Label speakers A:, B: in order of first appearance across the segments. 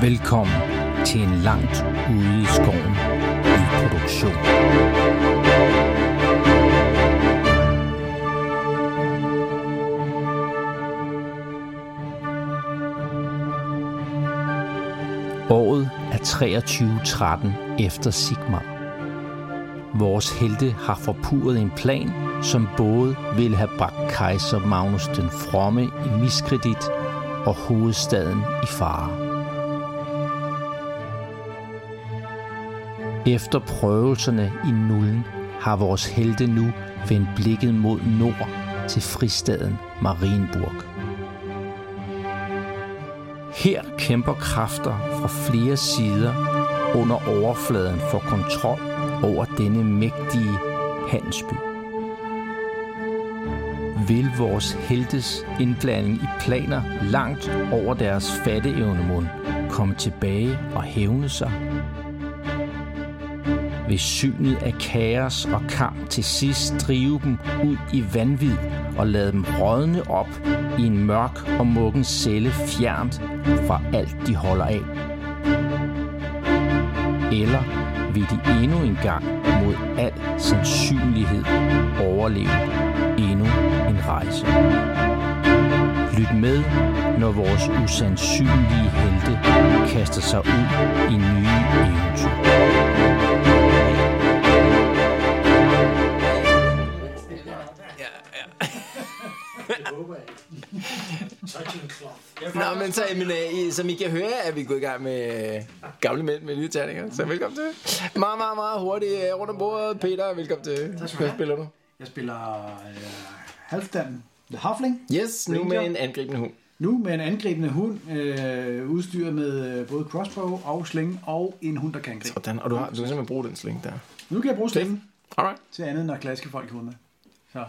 A: Velkommen til en langt ude i skoven i produktion. Året er 2313 efter Sigmar. Vores helte har forpurret en plan, som både ville have bragt kejser Magnus den Fromme i miskredit og hovedstaden i fare. Efter prøvelserne i nullen har vores helte nu vendt blikket mod nord til fristaden Marienburg. Her kæmper kræfter fra flere sider under overfladen for kontrol over denne mægtige handelsby. Vil vores heltes indblanding i planer langt over deres fatteevne mund komme tilbage og hævne sig? vil synet af kaos og kamp til sidst drive dem ud i vanvid og lade dem rådne op i en mørk og mukken celle fjernt fra alt, de holder af. Eller vil de endnu en gang mod al sandsynlighed overleve endnu en rejse. Lyt med, når vores usandsynlige helte kaster sig ud i nye eventyr.
B: Nå, men så, men, øh, I- som I kan høre, er vi gået i gang med øh, gamle mænd med nye terninger. Så velkommen til. Meget, meget, meget hurtigt øh, rundt om bordet. Peter, velkommen til.
C: Tak skal du have.
B: Hvad spiller du?
C: Jeg spiller øh, halvstanden, The Huffling.
B: Yes, nu
C: Ranger.
B: med en angribende hund.
C: Nu med en angribende hund, øh, udstyret med øh, både crossbow og sling og en hund, der kan angribe.
B: Sådan, og du, har, du kan simpelthen bruge den sling der.
C: Nu kan jeg bruge slingen
B: Alright.
C: til andet end at klaske folk i hundene. Så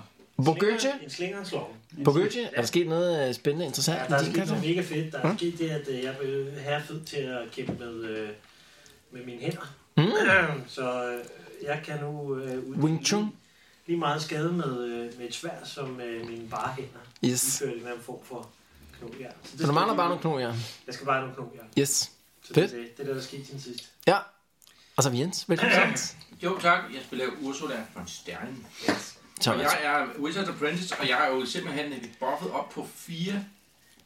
B: Bogøtje,
D: En slinger slår.
B: Bogøtje, er der sket noget øh, spændende, interessant?
D: Ja,
B: i
D: der er
B: din
D: sket
B: karakter?
D: noget mega fedt. Der er sket det, at øh, jeg blev herfed til at kæmpe med, øh, med mine hænder. Mm. Så øh, jeg kan nu øh, uddele
B: Wing Chun?
D: lige meget skade med, øh, med et svær, som øh, mine bare hænder
B: Yes.
D: ifører en eller anden form for knogjern. det
B: Så du
D: skal
B: mangler
D: jeg-
B: bare nogle knor, ja.
D: Jeg skal bare have nogle knogjern.
B: Yes.
D: Så
B: Fedt.
D: det, er det, det er det, der skete siden sidst.
B: Ja. Og så er vi Jens, velkommen til. Jens.
E: Jo tak, jeg spiller Ursula von Stern. Yes. Og
B: Thomas.
E: jeg er Wizard Apprentice, og jeg er jo simpelthen buffet op på fire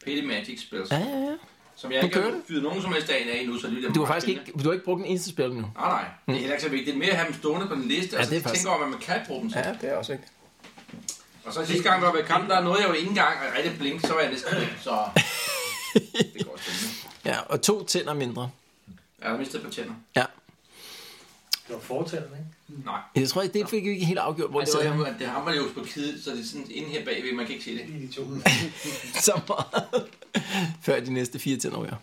E: Pale Magic spells,
B: Ja, ja, ja.
E: som jeg
B: du
E: ikke
B: kører
E: har
B: det.
E: fyret nogen som helst dagen af endnu, så det lyder
B: Du har
E: meget
B: faktisk
E: spændende.
B: ikke, du har ikke brugt en eneste spil nu.
E: Nej, nej. Det er heller ikke så vigtigt. Det er mere at have dem stående på den liste,
B: Ja,
E: og så
B: det er
E: tænke
B: faktisk-
E: Altså, over, hvad man kan bruge dem til.
B: det er også rigtigt.
E: Og så sidste gang, vi var ved kamp, der nåede jeg jo ikke engang at rigtig blink, så var jeg næsten væk, så... det går spændende.
B: Ja, og to tænder mindre.
E: Jeg har mistet et par tænder.
B: Ja.
D: Det var fortællende, ikke?
E: Nej.
B: Jeg tror ikke, det fik vi ikke helt afgjort, hvor
E: Altså,
B: det var henne.
E: det hammer jo på kide, så det er sådan inde her bagved, man kan ikke se det.
D: Lige de to.
B: så meget, før de næste fire tænder ryger.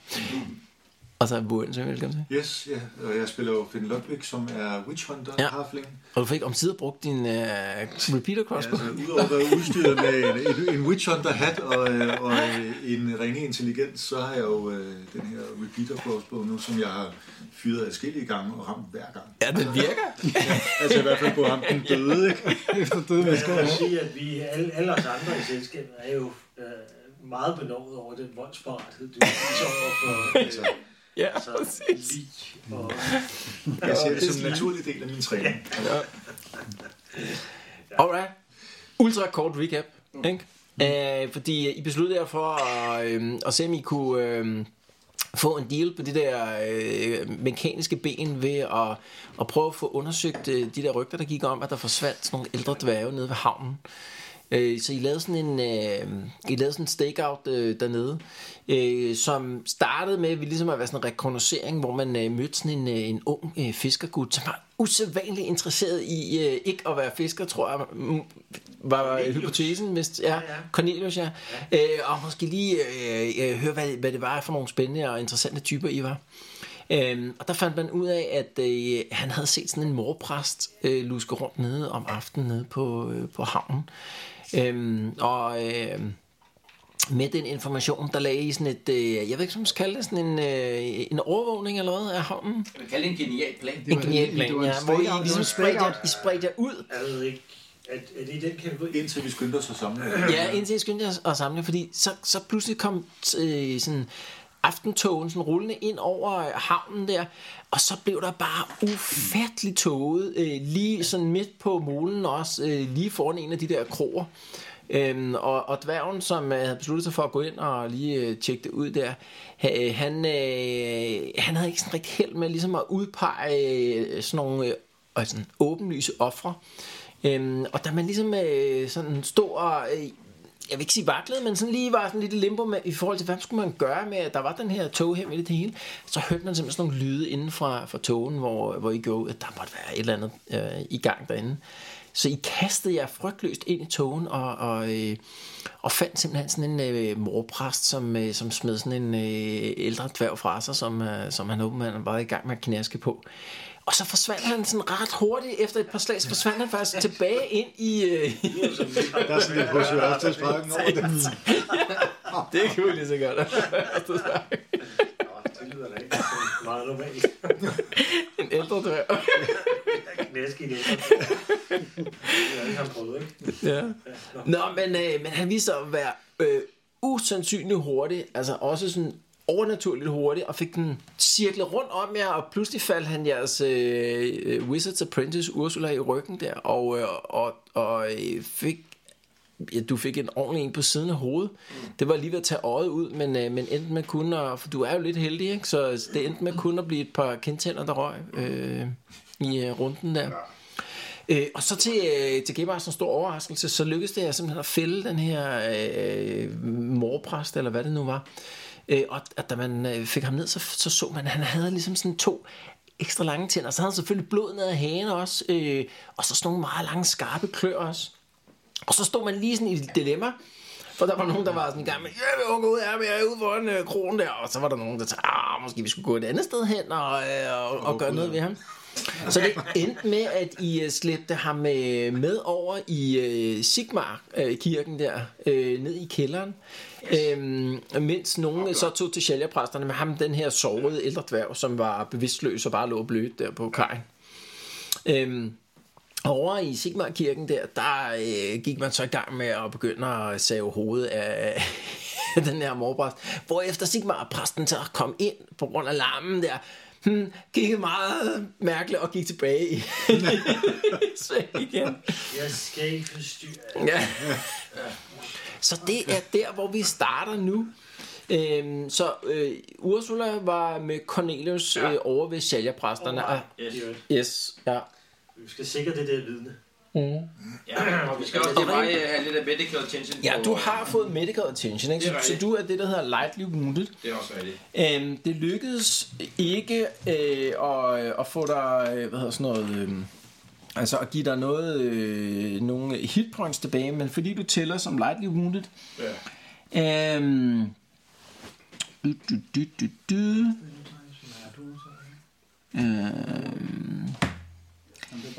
B: Og så er Buren, så velkommen til.
F: Yes, ja. Og jeg spiller jo Finn Ludwig, som er Witch Hunter,
B: Ja.
F: ja. Harfling.
B: Og du fik omsider brugt din uh, repeater crossbow.
F: Altså, udover at være udstyret med en, en, en Witch Hunter hat og, øh, og øh, en ringe intelligens, så har jeg jo øh, den her repeater crossbow nu, som jeg har fyret adskillige gange og ramt hver gang.
B: Ja, det virker.
F: Altså i hvert fald på ham, den døde, ikke?
C: efter døde væsker.
D: Jeg vil sige, at vi alle, alle os andre i selskabet er jo øh, meget benovet over den voldsparathed, du viser over for øh,
F: Altså,
B: Ja,
D: altså,
B: præcis.
D: lig og
F: jeg ser det som en naturlig del af min træning.
B: Alright. Ultra kort recap. Ikke? Uh, fordi I besluttede jer for at, øh, at se, om I kunne øh, få en deal på de der øh, mekaniske ben ved at, at prøve at få undersøgt øh, de der rygter, der gik om, at der forsvandt sådan nogle ældre dværge nede ved havnen. Øh, så I lavede sådan en, øh, I lavede sådan en stakeout øh, dernede, øh, som startede med vi ligesom at være sådan en rekognoscering, hvor man øh, mødte sådan en, øh, en ung øh, fiskergud, som var usædvanligt interesseret i øh, ikke at være fisker, tror jeg, mm, var Cornelius. hypotesen, hvis, ja, ja, ja. Cornelius, ja. ja. Øh, og måske lige øh, øh, høre, hvad, hvad det var for nogle spændende og interessante typer, I var. Øhm, og der fandt man ud af, at øh, han havde set sådan en morpræst øh, luske rundt nede om aftenen nede på, øh, på havnen. Øhm, og øh, med den information, der lagde i sådan et, øh, jeg ved ikke, som man skal kalde det, sådan en, øh, en overvågning eller hvad af havnen.
E: Jeg vil kalde det en genial plan.
B: en genial plan,
C: det var en
B: ja, hvor
C: stakeout,
B: I
C: det var
B: ligesom
C: en
B: spredte jer,
C: stakeout.
B: I spredte jer ud.
D: jeg ved ikke, at, at i den kategori
F: Indtil vi skyndte os at samle.
B: Ja, indtil I skyndte jer at samle, fordi så, så pludselig kom øh, sådan aftentogen sådan rullende ind over øh, havnen der, og så blev der bare ufattelig tåget, øh, lige sådan midt på molen også, øh, lige foran en af de der kroer. Øhm, og, og dværgen, som øh, havde besluttet sig for at gå ind og lige øh, tjekke det ud der, ha- øh, han, øh, han havde ikke sådan rigtig held med ligesom at udpege øh, sådan nogle øh, og sådan åbenlyse ofre. Øhm, og da man ligesom øh, sådan stod og, øh, jeg vil ikke sige vaklede, men sådan lige var sådan lidt i limbo med, i forhold til, hvad skulle man gøre med, at der var den her tog her midt i det hele, så hørte man simpelthen sådan nogle lyde inden fra, fra togen, hvor, hvor I gjorde, at der måtte være et eller andet øh, i gang derinde. Så I kastede jer frygtløst ind i togen og, og, øh, og fandt simpelthen sådan en øh, morpræst, som, øh, som smed sådan en øh, ældre dværg fra sig, som, øh, som han åbenbart var i gang med at knæske på. Og så forsvandt han sådan ret hurtigt efter et par slag, så forsvandt han faktisk tilbage ind i... Øh,
F: Der er sådan lidt hos Ørstedsparken over det.
B: det kan jo lige så godt.
D: Det lyder da ikke så meget normalt.
B: en ældre dværg.
D: Knæsk i det. Det har jeg ikke prøvet, ikke?
B: Ja. Nå, men, øh, men han viste sig at være øh, usandsynligt hurtig, altså også sådan overnaturligt hurtig, og fik den cirklet rundt om jer, og pludselig faldt han jeres øh, øh, Wizards Apprentice Ursula i ryggen der, og, øh, og, og øh, fik ja, du fik en ordentlig en på siden af hovedet. Det var lige ved at tage øjet ud, men, øh, men endte med kun at, for du er jo lidt heldig, ikke? så det endte med kun at blive et par kindtænder, der røg øh, i øh, runden der. Øh, og så til, øh, til Gebhards stor overraskelse, så lykkedes det jer simpelthen at fælde den her øh, morpræst, eller hvad det nu var. Øh, og at da man øh, fik ham ned, så, så så man, at han havde ligesom sådan to ekstra lange tænder. Så havde han selvfølgelig blod ned af hagen også, øh, og så sådan nogle meget lange, skarpe klør også. Og så stod man lige sådan i et dilemma, for der var nogen, der var sådan i gang med, ja, vi vil gå ud af, men jeg er ude foran øh, kronen der. Og så var der nogen, der sagde, ah, måske vi skulle gå et andet sted hen og, øh, og, og gøre noget ved ham. Så det endte med, at I øh, slæbte ham øh, med over i øh, Sigmar-kirken der, øh, ned i kælderen, øhm, mens nogen øh, så tog til sjælgerpræsterne med ham, den her sårede ældre dværg, som var bevidstløs og bare lå blødt der på kajen. Øhm, over i Sigmar-kirken der, der øh, gik man så i gang med at begynde at save hovedet af af den her morpræst. Hvorefter Sigmar-præsten så kom ind på grund af larmen der, hmm, kiggede meget mærkeligt og gik tilbage i sving igen.
D: Jeg skal ikke forstyrre.
B: Ja. Så det er der, hvor vi starter nu. Øhm, så øh, Ursula var med Cornelius øh, over ved sælgerpræsterne. og-
D: Yes.
B: Yes, ja.
D: Vi skal sikre det der vidne.
E: Ja, og vi skal også bare øh, have lidt af medical attention.
B: Ja,
E: på- øh,
B: du har fået medical attention, ikke?
E: Det
B: Så,
E: er
B: så
E: rigtigt.
B: du er det, der hedder lightly wounded.
E: Det er også rigtigt.
B: Øhm, det lykkedes ikke øh, at, at få dig, øh, hvad hedder sådan noget, øh, altså at give dig noget, øh, nogle hitpoints tilbage, men fordi du tæller som lightly wounded, ja. øhm, du, du, du, du, du. Øhm,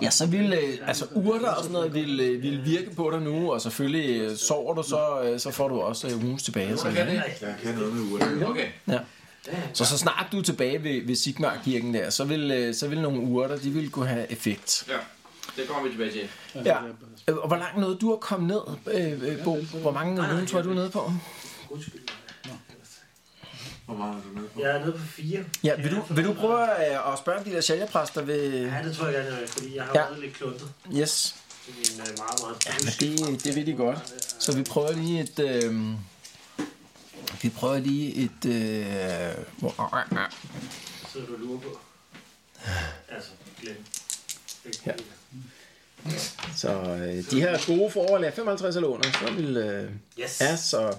B: Ja, så ville, øh, altså urter og sådan noget ville, øh, ville virke på dig nu, og selvfølgelig øh, sover du så, øh, så får du også øh, wounds tilbage. Så, ikke?
F: Jeg kan noget med urter.
E: Okay.
B: Ja. Så så snart du er tilbage ved, ved Sigmar-kirken der, så vil, øh, så vil nogle urter, de vil kunne have effekt.
E: Ja, det kommer vi tilbage til.
B: Ja. Øh, Og hvor langt nåede du at komme ned, øh, øh, Bo? Hvor mange runes var du nede på?
D: Undskyld.
F: Hvor meget er du med på?
D: Jeg er nede på fire.
B: Ja, vil du, vil du prøve øh, at, at spørge om de der sjælgerpræster ved...
D: Ja, det tror jeg gerne, jeg vil, fordi jeg har
B: Ja.
D: ja. været lidt kluntet.
B: Yes,
D: Det er en øh, meget, meget
B: men det, det ved de godt. Så vi prøver lige et... Øh, vi prøver lige et... Øh, hvor-
D: Så du og lurer på. Altså, glem.
B: Ja. så øh, de her gode for overlæg 55 eller under, så vil... Øh,
D: Yes.
B: Ja, så
D: Hvad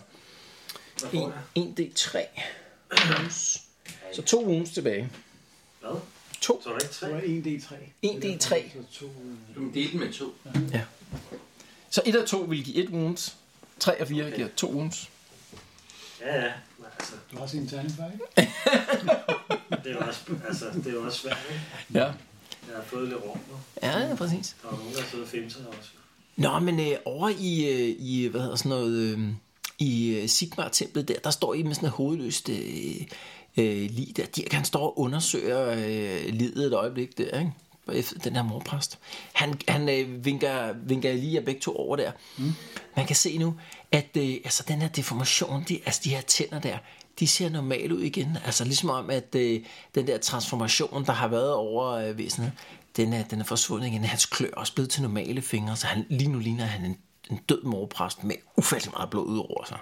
D: får jeg?
B: 1d3 wounds. Så to wounds tilbage.
D: Hvad?
B: To.
D: Så er der ikke tre?
C: Det var 1D3.
B: 1d3.
C: Så to, øh,
E: Du må dele den med to.
B: Så 1 og 2 vil give 1 wounds. 3 og 4 okay. giver 2 wounds.
D: Ja, ja. Men altså,
C: Du har sin tegning for, ikke?
D: det er jo også, altså, det er jo også svært, ikke?
B: Ja.
D: Jeg har fået lidt rum nu.
B: Ja, præcis.
D: Der er nogen, der har siddet og femser også.
B: Nå, men øh, over i, øh, i, hvad hedder sådan noget, øh, i øh, Sigmar-templet der, der står I med sådan et hovedløst øh, øh, lige der. Dirk, han står og undersøger øh, livet et øjeblik der, ikke? Efter den her morpræst. Han, han øh, vinker, vinker lige jer begge to over der. Mm. Man kan se nu, at øh, altså, den her deformation, de, altså de her tænder der, de ser normale ud igen. Altså ligesom om, at øh, den der transformation, der har været over øh, væsenet, den er, den er forsvundet igen. Hans klør er også blevet til normale fingre, så han, lige nu ligner han en, en død morpræst med ufattelig meget blod ud over sig.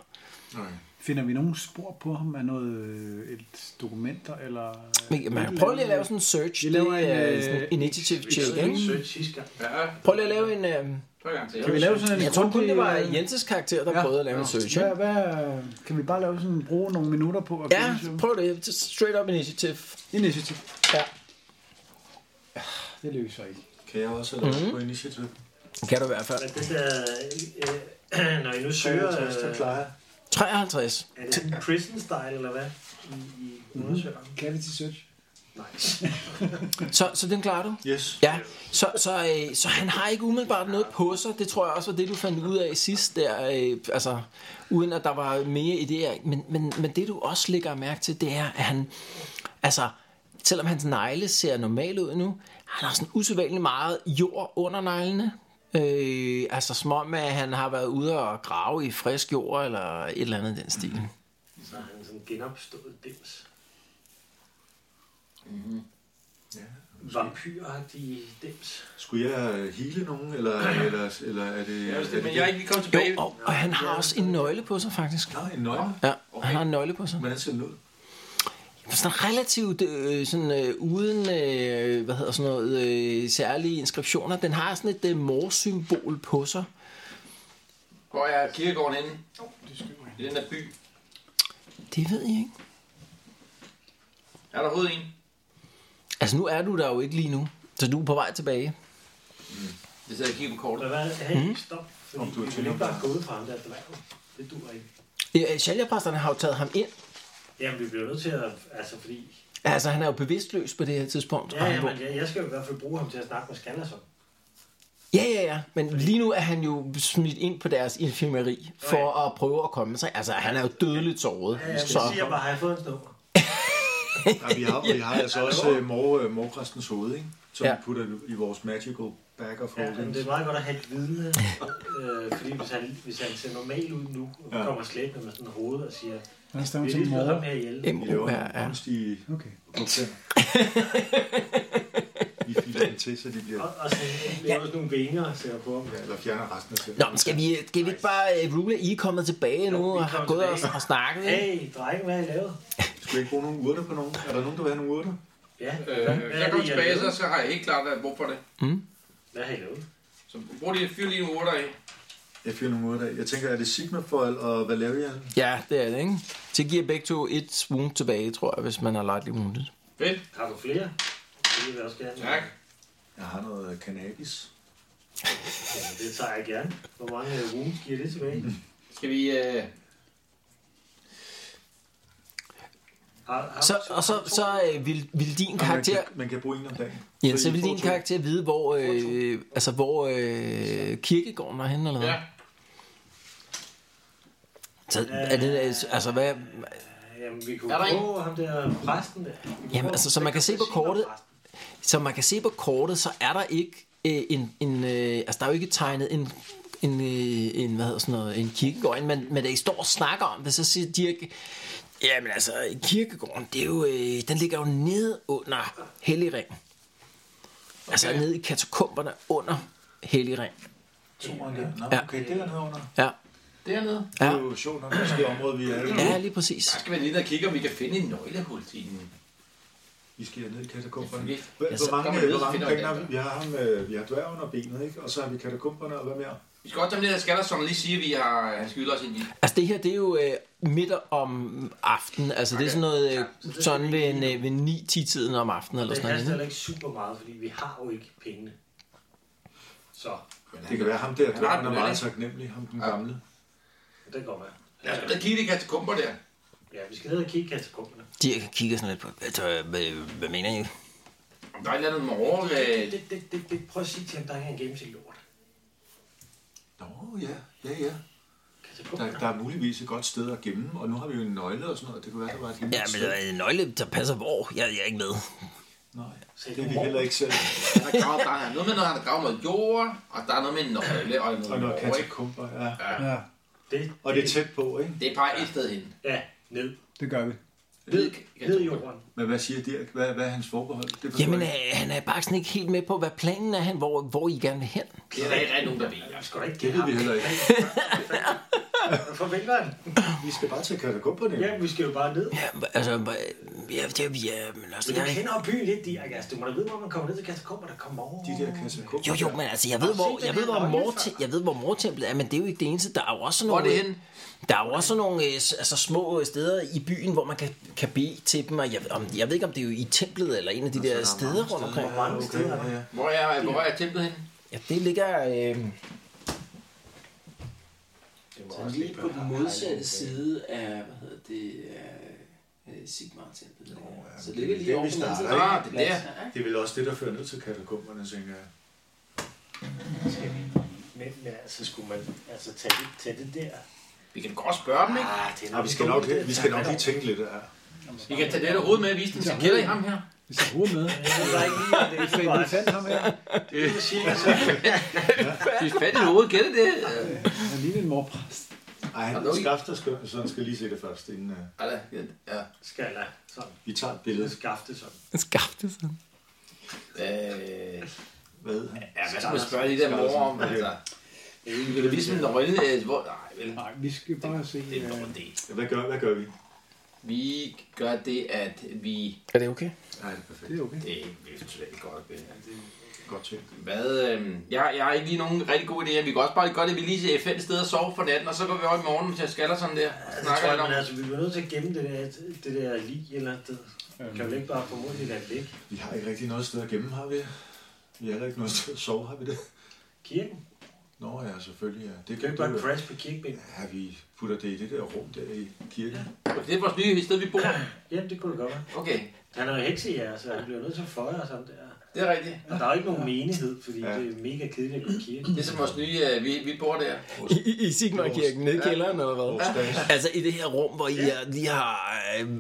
C: Finder vi nogen spor på ham af noget, øh, et dokumenter eller...
B: Men, jamen, prøv lige at lave sådan en search.
C: Vi laver
B: det er
C: en, øh,
B: sådan en initiative check.
D: Det er
B: ikke?
D: sødt sidste gang.
E: Ja,
B: Prøv lige at lave en... Øh,
E: prøv en gang til.
C: Kan vi lave sådan en
B: jeg tror kun,
C: grundig,
B: det var
C: øh,
B: Jenses karakter, der ja. prøvede at lave en search.
C: Hvad,
B: ikke?
C: hvad, kan vi bare lave sådan, bruge nogle minutter på at
B: Ja, prøv det. Straight up initiative.
C: Initiativ.
B: Ja.
C: Ah, Det lykkes så ikke.
F: Kan jeg også have lov
B: Mhm.
F: mm-hmm. på initiativ?
B: Kan du i hvert fald.
D: Men det der, øh, når I nu søger, øh,
B: 53.
D: er det sådan en prison style, eller hvad? I, I undersøger?
C: Cavity search.
B: Så, så den klarer du?
F: Yes.
B: Ja, så, så, øh, så han har ikke umiddelbart noget på sig. Det tror jeg også var det, du fandt ud af sidst der. Øh, altså, uden at der var mere idéer. Men, men, men det, du også lægger mærke til, det er, at han... Altså, selvom hans negle ser normal ud nu, han har sådan usædvanligt meget jord under neglene. Øh, altså, som om, at han har været ude og grave i frisk jord, eller et eller andet i den stil.
D: Så har han sådan en genopstået dims. Vampyragtige dims.
F: Skulle jeg øh, hele nogen, eller, eller, eller er det...
E: Ja,
F: er
E: hvis det-
F: det
E: Men jeg er ikke lige kommet tilbage.
B: Jo, og, og han har også en nøgle på sig, faktisk.
F: Nej, en nøgle.
B: Ja, han har en nøgle på sig.
F: Hvordan ser den ud?
B: Sådan relativt øh, sådan, øh, uden øh, hvad hedder sådan noget, øh, særlige inskriptioner. Den har sådan et øh, morsymbol på sig.
E: Hvor er kirkegården henne? I den der by.
B: Det ved jeg ikke.
E: Er der overhovedet en?
B: Altså nu er du der jo ikke lige nu, så du er på vej tilbage.
E: Det sidder jeg og kigger på kortet.
D: Hvad var det? Hey, stop. Fordi
F: Om du er
D: vi
F: til
D: kan ikke bare
F: nogen,
D: gå ud fra ham der dværg. Det dur ikke.
B: Øh, Shalja-præsterne har jo taget ham ind.
D: Jamen, vi bliver nødt til at... Altså, fordi...
B: Altså han er jo bevidstløs på det her tidspunkt.
D: Ja,
B: og
D: ja,
B: han
D: men jeg, jeg skal jo i hvert fald bruge ham til at snakke med Skanderson.
B: Ja, ja, ja. Men lige nu er han jo smidt ind på deres infirmeri for at prøve at komme sig. Altså, han er jo dødeligt såret.
D: Ja, ja, men
B: så,
D: jeg siger bare, har jeg fået en snor?
F: Ja, vi har, vi har altså også øh, mor, øh, morpræstens hoved, ikke? Som
B: Ja.
F: ja. vi putter i vores magical bag of
D: Ja, men
F: holdings.
D: det er meget godt at have et vidne, øh, fordi hvis han, hvis han ser normal ud nu, og
F: Ja.
D: kommer slæbende med sådan en hoved og siger,
C: Hvad er
D: vi
C: stemmen
D: har
C: til
D: lige slået ham
C: morgen?
D: her ihjel.
F: Vi
B: M.O.
F: laver
B: er,
F: nogle
B: er.
F: kunstige
C: Okay.
F: bogstaver. Vi filer dem til, så de bliver...
D: Og, og så laver sådan nogle vinger og ser på ham.
F: Ja, eller fjerner resten af sig.
B: Nå, men skal vi, skal vi ikke bare uh, rule, at I er kommet tilbage nu
D: vi er
B: og har
D: kommet
B: gået og,
D: tilbage.
B: og snakket? ikke?
D: Hey, drenge, hvad har I lavet?
F: Skal vi ikke bruge nogle urter på nogen? Er der nogen, der vil have nogle urter?
D: Ja,
E: Øh, hvis jeg
D: er det,
E: kommer
D: I
E: tilbage,
D: har
E: så,
D: lavet?
E: så har jeg helt klart været brug for det.
D: Hvad har I lavet?
E: Så brug lige fyr lige nogle urter i.
F: Jeg fyrer nogle urter af. Jeg tænker, er det Sigmafoil og Valerian?
B: Ja, det er det, ikke? Så giver begge to et wound tilbage, tror jeg, hvis man har lightly wounded.
E: Fedt.
D: Har du flere? Det vil jeg også gerne.
E: Tak.
F: Jeg har noget cannabis.
D: Ja, det tager jeg gerne. Hvor mange øh, wounds giver det tilbage?
E: Mm. Skal vi... Øh...
D: Har, har,
B: Så, og så, så øh, vil, vil din
F: Og Man
B: karakter...
F: kan, man kan bruge en om dagen.
B: Jens, så
F: I
B: vil
F: får
B: din
F: to.
B: karakter vide, hvor, øh, altså, hvor øh, kirkegården var henne, eller hvad?
E: Ja.
B: Så er det, øh, altså, hvad,
D: Jamen, vi kunne
E: Er der en?
D: prøve ham der præsten der. Vi kunne
B: Jamen,
D: prøve-
B: altså, som man kan se på kortet- som man kan se på kortet, så er der ikke øh, en, en øh, altså, der er jo ikke tegnet en, en, øh, en hvad hedder sådan noget, en kirkegård, ind, men, men da I står og snakker om det, så siger Dirk, jamen altså, kirkegården, det er jo, øh, den ligger jo nede under Helligring. Altså
E: Okay.
B: nede i katakomberne under Helligring.
F: Toren der. Nå,
B: Ja.
F: okay, det er noget under.
B: Ja.
E: Dernede.
F: Det er jo sjovt nok, måske område, vi er i.
B: ja, lige præcis.
E: Der skal vi lige ned og kigge, om vi kan finde en nøglehul til den.
F: Vi skal ned i katakomberne.
E: Ja, så-
F: Hvor,
B: så
F: hvor mange,
E: kommer vi ned,
F: hvor
E: så
F: mange
E: finder vi
F: penge har
E: det,
F: vi? Vi har, ham, øh, vi har dværg under benet, ikke? Og så har vi katakomberne, og hvad mere?
E: Vi skal godt tage med det der skatter, som lige siger, at vi har, han skylder os ind i.
B: Altså det her, det er jo øh, midt om aftenen. Altså det er sådan noget, øh, sådan ved, en, øh, ved 9-10-tiden om aftenen eller
D: Det
B: sådan noget.
D: haster
B: ikke?
D: heller ikke super meget, fordi vi har jo ikke pengene. Så,
F: Det kan være ham der,
E: har
F: dværgen
E: den
F: er
E: vel,
F: meget
E: ikke?
F: taknemmelig, ham den gamle.
D: det kan godt være.
E: Lad os gå ned og kigge i de katakomber der.
D: Ja, vi skal ned og kigge i katakomberne.
B: Dirk kigger sådan lidt på, hvad, hvad, hvad mener I?
E: Om der er et eller andet morgen. Øh...
D: Det, det, det, det, prøv at sige til ham, der ikke er en gennemsigtig lort.
F: Nå, ja, ja, ja. Der,
D: Katakomberne.
F: der er muligvis et godt sted at gemme, dem, og nu har vi jo en nøgle og sådan noget. Det kunne være, der var et hemmeligt
B: Ja, men
F: sted.
B: øh, en nøgle, der passer hvor? Jeg, jeg er ikke med.
F: Nej,
D: Sagde
F: det er
D: du
F: vi
D: mor?
F: heller ikke selv.
E: Der er, gravet, der er noget med noget, han har gravet noget jord, og der er noget med en nøgle og noget,
F: Og noget
E: jord, ikke?
F: katakomber, ja.
C: Ja.
D: Det,
F: Og det er tæt på, ikke?
E: Det er bare et sted hen.
D: Ja, ned.
C: det gør vi.
D: Ved, ved jorden.
F: Men hvad siger Dirk? Hvad, hvad er hans forbehold? Det forstår
B: Jamen,
F: jeg
B: øh, han er bare sådan ikke helt med på, hvad planen er, han, hvor, hvor I gerne vil hen.
E: Det er der ikke rigtig nogen, der ved.
D: Jeg skal da ikke
F: Det
D: give
F: ved
D: ham.
F: vi heller ikke.
D: Hvad forventer han?
F: Vi skal bare tage katakomberne.
D: Ja, vi skal jo bare ned.
B: Ja, altså, hva- ja, ja, vi er... Men altså,
D: Men du
B: jeg,
D: kender jo byen lidt, Dirk. Altså, du må da vide, hvor man kommer ned til katakomber, der kommer over.
F: De der katakomber.
B: jo, jo, men altså, jeg ved, hvor, jeg ved, hvor,
D: Har du set den
B: mor,
D: her nøgle før?
B: jeg ved, hvor mortemplet er, men det er jo ikke det eneste. Der er jo også
E: Hvor er
B: nogle,
E: det henne?
B: der er jo også nogle øh, s- altså, små øh, steder i byen, hvor man kan, kan bede til dem, og jeg, om, jeg ved ikke, om det er jo i templet eller en af de der steder rundt omkring.
D: Hvor mange steder er der?
E: Hvor er, hvor er templet henne?
B: Ja, det ligger... Øh,
G: Lige på den modsatte side af, hvad hedder det, af øh, Sigmar templet.
F: ja,
G: så det
F: men det er
G: ligger
F: det,
G: lige
F: vi
G: over på den anden side.
F: starter,
E: ikke? Ah, det er der.
G: Ja, ikke?
F: Det er vel også det, der fører ned til katakomberne, tænker jeg.
D: Skal vi? Men men altså, skulle man altså tage det, tage det der?
E: Vi kan godt spørge dem, ikke?
D: Ah, det er
F: Nej, vi skal nok, vi skal nok lige tænke lidt af.
E: Vi kan tage det hoved med og vise dem, så kender I ham her.
C: Vi skal bruge med.
D: Der er ikke lige, at det er
C: Så I lige fandt ham her.
E: Det er fat i hovedet, gælder det?
C: Han ligner en morpræst.
F: Ej, han er skaft og skøn, så han skal lige se det først, inden uh,
E: Ja, da. Ja.
D: Skal jeg sådan.
F: vi tager et billede.
D: Skafte sådan.
B: skabte sådan.
E: Øh,
F: Hvad hedder han?
E: ja, hvad skal man spørge de der mor om? Altså, det er jo ligesom en rønne... øh, Hvor, nej, vel.
C: Nej, vi skal bare se.
E: Det er en
C: øh,
E: dårlig idé.
F: Ja, Hvad gør, hvad gør vi?
E: Vi gør det, at vi...
B: Er det okay?
F: Nej, det er perfekt.
C: Det er okay.
E: Det er ikke totalt godt at binde.
F: Godt tænkt.
E: Hvad, øh, jeg, jeg har ikke lige nogen rigtig gode idéer. Vi kan også bare gøre det, vi lige ser fem steder og sove for natten, og så går vi over i morgen til skaller sådan der.
D: Altså, det
E: Snakker
D: tror
E: lidt
D: jeg,
E: om.
D: men altså, vi bliver nødt til at gemme det der, det der lig eller andet sted. Kan vi ikke bare formodentlig lade det ligge?
F: Vi har ikke rigtig noget sted at gemme, har vi? Vi har heller ikke noget sted at sove, har vi det?
D: Kirken?
F: Nå ja, selvfølgelig. Ja. Det
D: Kan vi
F: kan
D: ikke bare
F: det,
D: crash på kirkebænken?
F: Ja, vi putter det i det der rum der i kirken.
E: Det er vores nye sted, vi bor.
D: Jamen, det kunne det godt være.
E: Okay,
D: Han er jo heksejæger, så han bliver nødt til at føje os ham der.
E: det er rigtigt.
D: Og der er jo ikke nogen menighed, fordi
F: Ja.
D: det er mega kedeligt at gå i kirke.
E: Det er som vores nye, øh, vi, vi bor der.
B: I, i Sigmarkirken, nede i kælderen, eller hvad?
F: Vores dags.
B: Altså i det her rum, hvor I er, lige har... Øh,
D: Nej,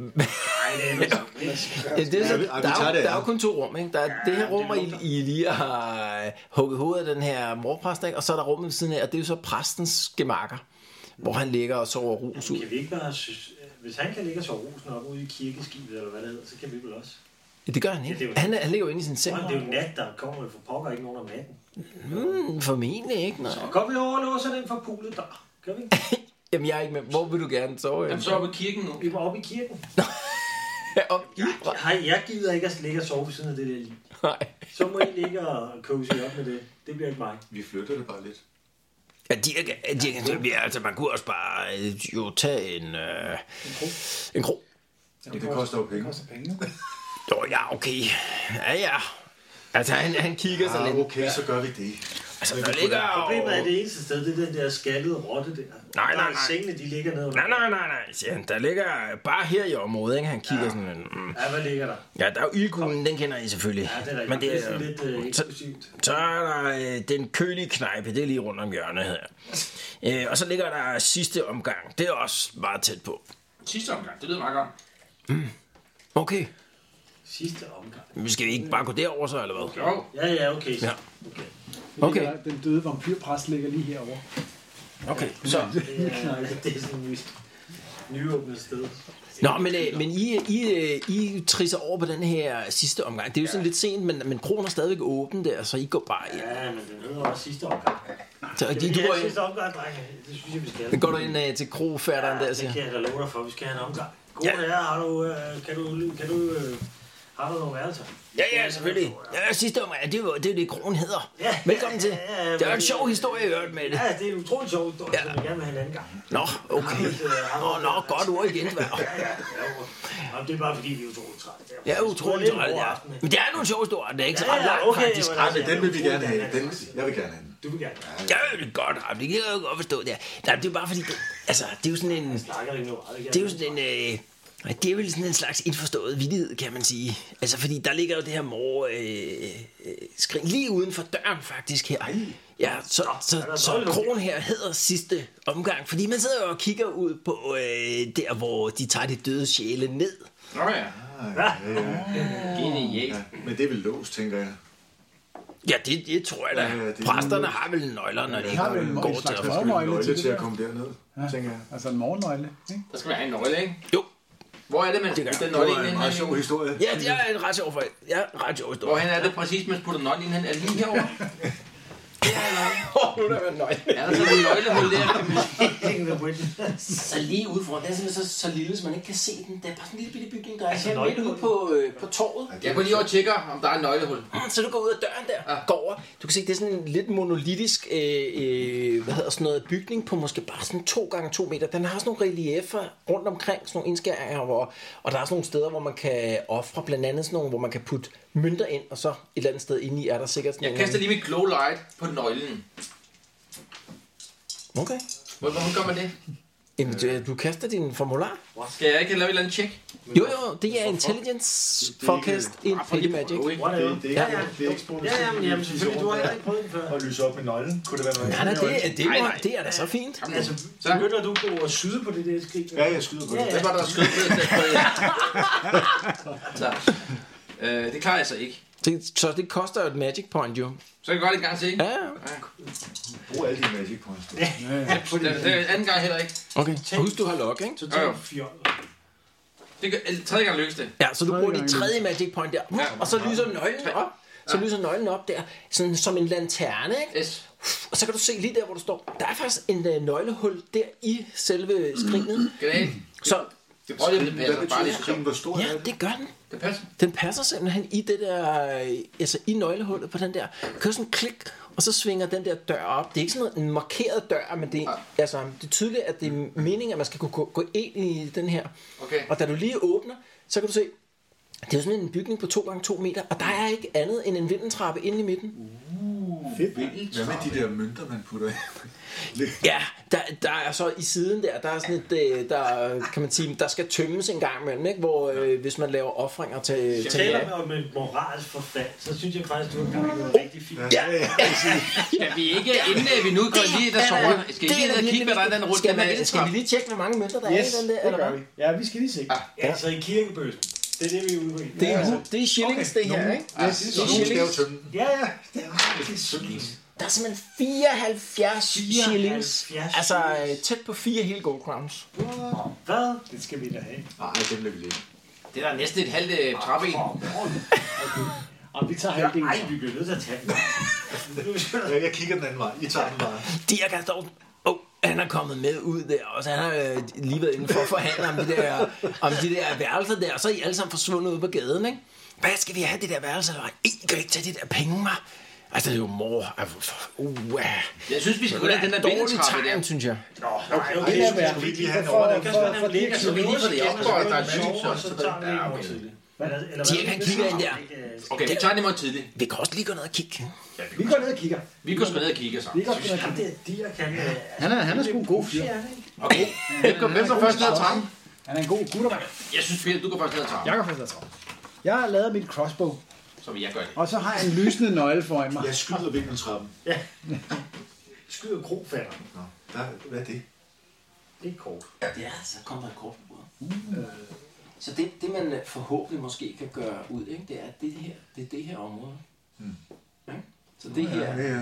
D: det er noget
B: ja, det er, så,
F: Ja, vi-
B: der,
F: ej, vi
B: er,
F: tager
B: jo-
F: det,
B: der er
F: ja.
B: jo kun to rum, ikke? Der er ja, det her rum, hvor I, I lige har øh, hugget hovedet af den her morpræst, ikke? Og så er der rummet ved siden af, og det er jo så præstens gemakker, hvor han ligger og sover rus ud.
D: Kan vi ikke bare... Synes, hvis han kan ligge og sove rosen op ude i kirkeskibet, eller hvad det hedder, så kan vi vel også.
B: Ja, det gør han
D: Ja, det er
B: ikke.
D: jo-
B: Han, er, han ligger jo inde i sin seng.
D: Men det er jo nat, der kommer jo for pokker ikke nogen om natten.
B: Hmm, formentlig ikke, nej.
D: Og går vi over og låser den forpulede dør? Gør vi ikke?
B: Jamen, jeg er ikke med. Hvor vil du gerne sove?
E: Jamen, så er vi i kirken nu.
D: Vi var oppe i kirken.
B: Ja, op i bræ-
D: Hej, jeg gider ikke at ligge og sove ved siden af det der lige.
B: Nej.
D: Så må I ligge og cozy op med det. Det bliver ikke mig.
F: Vi flytter det bare lidt.
B: Ja, de, er- de, er- de, er- altså, man kunne også bare øh, jo tage en... Øh, en krog.
F: Jamen, det koster jo penge. Ah,
C: koster penge.
B: Nå, ja, okay. Ja, ja. Altså, han, han kigger sig
F: Ah,
B: lidt.
F: okay, så gør vi det.
B: Altså, der ligger
D: Problemet er at
B: jo...
D: det eneste sted, det er den der skaldede rotte der.
B: nej,
D: Der er
B: nej.
D: Sengene, de ligger ned under.
B: Nej, nej, nej, nej, siger han. Der ligger bare her i området, ikke? Han kigger ja. sådan... Mm.
D: Ja, hvad ligger der?
B: Ja, der er jo ildkuglen, den kender I selvfølgelig.
D: Ja, det er rigtigt.
B: Men det er,
D: sådan lidt øh,
B: så,
D: eksklusivt.
B: så er der øh, den kølige knejpe, det er lige rundt om hjørnet her. Øh, og så ligger der sidste omgang. Det er også meget tæt på.
E: Sidste omgang, det lyder meget godt.
B: Okay.
D: Sidste omgang.
B: Men skal vi ikke bare gå derover så, eller hvad?
E: Jo,
D: Ja, ja, okay. Så.
B: Ja. Okay.
C: Okay. øh, Den døde vampyrpræst ligger lige herovre.
B: Okay, så...
D: Det er, det er sådan et nyt- nyåbnet sted.
B: Nå, men, øh, men I, I, øh, I trisser over på den her sidste omgang. Det er jo sådan lidt sent, men, men kronen er stadigvæk åben der, så I går bare ind.
D: Ja, men den hedder også sidste omgang.
B: Så de, du
D: ja,
B: går ind,
D: sidste omgang, drenge. Det synes jeg, vi skal.
B: går du ind øh, til krofatteren der og
D: det
B: siger,
D: kan jeg da love dig for. Vi skal have en omgang. God
B: Ja.
D: ja. herre, har du, øh, kan du, kan du, øh, har du nogle værelser?
B: ja, ja, selvfølgelig. Ja, sidste omgang, ja, det er jo det, er jo det kronen hedder.
D: Ja.
B: Velkommen til.
D: Ja, ja, ja,
B: Det er jo
D: men-
B: en sjov historie, jeg hørte med det.
D: Ja, det er en utrolig sjov historie,
B: Ja.
D: ja. som vi gerne vil have en anden gang.
B: Nå,
D: øh,
B: okay. Nå, nå, godt ord igen,
D: Ja, ja, ja. Jamen, det er bare fordi, vi er utroligt trætte.
B: Jeg er utrolig træt, ja. Men det er nogle sjove historier, det er ikke så
D: Ja,
B: ret
D: ja,
B: langt,
D: okay,
B: faktisk.
D: men
F: Nej,
D: altså,
F: Ah, men den vil vi
D: jeg er
F: gerne have. Den,
D: utrolig
F: jeg vil gerne have den.
D: Du vil gerne. Ja.
B: Ja, det er godt, Raff, det kan jeg jo godt forstå det her. Nej, det er bare fordi, det, altså, det er jo sådan en...
D: Snakker ikke noget.
B: Det er jo sådan en... Øh, nej, det er vel sådan en slags indforstået vidighed, kan man sige. Altså, fordi der ligger jo det her mor øh, øh, skrin lige uden for døren, faktisk, her. Ja, så, så,
D: der er
B: så, så
D: noget
B: kronen her hedder sidste omgang, fordi man sidder jo og kigger ud på øh, der, hvor de tager de døde sjæle ned.
E: nå ja. Genialt.
F: Men det er vel låst, tænker jeg.
B: Ja, det, det tror jeg da.
F: Ja, ja, det er
B: Præsterne har vel nøgler, når de
C: har vel Øh, en
B: går
C: slags
B: til at...
F: Der skal vi
C: Nøgle
F: nøgle
C: til det
F: til at
C: der.
F: komme derned, tænker jeg.
C: Altså en morgennøgle. Ikke?
E: Der skal vi have en nøgle, ikke?
B: Jo,
E: Hvor er det,
B: gør
E: man putter
B: jeg.
E: den
F: Det
E: nøgle
F: var
E: ind
F: en
E: hen?
F: meget sjov
E: Jon?
F: historie.
B: Ja, det er en ret sjov for Ja, ret sjov historie.
E: Hvorhen er det præcis, man putter nøglen ind hen? Er det lige herovre? Det er nok.
B: Hvor nu er der nøgne.
E: Er der sådan en nøglehul der? kan man sige?
G: Så lige ude foran, den er simpelthen så, så lille, så man ikke kan se den. Der er bare sådan en lille bitte bygning, der er
D: Altså,
G: altså, her midt ude
D: nøglehullet.
G: på, øh, på torvet.
E: Jeg går lige over og tjekker, om der er et nøglehul.
B: Så du går ud af døren der, ja. går over. Du kan se, det er sådan en lidt monolitisk øh, øh, hvad hedder sådan noget, bygning på måske bare sådan 2 gange 2 meter. Den har sådan nogle reliefer rundt omkring, sådan nogle indskæringer, hvor, og der er sådan nogle steder, hvor man kan ofre, blandt andet sådan nogle, hvor man kan putte mønter ind, og så et eller andet sted inde i er der sikkert sådan
E: Jeg
B: nogle...
E: kaster lige mit glow light på nøglen.
B: Okay.
E: Hvor- Hvordan gør man det?
B: Jamen, du, du kaster din formular.
E: Skal jeg ikke lave et eller andet tjek?
B: Jo, jo, det er intelligence
F: Det er ikke-
B: forecast in
E: Ah, for
B: Pretty
E: lige-
B: Magic.
E: Ui.
F: Det,
D: Whatever.
F: det,
D: Ja,
F: er
D: ja.
F: ikke, det er ikke spurgt.
D: Ja, jamen, jamen, selvfølgelig, du har heller ikke prøvet den før.
H: Og lyse op med nøglen. Kunne det være noget?
B: Nej, nej, det, er- det,
E: Nej,
B: nej,
E: nej.
B: nej. det er da så fint.
E: Kom nu.
D: Altså,
E: Så.
D: begynder du på at syde på det der skrig?
F: Ja, jeg skyder på det.
E: Hvad var der skød på det? Så. Øh, det klarer jeg så ikke.
B: Det, så det koster jo et magic point, jo.
E: Så kan jeg godt en gang se.
B: Ja, ja.
F: Brug alle dine magic points. du.
E: Det, det er anden gang heller ikke.
B: Okay. Og husk, du har lock, ikke?
D: Så
E: Jo,
D: tager
E: jo.
D: du fjollet.
E: Det gør, eller tredje gang lykkes det.
B: Ja, så du
C: Tredje
B: bruger dit
C: gang.
B: tredje magic point der.
E: Ja.
B: Og så lyser nøglen op. Så lyser nøglen op der, sådan som en lanterne, ikke?
E: Yes.
B: Og så kan du se lige der, hvor du står. Der er faktisk en øh, nøglehul der i selve skrinet.
E: Granat.
B: Så
E: Det prøver jeg, det
F: Hvad
E: passer. Bare
F: betyder
E: lige så
F: skrin? Hvor stor
B: ja,
F: er det?
B: det gør den.
E: Det passer.
B: Den passer simpelthen i det der, øh, altså i nøglehullet på den der. Kører sådan en klik, og så svinger den der dør op. Det er ikke sådan noget- en markeret dør, men det er, altså, det er tydeligt, at det er meningen, at man skal kunne gå, gå ind i den her.
E: Okay.
B: Og da du lige åbner, så kan du se, det er jo sådan en bygning på 2 gange 2 meter, og der er ikke andet end en vindeltrappe inde i midten.
F: Hvad med de der mønter, man putter i?
B: Ja, der, der er så i siden der, der er sådan et, øh, der, kan man sige, der skal tømmes en gang imellem, ikke? Hvor, øh, hvis man laver offringer til, til
D: Taler om et moralsk forfald, så synes jeg faktisk, du har gang i noget rigtig fint.
F: Ja, ja.
E: Skal vi ikke, inden øh, vi nu går lige der så rundt, skal vi
B: Det er
E: lige ned
B: da
E: og kigge, hvad der er den rundt,
B: Skal,
E: den
B: man,
E: er
B: skal vi lige tjekke, hvor mange mønter der
H: Yes,
B: er i den der?
H: det
B: Eller
H: gør
B: hvad?
H: vi. Ja, vi skal lige se.
D: Altså i kirkebøssen. Det er det, vi er ude i.
B: Det er, hu- det er shillings, det her, ikke?
F: Så nogen skal jo tømme den.
H: Ja, ja.
B: Der er simpelthen 74 shillings.
D: 74
B: Altså øh, tæt på fire hele gold crowns.
D: Hvad?
H: Det skal vi da have.
F: Nej, den lader vi ligge.
E: Det er der næsten et halvt øh, trappeben.
H: Og vi tager halvdelen.
D: Nej, vi bliver nødt til at tage den.
F: Ja, jeg kigger den anden vej. I tager den bare.
B: Dirk er dog... Oh, han er kommet med ud der, og så han har øh, lige været inde for at forhandle om de, der, om de der værelser der, og så er I alle sammen forsvundet ude på gaden, ikke? Hvad skal vi have det der værelse? Eller, I kan ikke tage de der penge, hva'? Altså, det er jo mor. Ej, hvor for- Uh,
E: Jeg synes, vi skal ud af den der
B: dårlig
E: vindeltrappe der.
B: tegn, synes jeg.
D: Okay,
H: Det
D: okay.
H: er værd.
F: vi ikke lige have en
H: For-
F: overgang?
H: for- for- for-
D: ligger, så vi lige
E: får det op, og der er lys,
D: og
E: og
D: så
E: så-
D: tager vi
E: Ja,
D: en
E: okay.
D: morgen tidlig. Eller, eller
B: Dirk, han kigger ind der.
D: øh,
E: Okay, vi tager den i morgen tidligt.
B: Vi kan også lige gå ned og kigge.
H: Vi går ned og kigger.
E: Vi går sgu ned og kigger sammen.
H: Vi går sgu ned og
D: Jamen,
H: kigger.
D: det er Dirk, han øh,
C: Han er, han er sgu en god fyr.
E: Okay. Hvem går- Hvem går først ned ad trappen?
C: Han er en god gutter.
E: Jeg synes, Peter, du går først ned ad trappen.
C: Jeg kan faktisk Jeg har lavet mit crossbow,
E: Så vil jeg gøre det.
C: og så har jeg en lysende nøgle foran mig.
F: Jeg skyder vindeltrappen.
D: skyder krofatter.
F: Nå, der, hvad er det?
D: Det er kort.
G: Ja, så kom der et kort på bordet.
F: Mm.
G: Øh, Så det, det, man forhåbentlig måske kan gøre ud, ikke, det er, at det her, det er det her område. Ikke? Så det her,
F: Mm. Ja, ja.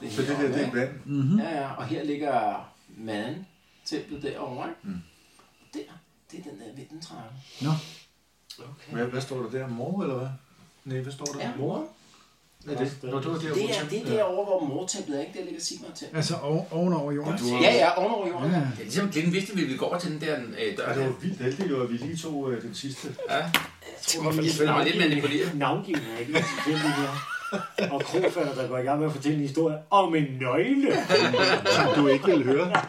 G: det
F: Så
G: her
F: det der, det
G: område,
F: er
G: ikke?
F: blandt.
G: Ja, ja, og her ligger manden, templet derovre, ikke? Mm. Der, det er den der vindentrappe.
C: Nå.
F: Hvad, hvad står der der? Mor, eller hvad? Nej, hvad står der?
G: Ja,
F: Mor?
G: mor.
F: Er det? Nå, det var der,
G: Det
F: hvor
G: er, det er
F: templet-
G: derovre, hvor mortemplet er, ikke? Der ligger Sigmar templet.
C: Altså oven, ovenover jorden.
F: Du har-
G: Ja, ja, ovenover jorden.
C: Ja.
E: Det er ligesom Glenn vidste, at vi går over til den der øh, dør.
F: Ja, det
E: der.
F: var vildt heldigt, jo, at vi lige tog øh, den sidste.
E: Den var lidt manipuleret.
D: Navngivning er ikke tilfældig her. Og krofatter, der går i gang med at fortælle en historie om en nøgle.
F: Som du ikke ville høre.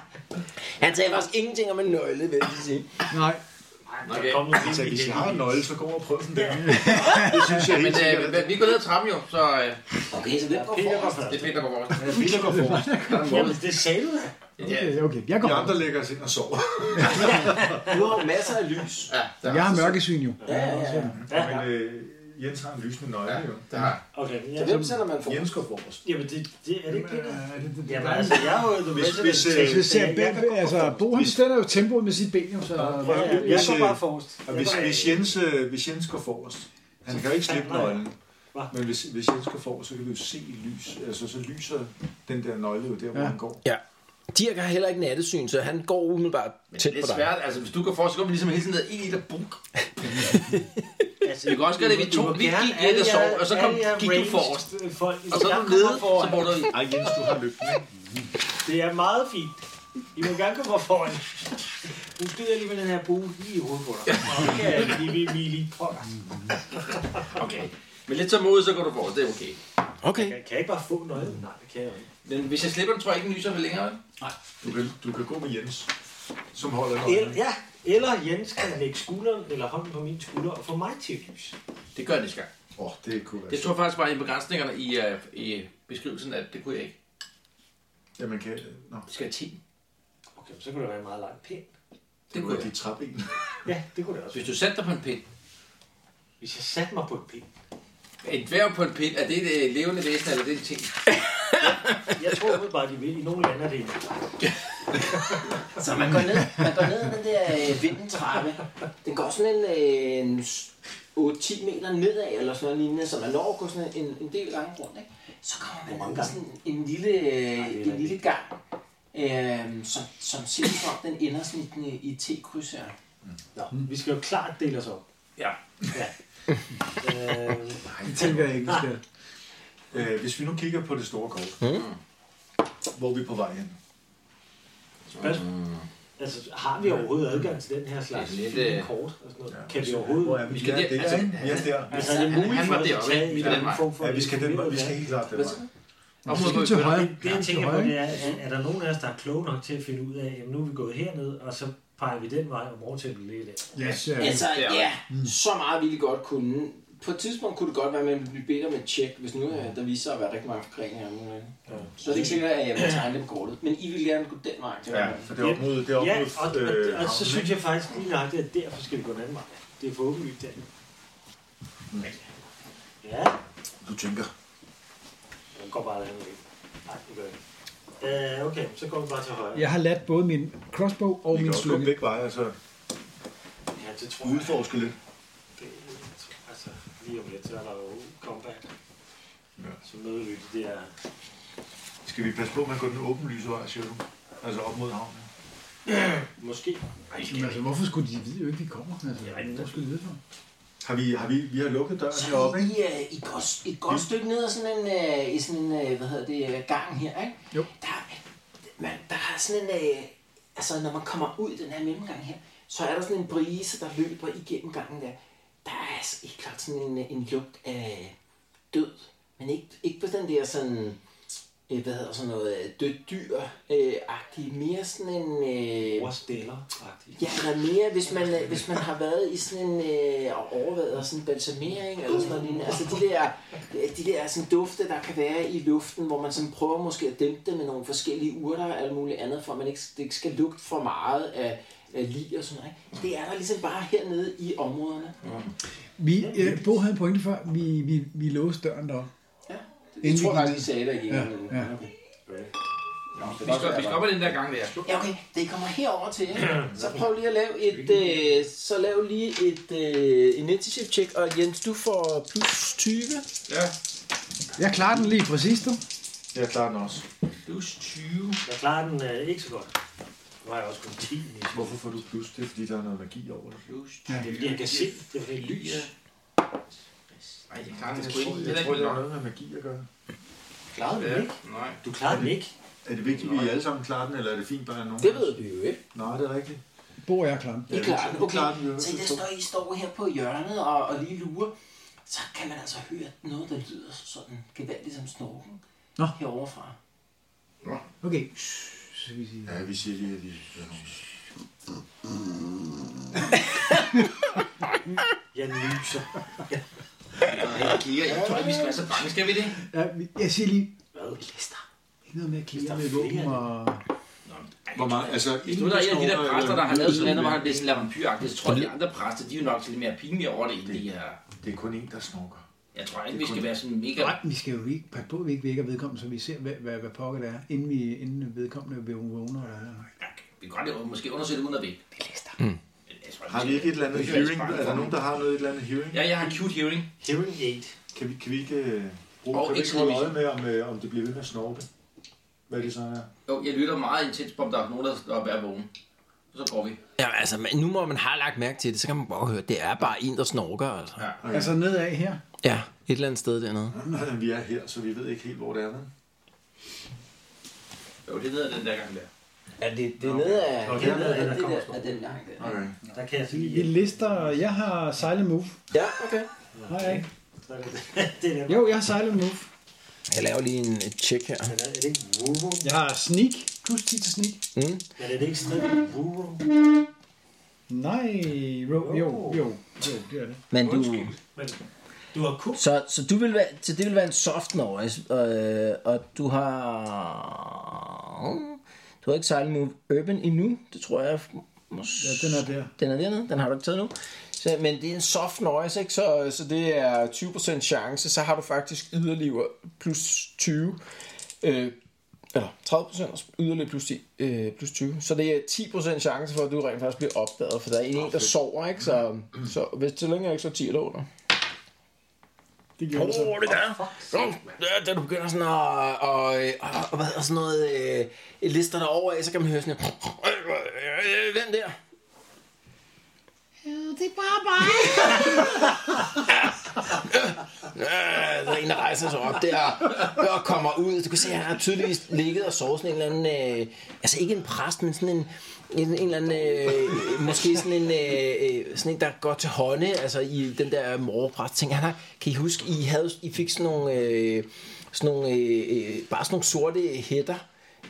B: Han sagde faktisk ingenting om en nøgle, vil jeg lige sige.
C: Nej.
D: Der er kommet en
F: Så Altså, hvis jeg har en
D: nøgle.
F: nøgle, så går jeg og prøver den der. Det synes jeg
E: Men
F: helt sikkert.
E: øh, vi går ned ad trappen jo, så øh,
G: Okay, så det går
D: Peter går
G: forrest.
E: det
D: først.
E: er Peter, der går forrest.
F: Peter går forrest.
D: Jamen, det sagde du da.
E: Ja,
C: Okay, okay. Jeg går.
F: De andre lægger os ind og sover.
B: Du har jo masser af lys.
E: ja, der,
C: Jeg har mørkesyn jo.
F: Men øh, Jens har en lysende nøgle, jo.
E: der har.
D: Okay, ja.
B: Hvem sender man for?
F: Jens går forrest.
D: Jamen, det, det er det ikke det der?
C: Øh, Er det det,
D: Jamen, altså, jeg er jo the
F: Hvis-
D: resident.
F: hvis, øh,
D: taster.
C: Hvis jeg,
D: jeg, kan-
C: altså, Bo, han stiller jo tempoet med sit ben, jo, så...
D: ja, ja, jeg
F: hvis,
D: går
F: øh,
D: bare forrest.
F: Og hvis, hvis, Jens, øh, hvis Jens går forrest, han kan jo ikke slippe
D: Nej.
F: nøglen.
D: Hva?
F: Men hvis, hvis Jens går forrest, så kan vi jo se lys. Altså, så lyser den der nøgle jo der, hvor
C: Ja.
F: han går.
B: Ja.
I: Dirk har heller ikke nattesyn, så han går umiddelbart tæt
E: Det er
I: på dig.
E: svært, altså hvis du kan forestille dig, at vi ligesom hele tiden ned i liter buk.
D: Altså,
E: Vi kan også gøre det, vi to, vi gik et og sov, og så kom, gik du forrest. Og så er du nede, så bor du i.
F: Ej, Jens, du har lygten, ikke?
D: Det er meget fint. I må gerne komme fra foran. Nu skyder jeg lige med den her bue lige i hovedet på dig. Okay, vi, vi, vi er lige på dig.
E: Okay. Men lidt som ud, så går du forrest, det er okay.
I: Okay.
D: Jeg kan ikke bare få noget. Nej, det kan jeg jo ikke.
E: Men hvis jeg slipper den, tror jeg ikke, den lyser vel længere. vel?
F: Du kan, du kan gå med Jens, som holder
D: Eller,
F: dig.
D: ja, eller Jens kan lægge skulderen eller hånden på min skulder og få mig til at lyse.
E: Det gør jeg næste gang.
F: Åh, oh, det kunne være
E: Jeg tror faktisk bare, at i begrænsningerne i, uh, i beskrivelsen, at det kunne jeg ikke.
F: sjovt. Ja, man kan... Nå,
E: Det skal jeg 10.
D: Okay, så kunne det være meget langt pænt.
F: det
E: kunne
F: kunne
E: jeg.
F: være de træben.
D: Ja, det kunne det også.
E: Hvis du satte dig på en pind,
D: Hvis jeg satte mig på et pind.
E: en dværg på en pind, er det et øh, levende væsen, eller er det en ting?
D: Jeg tror umiddelbart, de vil. I nogle lande er det ikke.
B: Så man går ned, man går ned ad den der øh, vindentrappe. Den går sådan en, øh, en s- 8-10 meter nedad eller sådan noget lignende, så man når at gå sådan en, en del gange rundt. Ikke? Så kommer man ned i sådan en lille, øh, en lille gang,
G: øhm,
B: øh, som, som ser ud som om, den ender sådan i, den- i et T-kryds her.
D: Nå, vi skal jo klart dele os op.
E: Ja.
D: Mm. Ja. øh,
F: Det tænker jeg ikke, vi skal. Øh, hvis vi nu kigger på det store kort, hvor er vi på vej hen?
D: spørgsmål. Altså, har vi overhovedet adgang til den her slags
E: Det er lidt,
D: fine
E: øh,
D: kort? Og sådan noget?
F: ja.
D: Kan vi
F: Hvor
D: overhovedet...
F: er vi? Vi
E: skal
F: er
E: der-
F: der,
E: altså,
F: ikke? Vi er der.
D: Altså, er det
E: Han-
D: muligt
E: han
D: for
E: var
D: os at
E: deroppe,
D: tage
E: ikke?
D: en
E: Vi
D: eller
E: skal
D: anden
E: den
D: form for...
F: Ja, vi skal, den, vej. vi
D: informeret
F: skal helt klart den vej.
E: Og
C: Vi
E: hun
C: skal til
E: er
C: højre.
D: valg? Det, jeg
C: Til
D: tænker på,
C: højre.
D: det er, er, er der nogen af os, der er kloge nok til at finde ud af, at nu er vi gået herned, og så peger vi den vej, og morgen til den lige der.
C: Yes, ja.
B: Altså,
E: øh, det er
B: ja, så meget ville I godt kunne. På et tidspunkt kunne det godt være, at man ville blive bedt om et tjek, hvis nu øh, der viser sig at være rigtig mange forkringer. Ja. Så er det ikke sikkert, at jeg vil tegne det på kortet. Men I vil gerne gå den vej. det var
F: Ja,
B: det.
F: for det er op mod... Det er op
D: Ja,
F: mod
D: og, og,
F: øh,
D: og, og så
F: havnen,
D: synes
F: ikke?
D: jeg faktisk lige nøjagtigt, at derfor skal vi gå den anden vej. Det er for åbenlyst der. Ja,
F: Du tænker.
D: jeg går bare den anden vej. Nej, det gør jeg ikke. Øh, okay, så går vi bare til højre.
C: Jeg har ladt både min crossbow og
F: Vi kan
C: min
F: også gå
C: slynge.
F: begge veje, og så
D: ja det tror jeg.
F: udforske lidt.
D: Det, altså, lige om lidt, så er der jo comeback.
F: Ja.
D: Så møder vi de der...
F: Skal vi passe på med at gå den åbenlyse vej, siger du? Altså op mod havnen.
D: Måske.
C: Jamen, altså, hvorfor skulle de vide, jo ikke, vi kommer? Altså,
D: Ja,
C: hvor skulle de vide for?
F: Har vi, har vi, vi har lukket døren
B: Så
F: heroppe,
B: I,
F: ikke?
B: øh, I går s- et godt stykke ned ad sådan en, øh, i sådan en øh, hvad hedder det, øh, gang her, ikke?
C: Jo.
B: Der, man, der er sådan en, øh, altså når man kommer ud i den her mellemgang her, så er der sådan en brise, der løber igennem gangen der. Der er altså helt klart sådan en, øh, en lugt af død, men ikke, ikke på den der sådan, øh, hvad hedder sådan noget, øh, dødt dyr øh, agtig mere sådan en... Øh,
D: Overstiller-agtigt.
B: Ja, eller mere, hvis man, øh, hvis man har været i sådan en øh, og overvejet sådan en balsamering eller sådan noget lignende. Altså de der, de der sådan dufte, der kan være i luften, hvor man sådan prøver måske at dæmpe det med nogle forskellige urter og alt muligt andet, for at man ikke, det ikke skal lugte for meget af, af lig og sådan noget. ikke? Det er der ligesom bare hernede i områderne.
C: Vi, øh, Bo havde en pointe før, vi, vi, vi låste døren deroppe.
B: Ja, det,
C: Inden
B: det
C: vi
B: tror jeg
C: gik
B: faktisk, de sagde der igen.
C: Ja,
B: men-
C: ja.
B: okay.
E: Vi skal, vi skal op ad den der gang der.
B: Ja, okay. Det I kommer herover til, ikke? Så prøv lige at lave et... Øh, så lav lige et øh, initiative check. Og Jens, du får plus 20.
E: Ja.
C: Jeg klarer den lige præcis, du.
F: Jeg klarer den også.
E: Plus 20.
D: Jeg klarer den øh, ikke så godt. Nu har jeg også kun 10 i
F: Hvorfor får du plus? Det er, fordi der er noget magi over det.
E: Plus 20.
D: Det er fordi, jeg kan se, det er fordi det er lys.
E: Nej, jeg klarer den
F: Jeg
E: sgu
F: tror,
E: ikke. Det
F: jeg
E: er
F: tror,
E: ikke
F: det
E: nok.
F: har noget med magi at gøre.
D: Klarede du
E: Ja.
D: den ikke?
E: Nej.
D: Du klarede den ikke.
F: Er det vigtigt, at vi alle sammen klarer den, eller er det fint bare at nogen?
B: Det ved vi jo ikke.
F: Nej, det er rigtigt.
C: Bo og jeg klarer den.
B: I er klar.
F: vi klarer den,
B: Okay.
F: jo.
B: Så der står, I står her på hjørnet og, og lige lurer. Så kan man altså høre noget, der lyder sådan gevaldigt som snorken.
C: Nå.
B: Heroverfra.
C: Okay. Så vi siger.
F: Ja, vi siger lige, at de hører nogen.
D: Jeg lyser.
E: Jeg kigger. Jeg tror ikke, vi skal være så bange. Skal vi det?
C: Ja, vi- jeg siger lige,
D: Hvad?
C: ikke noget med at klire
D: der
C: med
D: er
C: våben
D: flere,
C: og...
F: Hvor meget? Altså,
E: Hvis nu der er en af de der præster, der har lavet sådan noget, hvor han bliver sådan vampyragtig, så tror jeg, de andre præster, de er jo nok lidt mere pinlige over det, end de her.
F: Det er kun en, der snorker.
E: Jeg tror ikke, vi skal være sådan mega...
C: Nej, vi skal jo ikke pakke på, at vi ikke vækker vedkommende, så vi ser, hvad, hvad, hvad pokker det er, inden, vi, inden vedkommende vil vågne. Eller...
E: Vi kan godt måske undersøge det uden at vække.
B: Mm.
F: Har vi ikke et eller andet hearing? Er der nogen, der har noget et eller andet hearing?
E: Ja, jeg har en cute hearing.
D: Hearing aid.
F: Kan vi, kan vi ikke øh, bruge,
E: Og
F: kan vi ikke
E: ikke
F: holde
E: så-
F: øje med, om, øh, om det bliver ved med at snorke? hvad det så er.
E: Jo, jeg lytter meget intens på, om der er nogen, der er være vågen. Og så går vi.
B: Ja, altså, men nu må man har lagt mærke til det, så kan man bare høre, det er bare en, der snorker. Altså.
E: Ja.
C: Altså nedad her.
B: Ja, et eller andet sted dernede.
F: Vi er her, så vi ved ikke helt, hvor det er. vel?
E: Jo, det hedder den der gang der.
G: Ja, det, det er nede af,
F: Og
G: det er
F: dernede
G: nede
F: er den,
G: af
F: der
G: det
F: kommer
G: der, af den gang der.
F: Okay.
D: Der kan jeg så
C: Vi,
D: lige
C: vi lister. Jeg har Silent Move.
G: Ja, okay.
C: Har jeg ikke?
D: Så er det, det er nemt.
C: Jo, jeg har Silent Move.
B: Jeg laver lige en et check her.
D: Men er det ikke Wuro?
C: Jeg har Sneak. Plus 10 til Sneak.
B: Mm.
D: Men er det ikke strid Wuro?
C: Nej. Jo, jo, jo. jo det er det.
B: Men du,
D: Men du har kub.
B: så, så, du vil være, så det vil være en soft noise, øh, og du har... Du har ikke Silent Move Urban endnu, det tror jeg... mås-
C: Ja, den er der.
B: Den er dernede, den har du ikke taget nu. Så, men det er en soft noise, ikke? Så, så det er 20% chance, så har du faktisk yderligere plus 20. Øh, eller 30% og yderligere plus, 10, øh, plus 20. Så det er 10% chance for, at du rent faktisk bliver opdaget, for der er en, der sover, ikke? Så, så hvis til længe er ikke så 10 eller under.
C: Det gjorde det så.
B: det der. Ja, da du begynder sådan at, og, og, og, hvad hedder sådan noget, øh, lister dig over af, så kan man høre sådan, øh, øh, øh, hvem der? Øh, det er bare mig. der er en, der rejser sig op der og kommer ud. Du kan se, at han har tydeligvis ligget og sovet sådan en eller anden... Øh, altså ikke en præst, men sådan en... En, en eller anden, øh, måske sådan en, øh, øh, sådan en, der går til hånde, altså i den der morgenpræst ting. Han har, kan I huske, I, havde, I fik sådan nogle, øh, sådan nogle øh, øh, bare sådan nogle sorte hætter,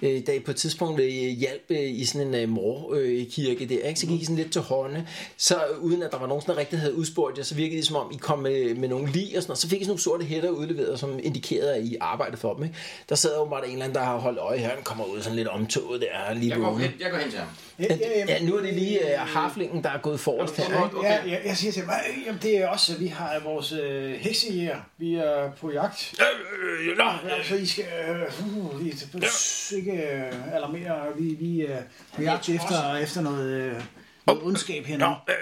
B: øh, da I på et tidspunkt øh, hjalp øh, i sådan en øh, morkirke øh, der, ikke? så gik I sådan lidt til hånde, så øh, uden at der var nogen, der rigtig havde udspurgt jer, så virkede det som om, I kom med, med nogle lig og sådan noget. så fik I sådan nogle sorte hætter udleveret, som indikerede, at I arbejdede for dem. Ikke? Der sad åbenbart en eller anden, der har holdt øje her, han kommer ud sådan lidt omtoget der, lige
E: Jeg går,
B: vågen.
E: hen, jeg går hen til ham.
C: Ja, ja, jamen,
B: Ja, nu er det lige øh, harflingen, der er gået forrest her. Ikke?
E: Okay.
C: Ja, jeg, jeg siger til mig, "Øh, jamen det er også, vi har vores øh, heksejæger, vi er på jagt.
B: Øh, øh, nå,
C: Ja, så I skal øh, uh, I, ja. ikke øh, alarmere, vi, øh, vi er på jagt efter, efter noget, øh, noget ondskab her nu.
B: nå, øh,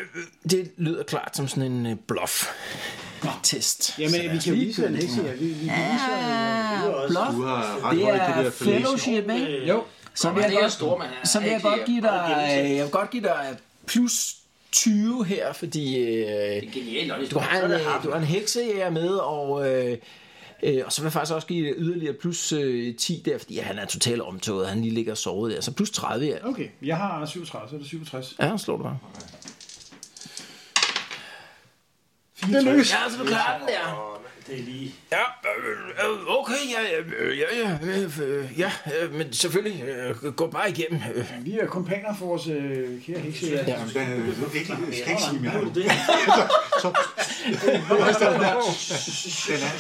B: øh, det lyder klart som sådan en øh, bluff-test.
C: Jamen, vi kan vise en heksejæger, vi, øh, vi kan vise
B: Bluff?
F: Du har ret
B: Det
F: højt det
B: er
F: der fellatio.
B: fellowship, ikke?
C: Jo,
B: Øh, Så vil
E: Men
B: jeg
E: det er
B: godt,
E: store, man er.
B: så vil jeg
E: Ikke,
B: godt give
E: øh, og
B: dig,
E: gennemsnit.
B: jeg vil godt give dig øh, plus 20 her, fordi øh,
E: Det er genialt, og
B: du
E: det er stort.
B: har
E: Så
B: en,
E: er det
B: øh,
E: ham.
B: du har en heksejæger med, og, øh, øh, og så vil jeg faktisk også give dig yderligere plus øh, 10 der, fordi han er totalt omtoget, han lige ligger og sovet der, så plus 30 her.
C: okay, jeg har 37, så er det 67.
B: Ja, slå du bare.
C: Det lykkes.
B: Ja, så du klarer den der.
D: Det er lige...
B: Ja, øh, øh, okay, ja, øh, ja, ja, øh, øh, ja, øh, men selvfølgelig, øh, gå bare igennem. øh.
C: Vi er kompaner for vores øh, kære heksejæger.
B: Ja.
F: Jamen, den er- du kan ikke- jeg skal ikke sige mere.
D: Det er
F: Den er,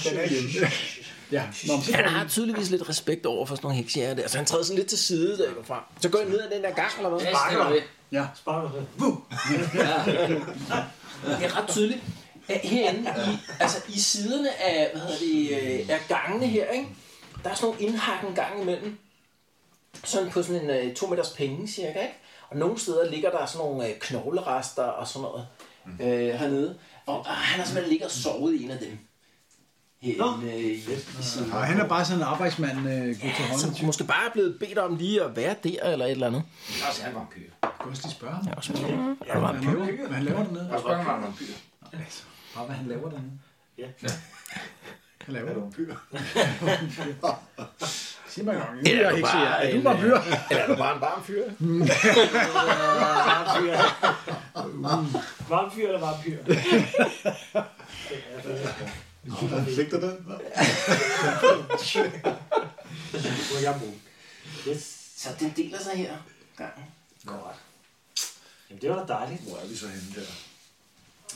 F: den er hjemme.
C: Ja, Nå, men så
B: Han har tydeligvis lidt respekt over for sådan nogle heksjæger der, så han træder sådan lidt til side der går frem. Så går jeg ned ad den der gang, eller hvad?
E: Ja, det er det.
D: bare
B: Det er ret tydeligt. Æ, Herinde, i, altså i siderne af, hvad hedder det, øh, af gangene her, ikke? der er sådan nogle indhakken gang imellem. Sådan på sådan en øh, to meters penge, cirka, ikke? Og nogle steder ligger der sådan nogle øh, knoglerester og sådan noget øh, hernede. Og, og han har simpelthen ligget og sovet i en af dem. Herinde, øh, i, i siden.
C: Og han er bare sådan en arbejdsmand, øh, går til
B: Ja,
C: hånden.
B: som måske bare er blevet bedt om lige at være der eller et eller andet.
E: Og så er han vampyr.
C: Kan også lige spørge ham,
B: Ja, også måske. Ja, det var
C: hvad
B: en
C: han laver, hvad han laver dernede.
E: Og så er han vampyr.
C: Altså, bare hvad han laver dernede.
D: Ja.
C: Han laver dernede. Sig mig gang.
B: Ja,
C: Ja,
B: du
C: er ikke
B: bare
C: siger, er du
B: en,
C: bare øh, fyr?
B: Eller er du bare en varm fyr?
D: Vampyr. Vampyr eller vampyr?
F: Fik du den?
D: Hvor jeg bor. Yes.
G: Så den deler sig her. Gangen.
D: Jamen, det var da dejligt.
F: Hvor er vi så henne der?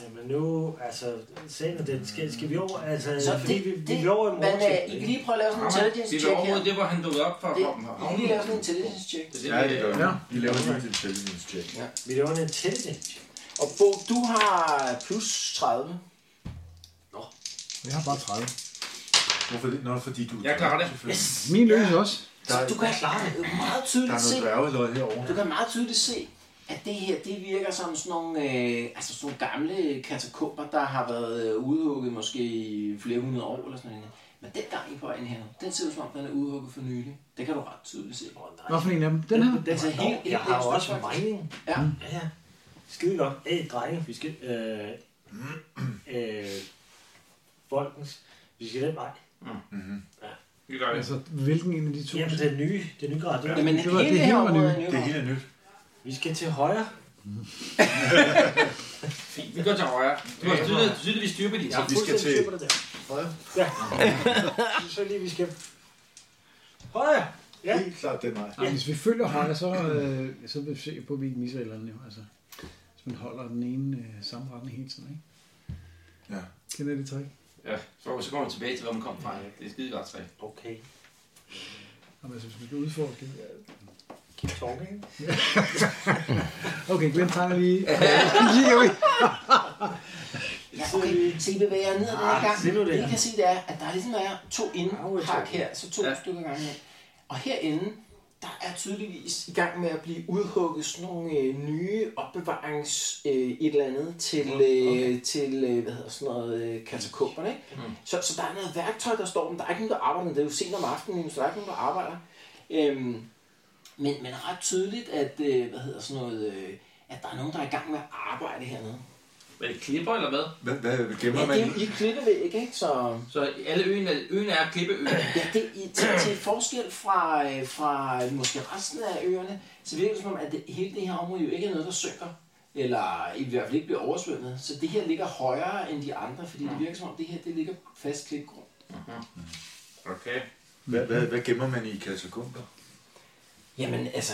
D: Jamen nu, altså, sagen er den, skal, skal vi over, altså,
G: Så
D: så fordi
G: det,
D: det, vi,
G: det,
D: vi er over i
G: men,
D: morgen.
G: øh, I kan lige prøve at lave sådan en intelligence
E: Vi
G: check
E: var
G: her.
E: overhovedet det, hvor han dukkede op for at
G: Det,
E: komme
G: I kan lige lave sådan en intelligence check.
F: Ja, det gør vi.
C: Ja.
F: Vi laver lige et intelligence check.
D: Vi laver en intelligent.
G: Og Bo, du har plus 30.
C: Jeg har bare 30.
F: Hvorfor det? Nå, fordi du...
E: Jeg klarer det.
F: Selvfølgelig.
C: Min lykkes også.
G: Så du kan meget
F: Der er
G: tydeligt se,
F: noget dværgeløg herovre.
G: du kan meget tydeligt se, at det her, det virker som sådan nogle, øh, altså sådan nogle gamle katakomber, der har været øh, udhugget måske i flere hundrede år eller sådan noget. Men dengang I
B: i pøjen her. Den ser ud som om, den er udhugget for nylig. Det kan du ret tydeligt se.
C: Hvorfor en af dem? Den her?
B: Altså, helt, helt
D: Jeg har
B: ekstra,
D: også en
B: faktisk.
D: regning.
B: Ja.
D: Ja, ja. Skide godt. Æ, drenge, vi skal... Øh, øh, folkens, vi skal den vej.
E: Vi gør det.
C: Altså, hvilken en af de to?
D: Jamen, den nye, den nye grad. Den,
B: Jamen,
C: Det var-
B: hele det
C: det
B: her
C: hele var
B: område
C: nyt.
B: er
F: Det
B: nyere.
F: hele er nyt.
D: vi skal til højre.
E: Fint, vi går til højre. Du har tydeligt, tydeligt, vi styrer på din.
D: Jeg er
F: vi skal
D: fuldstændig
F: til-
D: sikker på det der. Højre. Ja. så lige, vi skal... Højre! Ja.
F: Helt klart den vej.
C: Ja. Hvis vi følger højre, så, øh, så vil vi se på, at vi ikke misser et eller andet. jo. Altså, hvis man holder den ene øh, samme retning hele tiden, ikke?
F: Ja.
C: Kender I det trick?
E: Ja, så, så kommer vi tilbage til, hvor man kom fra. Det er skide godt træ.
D: Okay.
C: Jamen, altså, hvis man skal udforske.
D: Keep talking.
C: Okay, Glenn tegner lige. Kigger vi.
B: Ja, okay. Så I bevæger jer ned ad den her gang.
D: Ah, se nu det
B: det, I
D: her.
B: kan se, det er, at der ligesom er to indhak her, så to
E: Ja.
B: stykker gange her. Og herinde, der er tydeligvis i gang med at blive udhugget sådan nogle øh, nye opbevarings øh, et eller andet til, øh, til øh, hvad hedder sådan noget, øh, katakomberne. Ikke?
D: Mm.
B: Så, så der er noget værktøj, der står, men der er ikke nogen, der arbejder med det. Det er jo sent om aftenen, så der er ikke nogen, der arbejder. Øhm, men, men ret tydeligt, at, øh, hvad hedder sådan noget, øh, at der er nogen, der er i gang med at arbejde hernede.
E: Hvad er det klipper eller hvad?
F: Hvad, hvad gemmer
B: Ja,
F: man
B: det er jo
F: i?
B: i klippevæg, ikke? Så
E: Så alle øen er, øen er klippeøen.
B: ja, det er i, til, til forskel fra, øh, fra måske resten af øerne, så virker det som om, at det, hele det her område jo ikke er noget, der synker. Eller i hvert fald ikke bliver oversvømmet. Så det her ligger højere end de andre, fordi det virker som om, det her det ligger på fast klipgrund.
E: Okay.
F: Hvad, hvad, hvad gemmer man i katakomber?
B: Jamen, altså,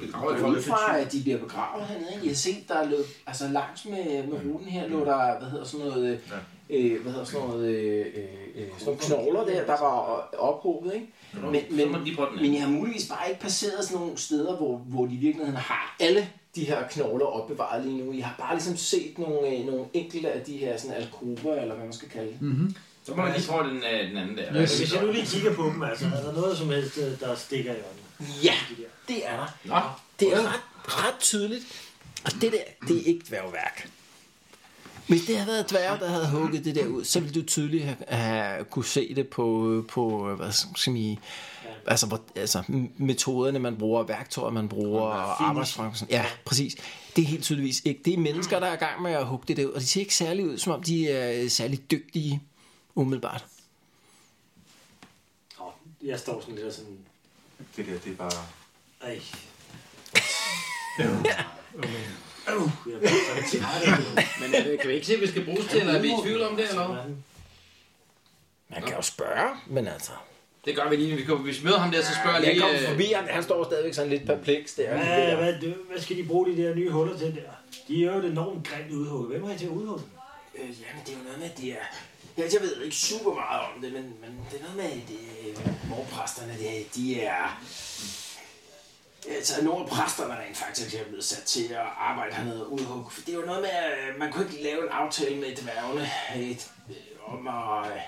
E: begraver
B: øh,
E: jo
B: ud
E: folk
B: fra, at de bliver begravet hernede, ikke? I har set, der lå, altså langs med, med
E: Mm.
B: ruten her, lå der, hvad hedder sådan noget, øh, øh, hvad hedder sådan noget, øh, øh, øh, sådan nogle knogler der, der var ophobet, ikke? Men,
E: så må de
B: men,
E: lige prøve den
B: men
E: anden.
B: jeg har muligvis bare ikke passeret sådan nogle steder, hvor, hvor de i virkeligheden har alle de her knogler opbevaret lige nu. Jeg har bare ligesom set nogle, øh, nogle enkelte af de her sådan alkover, eller hvad man skal kalde det.
E: Så må man lige prøve den, øh, den anden der.
C: Yes.
D: Hvis jeg nu lige kigger på dem, altså, er der noget som helst, øh, der stikker i øjnene?
B: Ja, det er der.
E: Nå,
B: Det er ret, ret tydeligt. Og det der, det er ikke dværgværk. Hvis det havde været dværge, der havde hugget det der ud, så ville du tydeligt have, have kunne se det på, på hvad skal man sige, altså, hvor, altså m- metoderne, man bruger, værktøjer, man bruger, og arbejdsfremsen. Ja, præcis. Det er helt tydeligvis ikke. Det er mennesker, der er i gang med at hugge det der ud, og de ser ikke særlig ud, som om de er øh, særlig dygtige, umiddelbart.
D: Nå, jeg står sådan lidt og sådan...
F: Det der, det er bare...
D: Ej. Øv. Jeg bliver så træt af det.
E: men øh, kan vi ikke se, hvad vi skal bruges til, eller er vi i tvivl om det, eller hvad?
B: Man kan jo spørge, men altså...
E: Det gør vi lige, når vi kommer. Hvis vi møder ham der, så spørger jeg
B: Jeg
E: lige...
B: kom
E: øh,
B: forbi, han, han står stadigvæk sådan lidt perpleks der.
D: Hvad, hvad, hvad skal de bruge de der nye huller til der? De er jo et enormt grimt udhugget. Hvem har I til at udhugge?
B: Øh, jamen, det er jo noget med, at det er... Ja, jeg ved ikke super meget om det, men, men det er noget med, at øh, morpræsterne, det, er- de er... Altså, nogle af præsterne rent faktisk er blevet sat til at arbejde hernede og udhugge. For det er jo noget med, at øh, man kunne ikke lave en aftale med dværgene et, øh, om at... øh,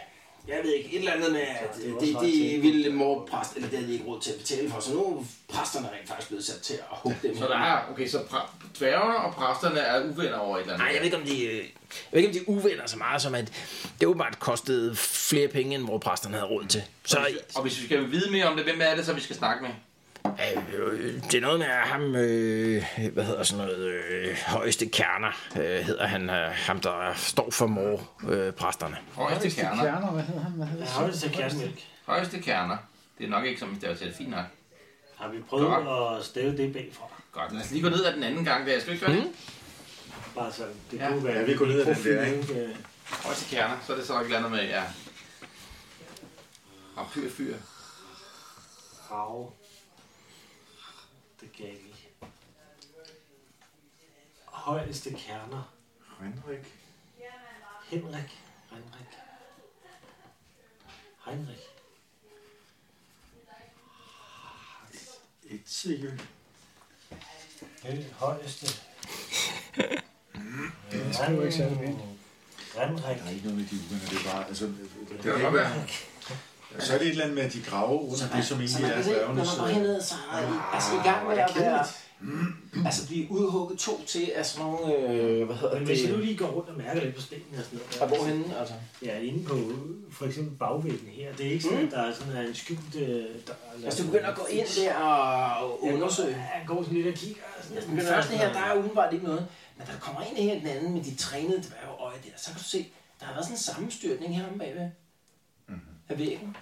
B: Jeg ved ikke, et eller andet med, at øh, det, de ville morpræst, eller det havde de ikke råd til at betale for. Så nu er præsterne rent faktisk blevet sat til at hugge dem.
E: Så der er... Okay, så præ- dværgerne og præsterne er uvenner over et eller andet.
J: Nej, jeg ved ikke, om de, øh, jeg ved ikke, om de uvenner så meget, som at det åbenbart kostede flere penge, end hvor præsterne havde råd til. Så
E: Og hvis vi skal vide mere om det, hvem er det så, vi skal snakke med?
J: øh, øh, det er noget med at ham, øh, hvad hedder sådan noget, øh, højeste kerner, øh, hedder han, øh, ham der står for mor, øh, præsterne.
E: Højeste kerner.
C: Kerner, hvad hedder han? Hvad hedder
D: Jeg har det til kærmælk.
E: Højeste kerner. Det er nok ikke som, hvis det var til fint nok.
D: Har vi prøvet at stave det bagfra?
E: Godt, lad os lige gå ned ad den anden gang der. Skal vi ikke gøre det?
D: Bare så det
E: Ja.
D: kunne være... øh,
F: Ja, vi går ned ad den der, ikke?
D: ikke?
E: Højeste kerner. Så er det så ikke andet med, ja. Rampyr fyr.
D: Hav. Det kan jeg ikke lide. Højeste kerner.
F: Henrik.
D: Henrik. Henrik. Heinrich.
F: Ikke sikkert.
D: Helt højeste. Det
C: skriver ikke særlig pænt.
F: Der
D: Henrik.
F: er ikke noget med de uvenner, det er bare... Altså, det,
E: Det kan godt være.
F: Og så er det et eller andet med, at de graver under det, som
B: Så
F: egentlig
B: man
F: er
B: kan se, når
F: dværgenes...
B: man går herned, så er I altså i gang med at være, Altså blive udhugget to til af sådan nogle, øh, hvad hedder
D: Men hvis jeg nu
B: det,
D: lige går rundt og mærker lidt på stenene og sådan noget.
B: og hvorhenne, altså.
D: Ja, inde på øh, for eksempel bagvæggen her. Det er ikke sådan, at der er sådan her en skjult... Øh, dør, eller-
B: Altså du begynder at gå ind der og undersøge.
D: Ja, Han går sådan lidt og kigger. og Sådan,
B: Altså, Den første her, der er udenbart ikke noget. Men da der kommer ind her den anden med de trænede dværgeøje der, så kan du se, der har været sådan en sammenstyrtning her om bagved. Af væggen.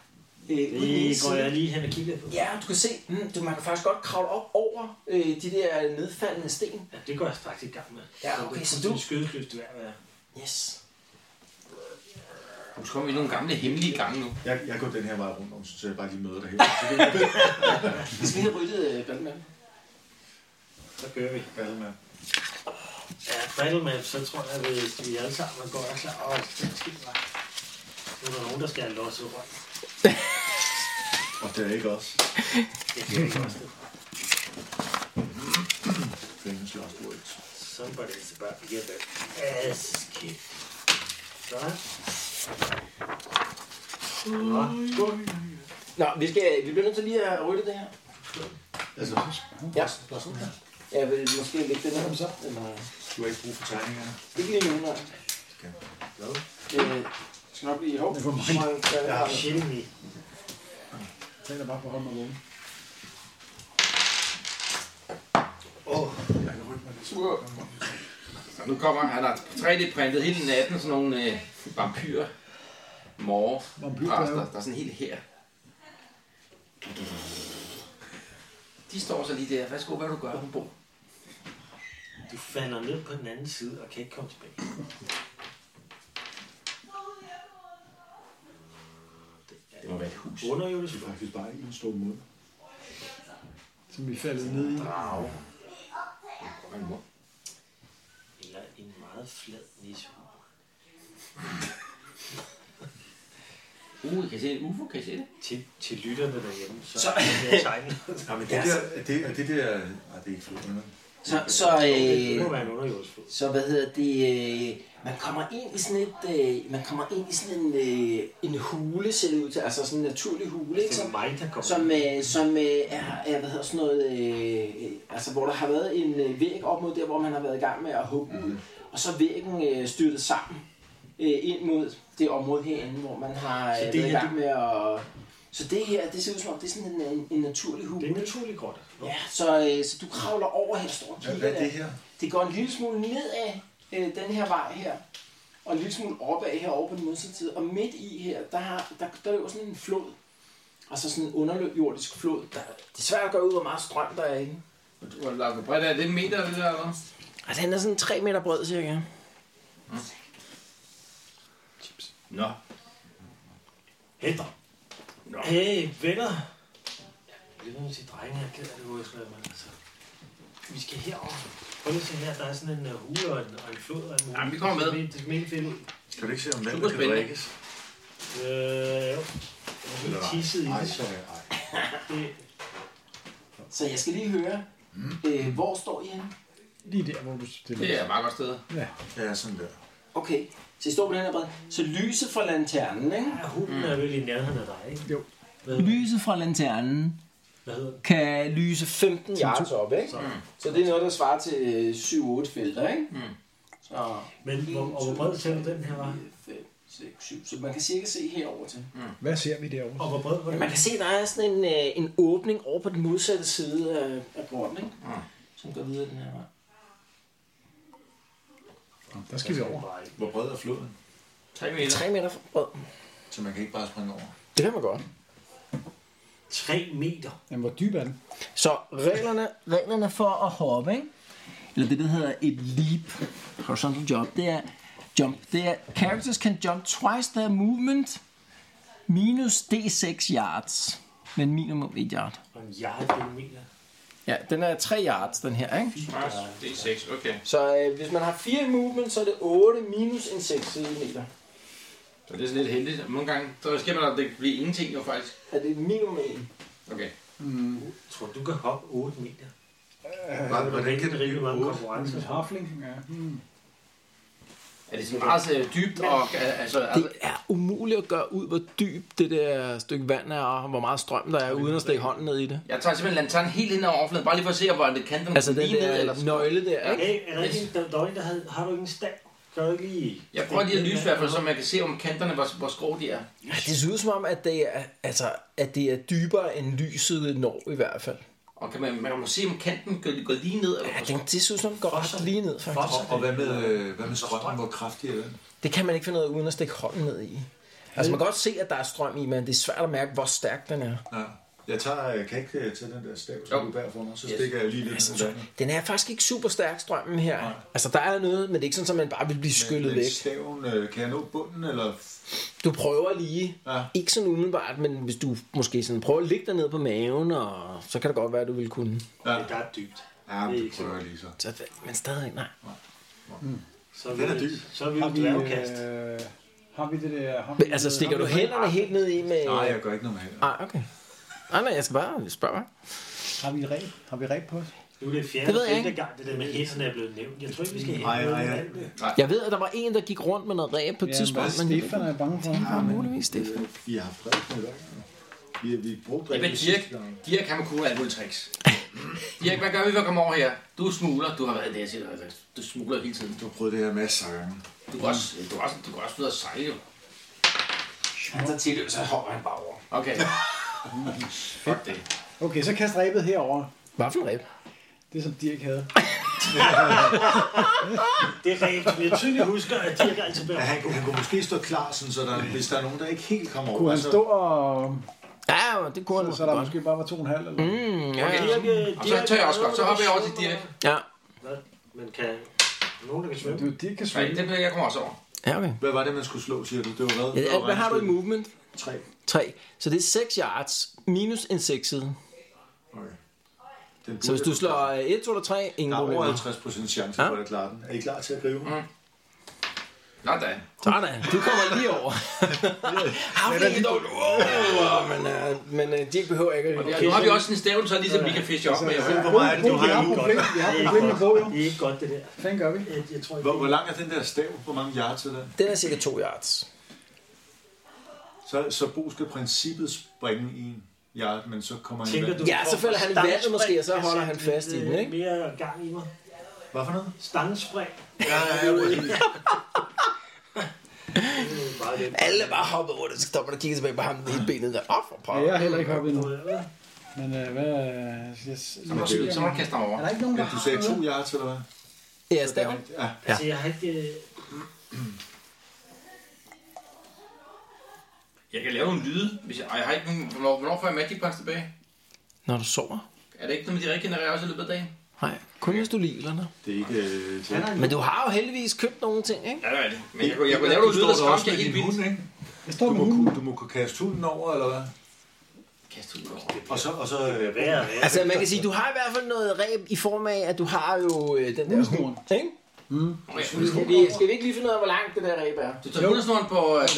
B: Øh, på den ene
D: Mhm. Det går
B: side.
D: jeg lige hen og kigger på.
B: Ja, du kan se, mm, du, man kan faktisk godt kravle op over øh, de der nedfaldende sten.
D: Ja, det går jeg straks i gang med.
B: Ja, okay, så
D: så
B: du-
D: du... En skødesløs dværg, hvad jeg er.
B: Yes.
E: Husk, kommer vi i nogle gamle hemmelige gange nu.
F: Jeg, jeg går den her vej rundt, om, så jeg bare lige møder dig her.
B: Vi skal lige have ryddet øh, blandt andet.
D: Så kører vi.
F: Alle med.
D: Ja, Battlemap, så tror jeg, at vi alle sammen går og klar over, at det skal være. Nu er der nogen, der skal have losset rundt.
F: Og det er ikke os.
D: Det kan jeg ikke også. det.
F: Fingers last words.
D: Somebody's about to get their ass kicked. Sådan. Nå, skål.
B: Nå, vi, skal, vi bliver nødt til lige at rydde det her.
F: Altså,
B: Ja. Jeg vil måske lægge det ned så. Eller...
F: du har ikke brug for tegningerne.
B: Ikke lige nu, nej.
F: Hvad?
B: Øh, skal nok blive i hov. Ja.
D: Sjældent i.
C: Den er bare for at holde mig vågen.
E: Så nu kommer han, altså der er 3D-printet hele natten, sådan nogle øh, vampyr morge
C: Vampyrdværge.
E: der, der er sådan helt her. De står så lige der. Værsgo, hvad du gør, hun bor.
D: Du falder ned på den anden side og kan ikke komme tilbage.
E: Det må være et hus.
D: Under jo det
F: Det er faktisk bare en stor mund.
C: Som vi faldt ned i.
E: Drage. Og en mund.
D: Eller en meget flad nisse.
E: Uh, I kan se en UFO, kan I se det?
D: Til, til lytterne derhjemme, så, så. er det her tegnet.
F: Ja, men det der, er det, er det der... Nej, det er ikke flot.
B: Så, så,
D: Det må
B: øh,
D: være en underjordsflod.
B: så hvad hedder det, øh, man kommer ind i sådan et, øh, man kommer ind i sådan en, øh, en hule, ser det ud til, altså sådan en naturlig hule, ikke?
D: Det er
B: Som,
D: mig, der kommer.
B: som, øh, som øh, er, er, hvad hedder sådan noget, øh, altså hvor der har været en øh, væg op mod der, hvor man har været i gang med at hugge ud, og så er væggen øh, styrtet sammen øh, ind mod det område herinde, hvor man har øh,
D: Så det
B: været i
D: her,
B: gang med at... Så det her, det ser ud som om, det er sådan en, en, en naturlig hule.
D: Det er en naturlig grotte. Nå,
B: Ja, så, øh, så du kravler over her, står og
F: Hvad,
B: kigger
F: hvad er
B: der.
F: det her?
B: Det går en lille smule nedad øh, den her vej her, og en lille smule opad herovre på den modsatte side. Og midt i her, der, har, der, der løber sådan en flod. Altså sådan en underjordisk flod. Der, det er svært at gøre ud, hvor meget strøm der er inde.
E: Du har lagt bredt af det en meter, det der, eller?
B: Altså den er sådan 3 meter bred cirka.
E: Nå.
D: Hætter. Hey, venner. Jeg er nødt til drenge, jeg er ked af det, Ursula, men altså. Vi skal herover. Prøv lige at se her, der er sådan en uh, hule og en, og en flod og en hule.
E: Jamen, vi kommer med.
D: Det, det er mega fedt ud.
F: Kan du ikke se, om den
E: Super
F: kan
E: spændende.
F: drikkes?
D: Øh, jo. Jeg er
F: Eller
D: helt
F: ej.
D: tisset i
F: Nej,
D: det.
F: så er jeg ej.
D: det.
B: Så jeg skal lige høre, øh, hvor står I henne?
C: Lige der, hvor du stiller.
E: Det er et meget godt sted.
F: Ja, sådan der.
B: Okay, så I står på den her bred. Så lyset fra lanternen, ikke?
D: Ja, hulen
F: Mm.
D: er vel i nærheden af dig, ikke?
C: Jo.
D: Hvad,
B: Lyset fra lanternen
D: hvad hedder den?
B: kan lyse 15 yards op, ikke? Så, så det er noget, der svarer til øh, 7-8 felter, ikke?
E: Mm.
B: Så
D: Men hvor, og hvor bred ser du den her var?
B: 5, 6, 7. Så man kan cirka se herover til.
C: Hvad ser vi derovre?
D: Og hvor bred var den?
B: Man kan se, der er sådan en, øh, en åbning over på den modsatte side af, af porten, ikke?
E: Mm.
B: Som går videre den her vej.
C: Der skal vi over.
F: Hvor bred er floden?
E: 3 meter.
B: 3 meter bred.
F: Så man kan ikke bare springe over.
B: Det kan man godt.
D: 3 meter.
C: Jamen, hvor dyb er den?
B: Så reglerne, reglerne for at hoppe, ikke? eller det, der hedder et leap, horizontal jump, det er jump. Det er, characters can jump twice their movement minus d6 yards. Men minimum 1 yard.
D: Og en yard det er en meter.
B: Ja, den er 3 yards, den her, ikke?
E: Det er 6, okay.
B: Så øh, hvis man har 4 movement, så er det 8 minus en 6 cm.
E: Så det er sådan lidt heldigt. Nogle gange, så sker man, at det bliver ingenting jo faktisk.
B: Er det minimum 1?
E: Okay.
D: Tror du, du kan hoppe 8 meter?
F: Hvordan, hvordan kan
D: rigtig
F: det blive
D: mange
F: otte?
D: konkurrencer.
C: Hafling? Ja. Hmm.
E: Er det sådan meget øh, dybt? Og, øh, altså,
B: Det
E: altså,
B: er umuligt at gøre ud, hvor dybt det der stykke vand er, og hvor meget strøm der er, uden at stikke hånden ned i det.
E: jeg tager simpelthen lanternen helt ind over overfladen, bare lige for at se, hvor det kan den
B: Altså den
E: lige ned. Eller
B: der nøgle der, ikke?
D: Hey, er der ikke en, der, der, var en, der havde, har du ikke en stav? Kan du ikke lige...
E: Jeg prøver lige at lyse i hvert fald, så man kan se om kanterne, hvor, hvor skrå de er.
B: Ja, det ser ud som om, at det er, altså, at det er dybere end lyset når i hvert fald.
E: Og kan man, man må se, om kanten går, går lige ned. Eller
B: Ja,
E: hvor
B: den, det ser ud som om, den går ret lige ned, faktisk.
F: Og, og hvad, med, øh, hvad med strømmen? Hvor kraftig er den?
B: Det kan man ikke finde ud af, uden at stikke hånden ned i. Altså, man kan godt se, at der er strøm i, men det er svært at mærke, hvor stærk den er.
F: Ja. Jeg tager, jeg kan ikke øh, tage den der stav, som du bærer for mig, så stikker jeg lige lidt ned i vandet.
B: Den er faktisk ikke super stærk, strømmen her. Altså, der er noget, men det er ikke sådan, at man bare vil blive skyllet
F: Men
B: væk.
F: Staven, øh, kan jeg nå bunden, eller
B: Du prøver lige.
F: Ja.
B: Ikke sådan umiddelbart, men hvis du måske sådan prøver at ligge dig ned på maven, og så kan det godt være, at du vil kunne.
D: Det er ret dybt.
F: Ja, men det prøver jeg lige så.
B: Så, men stadig, nej.
D: Så
F: Den er
D: vil-
F: dyb.
D: Så vil
C: Har
D: vi
C: vi,
D: dværgkast.
C: øh, har vi det der... Har vi,
F: øh,
B: Men, altså, stikker
C: har
B: du
C: vi-
B: hænderne helt ned i med...
F: Nej, jeg gør ikke noget med hænder.
B: Nej, okay. Nej, nej, jeg skal bare spørge.
C: Har vi ræb? Har vi ræb på os?
D: Nu er det fjerde
B: Det ved jeg
D: femte
B: ikke.
D: gang, det der med hænderne er blevet nævnt. Jeg tror ikke, vi skal
F: Nej,
D: hæve
F: nej,
D: noget
F: nej.
D: af det.
B: Jeg ved, at der var en, der gik rundt med noget ræb på et tidspunkt, men det
C: Stefan er bange for ham.
B: var muligvis Stefan.
F: Vi har haft fred med hver gang. Vi, vi brugte
E: Jamen
F: rigtig
E: Dirk,
F: sidste gang.
E: Dirk han må kunne alle mulige tricks. Mm. Dirk, hvad gør vi for at komme over her? Du er smugler, du har været i det, jeg siger, dig. du smugler hele tiden. Du,
F: Jeg prøvede det her masser af gange.
E: du, kan, også, du, kan, også, du kan også videre sejle. jo.
G: Han tager til det, så hopper han bare over.
E: Okay. Fuck det.
C: Okay, så kast ræbet herover.
B: Hvad for en ræb?
C: Det som Dirk havde.
D: Det er rigtigt, men jeg tydeligt husker, at Dirk altid bliver
F: Ja, han, han kunne måske stå klar, sådan, så der, hvis der er nogen, der ikke helt kommer over.
C: Kunne han
F: så-
C: stå og...
B: Ja, jo, det kunne han
C: Så
B: måske
C: der
B: godt.
C: måske bare var to og en halv eller
B: Mm, ja, ja.
D: Dirk, øh,
E: Og så
D: Dirk
E: tør jeg
D: er
E: også godt. Så
D: noget,
E: hopper jeg over
D: der
E: til Dirk.
B: Ja,
D: Hvad? Men kan... er der Nogen, der kan svømme?
C: Du, Dirk kan
E: Nej,
C: svømme.
E: det bliver jeg kommer også over.
B: ja okay.
F: Hvad var det, man skulle slå, siger du? Det var hvad?
B: Ja,
F: Det var
B: Hvad har du i
F: regnskyld.
B: movement?
F: Tre.
B: 3. Så det er 6 yards minus en 6 side.
F: Okay. Den
B: Så hvis du
F: burde jeg kunne
B: slår 1, 2 eller 3, ingen
F: Der er over
B: problemer.
F: 50 procent chance for, at jeg klarer den. Er I klar til at gribe mig?
E: Nå da.
B: Sådan, du kommer lige over. Har vi ikke dog? Wow, men, øh, men øh, de behøver ikke at
E: Ja, nu har vi også en stævn, så ligesom vi kan fiske op med.
C: altså,
F: Hvor meget er det, du
C: Vi
F: har
C: har
F: nu?
C: problemer. Vi har
D: Det er ikke
C: problemer på,
D: godt.
C: jo.
D: Det er ikke godt, det der.
C: Hvad fanden gør vi?
D: Jeg, jeg tror ikke,
F: Hvor, hvor lang er den der stav? Hvor mange yards er den?
B: Den er cirka 2 yards.
F: Så, så Bo skal i princippet springe i en yard, men så kommer han i
D: Tænker
F: vand.
D: du,
B: Ja, så falder han i
D: Stangspring,
B: vandet måske, og så
D: jeg
B: holder
D: satte
B: han fast
D: lidt,
B: i den,
D: øh,
B: ikke?
D: Mere gang i mig.
F: Hvad for noget?
D: Stangspring.
F: Ja, ja, ja. præcis.
D: Det er bare lidt.
B: Alle er bare hoppet over det, så stopper der og kigger tilbage på ham i benet der. Åh, for
C: Ja,
B: pokker.
C: jeg har heller ikke hoppet endnu.
D: Hvad?
C: Men øh, hvad... øh, Jeg, jeg,
E: Så må du- Så må du kaste dig over.
C: er der ikke nogen,
F: Ja,
C: der
F: du
C: har
F: sagde to
C: noget?
F: yards, eller hvad?
B: Ja, staven.
F: Ja.
D: Altså, jeg har ikke... øh,
E: Jeg kan lave en lyde. Hvis jeg, og jeg har ikke nogen... Hvornår, hvornår får jeg Magic Pass tilbage?
B: Når du sover?
E: Er det ikke noget, de regenererer også i løbet af dagen?
B: Nej, kun hvis du liger dig.
F: Det er ikke... Øh, det er
B: Men du har jo heldigvis købt nogle ting, ikke?
E: Ja, det er det. Men jeg, kunne- jeg kunne lave nogle lyde, der skræmte jer helt vildt.
F: ikke?
C: Jeg står
F: Du
C: med
F: må,
C: hunden.
F: kunne- du må kunne kaste hunden over, eller hvad?
E: Kast ud over.
F: Og så... Og så øh,
D: Hvad er det?
B: Altså, man kan sige, du har i hvert fald noget ræb i form af, at du har jo øh, den der hund, ikke?
E: Okay,
B: Skal vi, skal vi ikke lige finde ud af, hvor langt det der ræb er?
E: Du tager hundesnoren på... Øh,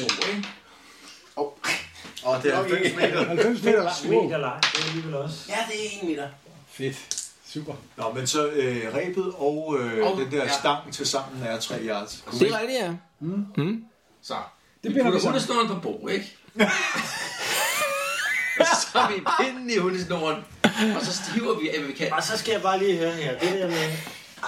E: Bo, ikke?
F: og det er 90 meter.
C: 90 meter langt. Wow.
D: Meter lang. Det er alligevel også.
G: Ja, det er en meter.
C: Fedt. Super.
F: Nå, men så øh, rebet og øh,
E: Og-
F: oh, den der
E: ja.
F: ja. stang til sammen er 3 yards.
B: Det er rigtigt, ja.
E: Så.
C: Det
E: Vi
C: binder vi
E: putter
C: sammen.
E: hundesnoren på Bo, ikke? Og så har vi pinden i hundesnoren, og så stiver vi af, hvad vi kan.
D: Og så skal jeg bare lige høre her. Det der med...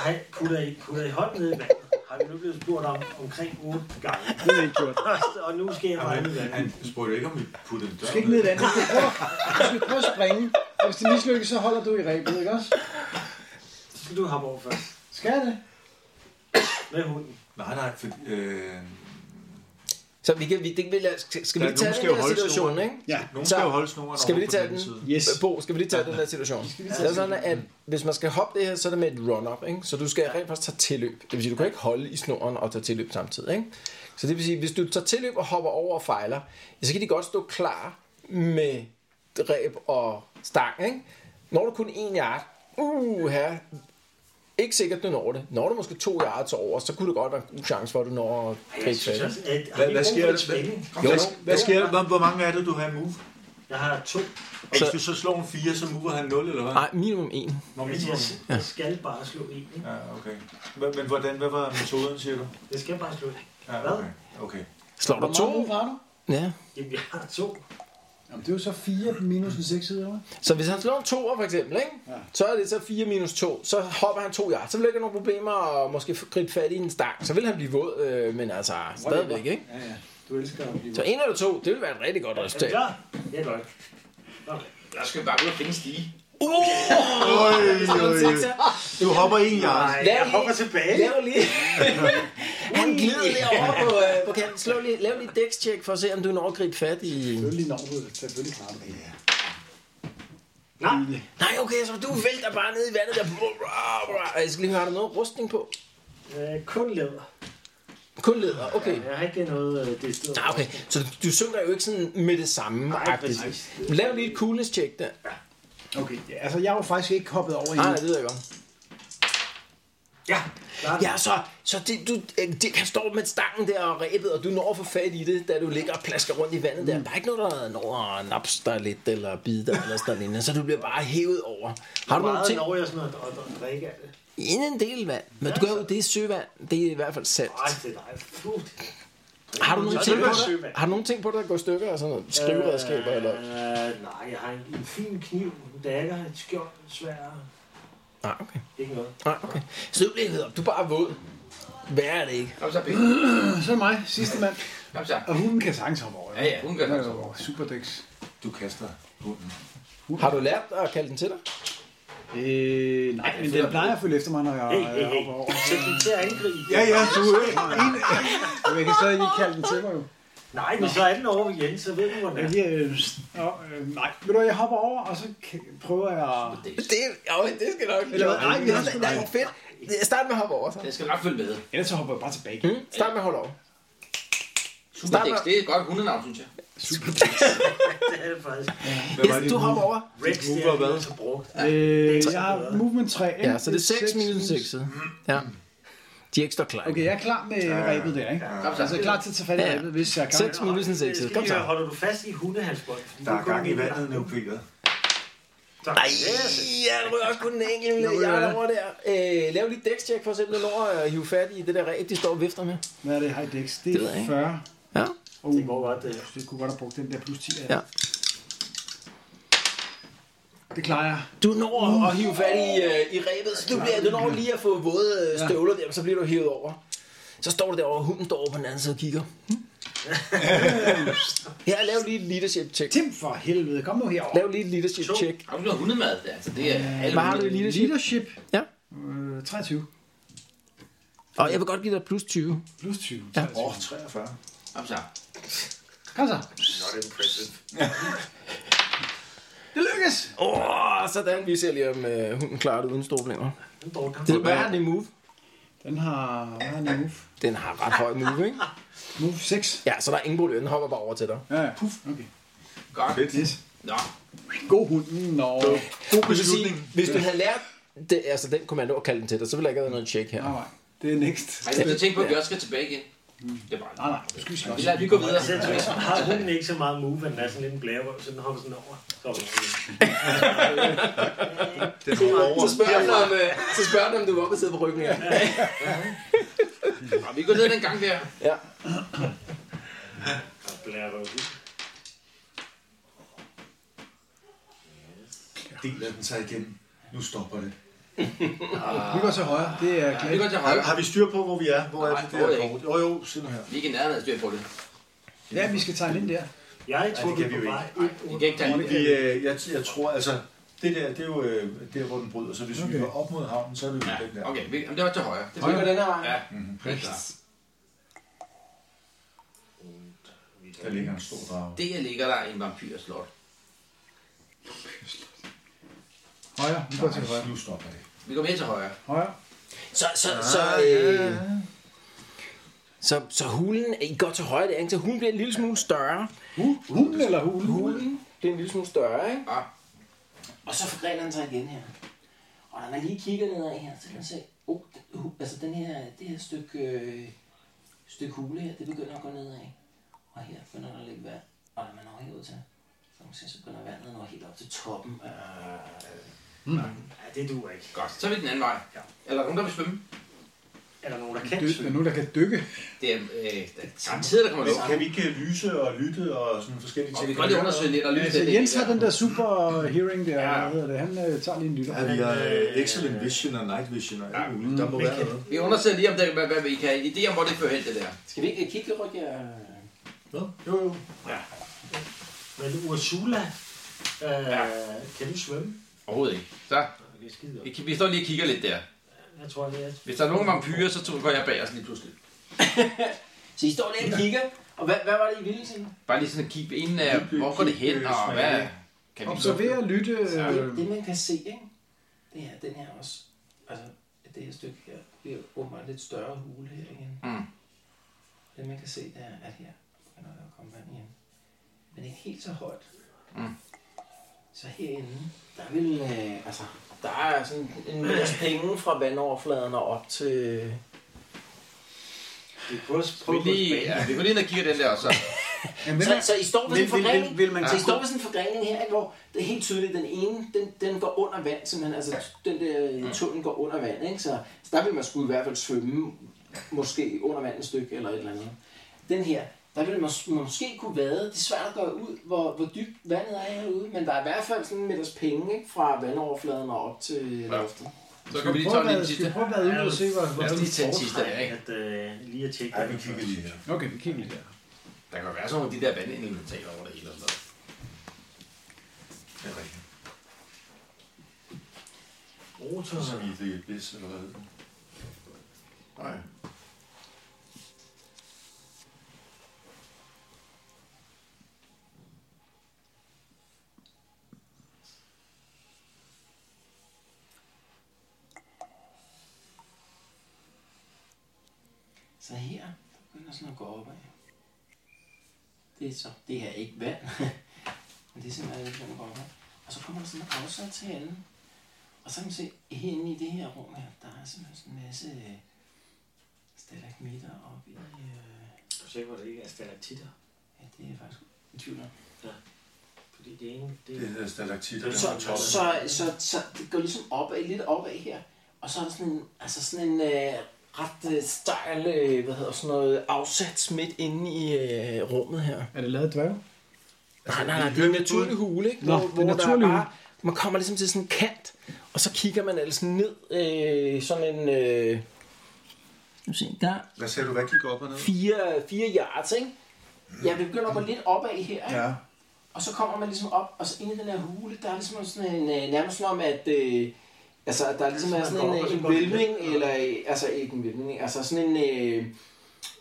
D: Ej, putter I, putter I hånden ned i vandet? Har vi nu blevet spurgt om omkring 8 gange?
C: Det er ikke gjort.
D: Og nu skal jeg bare ned i vandet.
F: Han spurgte ikke, om vi puttede en
C: Du
F: dør.
C: skal ikke ned i vandet. Du skal prøve, du skal prøve at springe. Og hvis det mislykkes, så holder du i rebet, ikke også?
D: Så skal du hoppe over først.
C: Skal jeg det?
D: Med hunden.
F: Nej, nej, for, øh,
B: Så vi kan, vi, det, vi, lad- skal skal vi
F: Der-
B: lige tage
F: nogen skal
B: den
F: jo
B: der
F: holde
B: situation,
F: snoren.
B: ikke?
C: Ja.
F: nogen
B: Så-
F: skal jo holde snoren
B: Skal vi
F: over
B: lige tage
F: på den
B: den?
F: side.
C: Yes.
B: Bo, skal vi lige tage den der situation? Det er sådan, at hvis man skal hoppe det her, så er det med et run-up, ikke? Så du skal rent faktisk tage tilløb. Det vil sige, du kan ikke holde i snoren og tage tilløb samtidig, ikke? Så det vil sige, hvis du tager tilløb og hopper over og fejler, ja, så kan de godt stå klar med dræb og stang, ikke? Når du kun en yard, uh, her, ikke sikkert, du når det. Når du måske to yards over, så kunne det godt være en god chance for, at du når at
D: Jeg
B: gribe
D: synes
B: fat.
D: også, at har
F: Hvad,
D: vi
F: hvad
D: brug
F: sker
D: for
F: der?
D: lidt spænding?
F: Hvad, hvad sker der? Hvor, hvor mange er det, du har i move?
D: Jeg har to.
F: Og hvis du så slår en 4, så mover han 0, eller hvad?
B: Nej, minimum en.
F: Nå,
D: Men
F: minimum.
D: jeg, jeg skal bare slå en. Ikke?
F: Ja, okay. Hvad- Men hvordan, hvad var metoden, siger du?
D: Jeg skal bare slå en.
F: Ja,
D: Hvad?
F: okay. okay.
B: Slår du
C: Hvor
B: to?
C: meget du?
B: Ja.
D: Jamen, jeg har to.
C: Jamen, det er jo så 4 minus en 6 side, eller?
B: Så hvis han slår en toer for eksempel, ikke? Ja. så er det så 4 minus 2. Så hopper han to jagt. Så vil der ikke være nogen problemer og måske gribe fat i en stang. Så vil han blive våd, øh, men altså stadigvæk. Ikke?
C: Ja, ja. Du elsker at blive...
B: Så en eller to, det vil være et rigtig godt
D: Er du
B: resultat.
D: klar? Ja, det er godt. Okay.
E: Jeg skal bare ud og finde en stige.
F: Øj,
B: Slå en
F: øj,
B: sekser.
F: Du hopper en jars.
B: Lav
D: Jeg
B: lige-
D: hopper tilbage.
B: Lav lige. Han glider derovre på, øh, på kanten. Slå lige, lav lige et dækstjek for at se, om du når at gribe fat i...
C: Selvfølgelig når du selvfølgelig klarer du det. Ja.
D: Nej,
B: Nej, okay, så du vælter bare ned i vandet der. Jeg skal lige høre, har du noget rustning på?
D: øh, kun læder.
B: Kun læder, okay.
D: Jeg har ikke noget øh, det sted.
B: Ah, okay. Så du synker jo ikke sådan med det samme.
D: Nej,
B: agtigt.
D: præcis.
B: Lav lige et coolness check der.
C: Okay, ja, altså jeg har jo faktisk ikke hoppet
B: Nej,
C: over endnu.
B: nej, det ved jeg godt.
D: Ja, klar.
B: Ja, så, så det, du, øh, det kan stå med stangen der og rebet, og du når at få fat i det, da du ligger og plasker rundt i vandet
D: Mm.
B: der. Der er ikke noget, der når at napse dig lidt, eller bide dig, eller sådan noget, så du bliver bare hævet over. Har du nogle
D: Meget
B: ting?
D: når jeg sådan noget og, og drikke af det.
B: Inden en del vand, men du gør jo, det er søvand. Det er i hvert fald salt.
D: Ej, det er dig. Puh.
B: Har du, nogle
D: Så
B: ting
D: det
B: på
D: var
B: dig,
D: søvand.
B: har du nogle ting på dig, der går i stykker og sådan noget? Skriveredskaber eller...
D: Øh, nej, jeg har en, en fin kniv, en dagger, et skjold, en svær.
B: Nej, Ah, okay.
D: Ikke noget.
B: Nej, okay. Så du bliver hedder, du er bare våd. Hvad er det ikke?
E: Kom så, Pik.
C: Så er det mig, sidste mand.
E: Kom så.
C: Og hunden kan sagtens hoppe over. Altså,
E: Ja, ja, hun gør
C: Den er
E: det.
C: jo superdæks.
F: Du kaster hunden.
B: Har du lært at kalde den til dig?
C: Øh, nej, men den plejer at følge efter mig, når jeg
D: Hey, hey,
C: øh,
D: hey.
C: hopper over.
D: Så du til at angribe.
F: Ja, ja, du er en.
C: Men jeg kan stadig ikke kalde den til mig jo.
D: Nej, men så er den over igen, så ved du, hvordan
C: Jeg
D: det er.
C: giver, øh, nå, øh, nej, ved du hvad, jeg hopper over, og så k- prøver jeg...
B: Det, jo, det skal nok.
C: Eller hvad? Nej,
B: det
C: jeg skal
B: er fedt. Start med at hoppe over, så.
E: Den skal nok følge med.
C: Ellers så hopper jeg bare tilbage.
B: Mm, start med at holde over.
E: Superdex, det er et godt hundenavn, synes jeg.
D: Det er det faktisk.
F: Hvad var
B: Yes,
F: det,
B: du hopper over.
D: Rex,
F: move
D: det
F: var hvad?
D: er det, så brugt.
C: Øh, jeg har movement 3. ikke?
B: Ja, så det er 6 minus 6. Ja. De er ikke står klar.
C: Okay, jeg er klar med rebet der, ikke?
E: Kom så.
C: Altså, jeg er klar til at tage fat i
B: Ja, ja.
C: rebet, hvis jeg kan.
B: 6 minus en 6. Kom så.
D: Holder du fast i hundehalsbånd? fordi
F: Der
D: du
F: er
D: kun
F: gang i
D: en
F: vandet
D: gang.
F: nu, Peter.
D: Tak.
B: Ej,
D: Yes.
B: jeg rører også kun en enkelt lille jeg over der. Øh, lav lige et dækstjek for at se, om du når at hive fat i det der ræb, de står og vifter med.
C: Hvad er det, high dex? Det
B: Det ved jeg
C: er
B: ikke.
C: 40.
B: Ja.
C: Oh,
D: Det går godt, det her.
C: jeg kunne godt have brugt den der plus 10.
B: Ja.
C: Det klarer jeg.
B: Du når at hive fat i, øh, i rebet, så du, bliver, du når lige at få våde øh, støvler der, så bliver du hævet over. Så står du derovre, og hunden står over på den anden side og kigger. Hm? ja, lav lige et leadership check.
C: Tim for helvede, kom nu herover.
B: Lav lige et leadership check.
E: Har du noget hundemad der? Altså, det er alle
B: Hvad har du i
E: hunde-
B: leadership?
C: Leadership.
B: Ja.
C: Øh, 23.
B: Og jeg vil godt give dig plus 20.
C: Plus 20.
B: Ja.
C: 23.
F: Åh, 43.
E: Kom så.
C: Kom så.
D: Not impressive.
C: Det lykkes.
B: Åh, oh, sådan. Vi ser lige, om øh, hunden klarer det uden store problemer.
D: Den brugte han.
B: Det, hvad har den i move?
C: Den har... Hvad har den i move?
B: Den har ret høj move, ikke?
C: Move 6.
B: Ja, så der er ingen problem. Den hopper bare over til dig.
C: Ja, ja. Puff. Okay.
E: Godt.
F: Fedt.
C: Yes.
E: Nå,
C: God hunden, når...
F: God
B: Det vil sige,
F: beslutning.
B: hvis du havde lært det, altså den kommando at kalde den til dig, så ville der ikke have været noget check her.
C: Nej, nej. Det er next.
E: har jeg tænkt på, at vi også skal tilbage igen? Det er bare...
C: Nej, nej. Du skal vi slås.
E: Vi lader vi gå videre.
D: Så jeg tror, så har hunden ikke så meget move, men den er sådan lidt en blærerøv, så den hopper sådan over. Så er den over.
F: Den hopper over.
B: Så spørger den, om, øh, så spørger den, om du var oppe og sidde på ryggen. Ja.
E: Nå, øh, vi går ned den gang der.
B: ja.
D: Og blærerøv.
F: Deler den sig igen. Nu stopper det.
C: Vi går til højre. Det er
E: Vi
C: klart.
E: går til
F: Har,
E: højre.
F: har vi styr på, hvor vi er? Hvor er
E: Nej,
F: det
E: overhovedet
F: der
E: ikke.
F: kort? Jo, jo, se nu her.
E: Vi er ikke i nærheden af styr på det.
C: Ja, vi skal tegne ind der.
D: Jeg tror,
F: det
D: vi
F: kan
D: er
F: vi
D: på
F: jo
D: vej
E: Vi
D: ind
E: kan ikke tage
F: Vi, øh, jeg, jeg tror, altså, det der, det er jo øh, der, hvor den bryder, så hvis okay. vi går op mod havnen, så er vi jo den der.
E: Okay, vi, jamen, det var til højre.
B: Så vi går den her vej.
E: Ja, det er klart.
F: Der ligger en stor drage.
E: Der ligger der en vampyrslot.
C: Højre. Vi går til højre.
F: Nej, nu stopper det.
E: Vi går mere til højre.
C: Højre.
B: Så, så, så, øh, så, så hulen, I går til højre der, ikke? så hulen bliver en lille smule større.
C: Hu- Hunden eller hulen?
B: Hulen bliver en lille smule større, ikke?
E: Ah,
G: Og så forgrener den sig igen her. Og når man lige kigger nedad her, så kan man se, oh, den, hu- altså den her, det her stykke, øh, stykke hule her, det begynder at gå nedad. Og her begynder der at ligge vand. Og når man når herud til, så
B: så begynder vandet at nå helt op til toppen. Øh,
D: Nej, det duer ikke.
E: Godt, så er vi den anden vej.
D: Ja.
E: Er der nogen, der vil svømme?
D: Er der nogen, der kan
C: Død,
D: svømme?
C: nu der kan dykke.
E: Det er øh, der er samtidig, der kommer
F: Men
E: noget.
F: kan vi ikke lyse og lytte og sådan forskellige
E: Og
F: ting?
E: vi kan godt lige undersøge lidt og lytte
C: Altså,
E: lidt.
C: Jens har den der super øh, hearing der, ja. hvad hedder det, han øh, tager lige en lytter.
F: Ja, vi har øh, excellent vision og night vision og alt muligt. Der må være noget.
E: Vi undersøger lige, om det, hvad, hvad vi kan. Idé om, hvor det fører hen, det der.
B: skal vi ikke øh, kigge lidt, Roger?
F: Nå, Jo, jo.
D: Men Ursula, øh, kan du svømme?
E: Overhovedet ikke. Så,
D: Det er skide
E: vi, vi står lige og kigger lidt der.
D: Jeg tror, det er...
E: Hvis der er nogen vampyrer, så tror- går jeg bag os lige pludselig.
B: Så I står der og kigger, og hvad, hvad var det, I ville sige?
E: Bare lige sådan at kigge ind, uh, hvor går det hen, og hvad kan vi...
C: Observer og lytte.
B: Det,
C: Øh,
B: det, man kan se, ikke? det er den her også. Altså, at det her stykke her bliver åbenbart lidt større hule her igen.
E: Mm.
B: Det, man kan se, det er, at her begynder der at komme vand igen. Men ikke helt så højt.
E: Mm.
B: Så herinde, der vil, øh, altså, der er sådan en masse penge fra vandoverfladen og op til...
D: Vi prøver at
E: Vi,
D: prøve
E: lige, ja, vi går lige ind og kigger den der også.
C: ja, hvem
B: Så,
C: er-
B: så I står ved sådan en
C: Vil- vil-
B: forgrening,
C: vil- vil man
B: så I
C: kunne-
B: står ved sådan en forgrening her, ikke, hvor det er helt tydeligt, den ene, den, den går under vand, simpelthen, altså den der tunnel går under vand, ikke? Så, så der vil man skulle i hvert fald svømme, måske under vand et stykke eller et eller andet. Den her, der ville man s- måske kunne vade, det er svært at gøre ud, hvor, hvor dybt vandet er herude, men der er i hvert fald sådan en meters penge, ikke? fra vandoverfladen og op til loftet.
E: Så
C: Skal
E: kan vi
C: vi
E: lige
C: prøve at
E: tage den
C: være- skal
E: lige
C: vi
E: sidste.
C: prøve at være ude og se, hvor, hvor
E: Lad os lige tage den sidste der, ikke?
D: at øh, lige at tjekke.
F: Ja, vi kigger lige her.
C: Okay, vi kigger lige der.
E: Der kan jo være sådan nogle af de der vandinventaler over det hele og sådan noget.
F: Det er rigtigt.
D: Rotor.
F: Så vi det er bedst, eller hvad? Nej.
B: Så her begynder sådan at gå opad. Det er så, det her er ikke vand, men det er simpelthen, at den går opad. Og så kommer der sådan en afsats til anden. Og så kan man se, herinde i det her rum her, der er simpelthen sådan en masse øh, stalagmitter oppe i... Øh,
D: Du ser, hvor det ikke er stalaktitter.
B: ja, det er jeg faktisk i tvivl om.
D: Fordi det ene, det
F: Det hedder stalaktit.
D: Det er ligesom
B: Så, så, så, så, så det går ligesom opad, lidt opad her. Og så er der sådan en, altså sådan en øh, ret øh, stejl, øh, hvad hedder sådan noget, afsats midt inde i øh, rummet her.
C: Er det lavet dværg?
K: Nej, nej, nej, det er en naturlig hule, ikke?
C: Nå,
K: Hvor,
C: det er
K: hvor der er
C: naturlig
K: bare, man kommer ligesom til sådan en kant, og så kigger man altså ned øh, sådan en... Øh, nu se, der er
F: Hvad sagde du? Hvad gik op og ned?
K: fire, fire yards, ikke?
B: Ja, vi begynder at gå lidt opad her, ikke?
F: Ja.
B: Og så kommer man ligesom op, og så inde i den her hule, der er ligesom sådan en, øh, nærmest som om, at øh, altså, at der ligesom er sådan en, øh, en vælvning, eller øh, altså ikke en vælvning, altså sådan en, øh,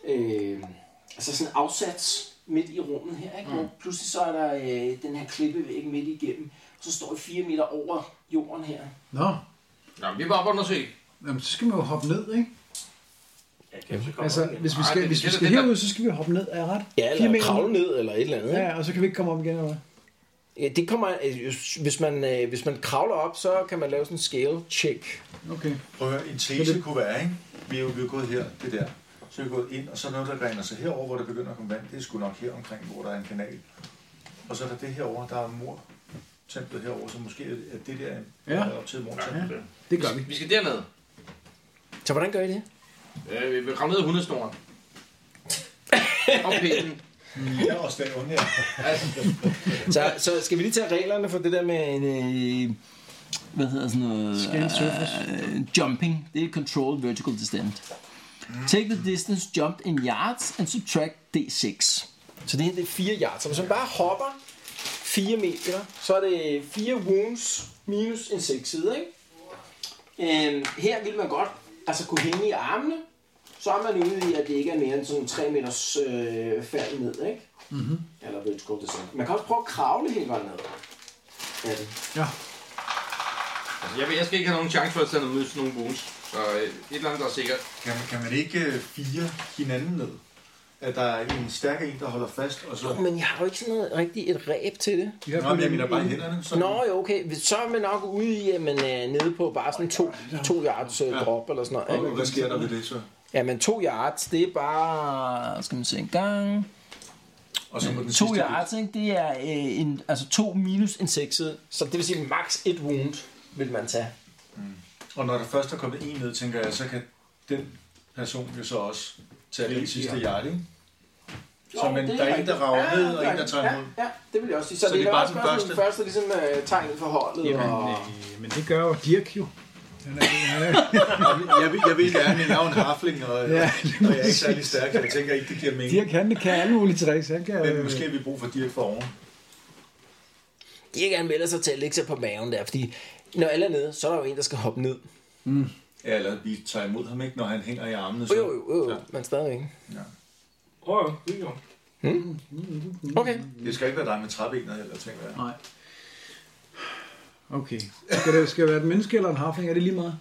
B: øh, altså sådan en afsats midt i rummet her, ikke? Mm. Pludselig så er der øh, den her klippevæg midt igennem, og så står vi fire meter over jorden her.
C: Nå,
E: Nå, men vi var oppe og undersøge.
C: jamen, så skal man jo hoppe ned, ikke?
D: Jeg kan så komme
C: Altså,
D: op igen.
C: hvis vi
E: Nej,
C: skal,
E: det-
C: hvis vi
E: det-
C: skal
E: det-
C: herud, så skal vi hoppe ned, er jeg ret?
K: Ja,
C: Fire
K: eller
C: meter.
K: kravle ned, eller et eller andet, ikke?
C: Ja, og så kan vi ikke komme op igen, eller hvad?
K: Ja, det kommer, øh, hvis, man, øh, hvis man kravler op, så kan man lave sådan en scale check.
C: Okay.
F: Prøv at høre, en tese kunne være, ikke? Vi er jo vi er gået her, det der. Så er vi gået ind, og så er noget, der regner sig herover, hvor der begynder at komme vand. Det er sgu nok her omkring, hvor der er en kanal. Og så er der det herover, der er mor templet herover, så måske er det der en
C: Ja.
F: der er op til mor templet.
C: Det gør vi.
E: Vi skal derned.
K: Så hvordan gør I det?
E: Øh, vi vil komme ned af hundesnoren. Og pinden.
F: Jeg er også der her.
K: Så, så skal vi lige tage reglerne for det der med en... Øh, hvad hedder sådan noget?
C: Scale surface.
K: Uh, jumping. Det er control vertical descent. Take the distance jumped in yards and subtract d6. Så det her det er 4 yards. Så hvis man bare hopper 4 meter, så er det 4 wounds minus en 6 side, ikke?
B: Øhm, her vil man godt altså kunne hænge i armene, så er man ude i, at det ikke er mere end sådan 3 meters øh, færd ned, ikke?
K: Mhm.
B: Mm-hmm. Eller ved et det sådan. Man kan også prøve at kravle hele vejen ned. Ja,
C: Ja.
E: Altså, jeg, vil- jeg skal ikke have nogen chance for at tage noget ud sådan nogle bonus. Så øh, et eller andet, der er sikkert.
F: Kan, man- kan man ikke øh, fire hinanden ned? At der er en stærk en, der holder fast, og så...
K: Men jeg har jo ikke sådan noget rigtigt et ræb til det.
C: Vi har
F: Nå,
C: kun
F: men jeg
C: en-
F: mener bare
C: en-
F: hænderne. Så
K: Nå jo, okay. Så er man nok ude i, at man er
B: øh,
K: nede på bare sådan to, to yards øh, drop eller sådan noget.
F: Og
K: Ikke?
F: hvad sker der ved det så?
K: Jamen to yards, det er bare... Skal man se en gang...
F: Og så på den
B: To
F: sidste
B: yards, ikke? det er øh, en, altså to minus en sekset, så det vil sige maks et wound vil man tage.
F: Og når der først er kommet en ned, tænker jeg, så kan den person jo så også tage den sidste yard, ikke? Så men der er en, der rager ned, og en, der tager imod.
G: Ja, det vil jeg også sige. Så,
F: Så
G: det,
F: det
G: er
F: er bare
G: også
F: den
G: bare den
F: første.
G: første ligesom, øh, tegnet for holdet. Jamen, og...
C: Øh, men det gør jo Dirk jo. Han er, han er,
F: Jeg vil, jeg vil, jeg vil gerne, men jeg er jo en harfling, og,
C: Ja,
F: og jeg er ikke særlig stærk, så jeg tænker ikke, det giver mening.
C: Dirk han kan alle mulige tricks. Han kan,
F: Men måske har vi brug for Dirk for oven.
B: De ikke anmelder sig til at lægge sig på maven der, fordi når alle er nede, så er der jo en, der skal hoppe ned.
F: Ja, eller vi tager imod ham, ikke, når han hænger i armene. Så.
B: Jo, jo, jo, jo. men stadigvæk.
D: Prøv at det jo.
B: Hmm? Okay.
F: Det skal ikke være dig med træbenet, eller tænker jeg.
C: Nej. Okay. Skal det, skal det være et menneske eller en harfling? Er det lige meget?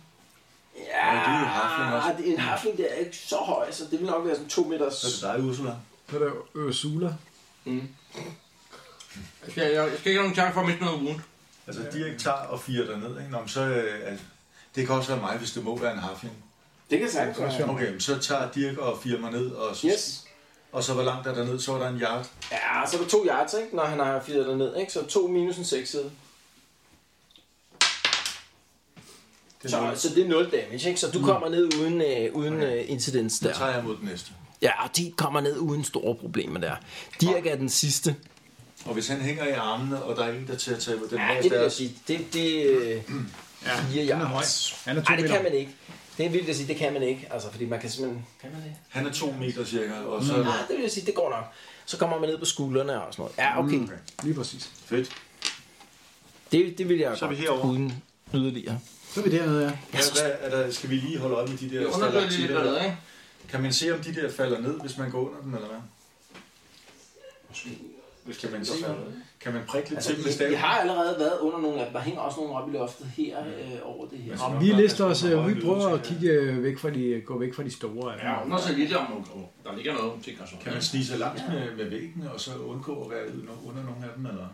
G: Ja,
F: det er jo hafling også.
G: det er en hafling, der er ikke så høj, så det vil nok være sådan to meter.
F: Så er det dig, Ursula.
C: Så er det øh, Ursula.
E: Jeg skal, jeg, jeg skal ikke have nogen chance for at miste noget wound.
F: Altså, Dirk tager og firer derned, ikke? Nå, men så... Øh, altså, det kan også være mig, hvis det må være en harfling.
G: Det kan sagtens være.
F: Okay, men så tager Dirk og firer mig ned, og så,
G: Yes.
F: og så hvor langt er der ned, så er der en yard.
G: Ja, så er der to yards, ikke, når han har firet ned, ikke? Så to minus en seks side.
F: Det er
G: Så,
F: nul.
G: så det er 0 damage, ikke?
B: Så du kommer ned uden, øh, uden øh, incidents
F: Så
B: der.
F: tager jeg mod den næste.
B: Ja, og de kommer ned uden store problemer der. Dirk er den sidste.
F: Og hvis han hænger i armene, og der er en, der til at tage den
B: Ja,
F: her
B: det vil jeg
F: deres,
B: sige. Det, det øh, fire
C: Han er høj.
B: yards.
C: Han er to
B: Nej, det
C: meter.
B: kan man ikke. Det er vildt at sige, det kan man ikke. Altså, fordi man kan simpelthen... Kan man det?
F: han er to meter cirka, og så er
B: Nej,
F: der,
B: Ah, det vil jeg sige, det går nok. Så kommer man ned på skuldrene og sådan noget. Ja, okay. Mm.
C: Lige præcis.
F: fedt.
B: Det, det vil jeg
F: Så er vi
B: godt
F: herovre.
B: uden yderligere.
C: Så er vi dernede, ja.
F: Hvad, hvad er der, skal vi lige holde øje med de
E: Jeg
F: der
E: undersøger lige lidt, hvad der er,
F: stalaktitter?
E: ikke?
F: Kan man se, om de der falder ned, hvis man går under dem, eller hvad? Hvis kan man se, kan man prikke lidt til dem med
G: Altså, vi, vi
F: staven?
G: har allerede været under nogle af dem. Der hænger også nogle oppe i loftet her øh, over det her.
C: Om vi lister os, øh, vi prøver at kigge øh, væk fra de, gå væk fra de store.
E: Ja,
C: Ja.
E: undersøger lige lidt, om om der ligger noget om ting og sådan
F: Kan man snige sig langs med, med væggene, og så undgå at være ude- under nogle af dem, eller?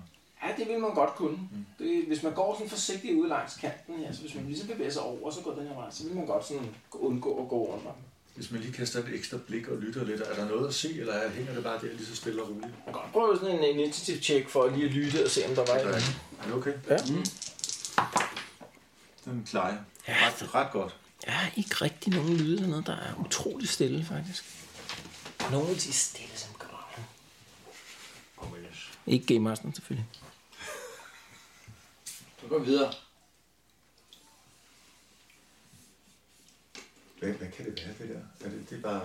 G: Ja, det vil man godt kunne. Det, hvis man går sådan forsigtigt ud langs kanten her, så hvis man ligesom bevæger sig over, så går den her vej, så vil man godt sådan undgå at gå under.
F: Hvis man lige kaster et ekstra blik og lytter lidt, er der noget at se, eller er- hænger det bare der lige så stille og roligt?
G: Man kan godt
B: Prøv sådan en øh, initiative check for lige at lytte og se, om der var
F: Er
B: en.
F: det- Er det okay?
B: Ja.
F: Mm. Den klarer jeg. Ret, ret godt.
B: Ja, ikke rigtig nogen lyde eller noget. Der er utrolig stille, faktisk.
G: Nogle af de stille, som går.
B: Ikke Game Master, selvfølgelig.
E: Så går vi videre.
F: Hvad, hvad kan det være, det der? Er det, det er bare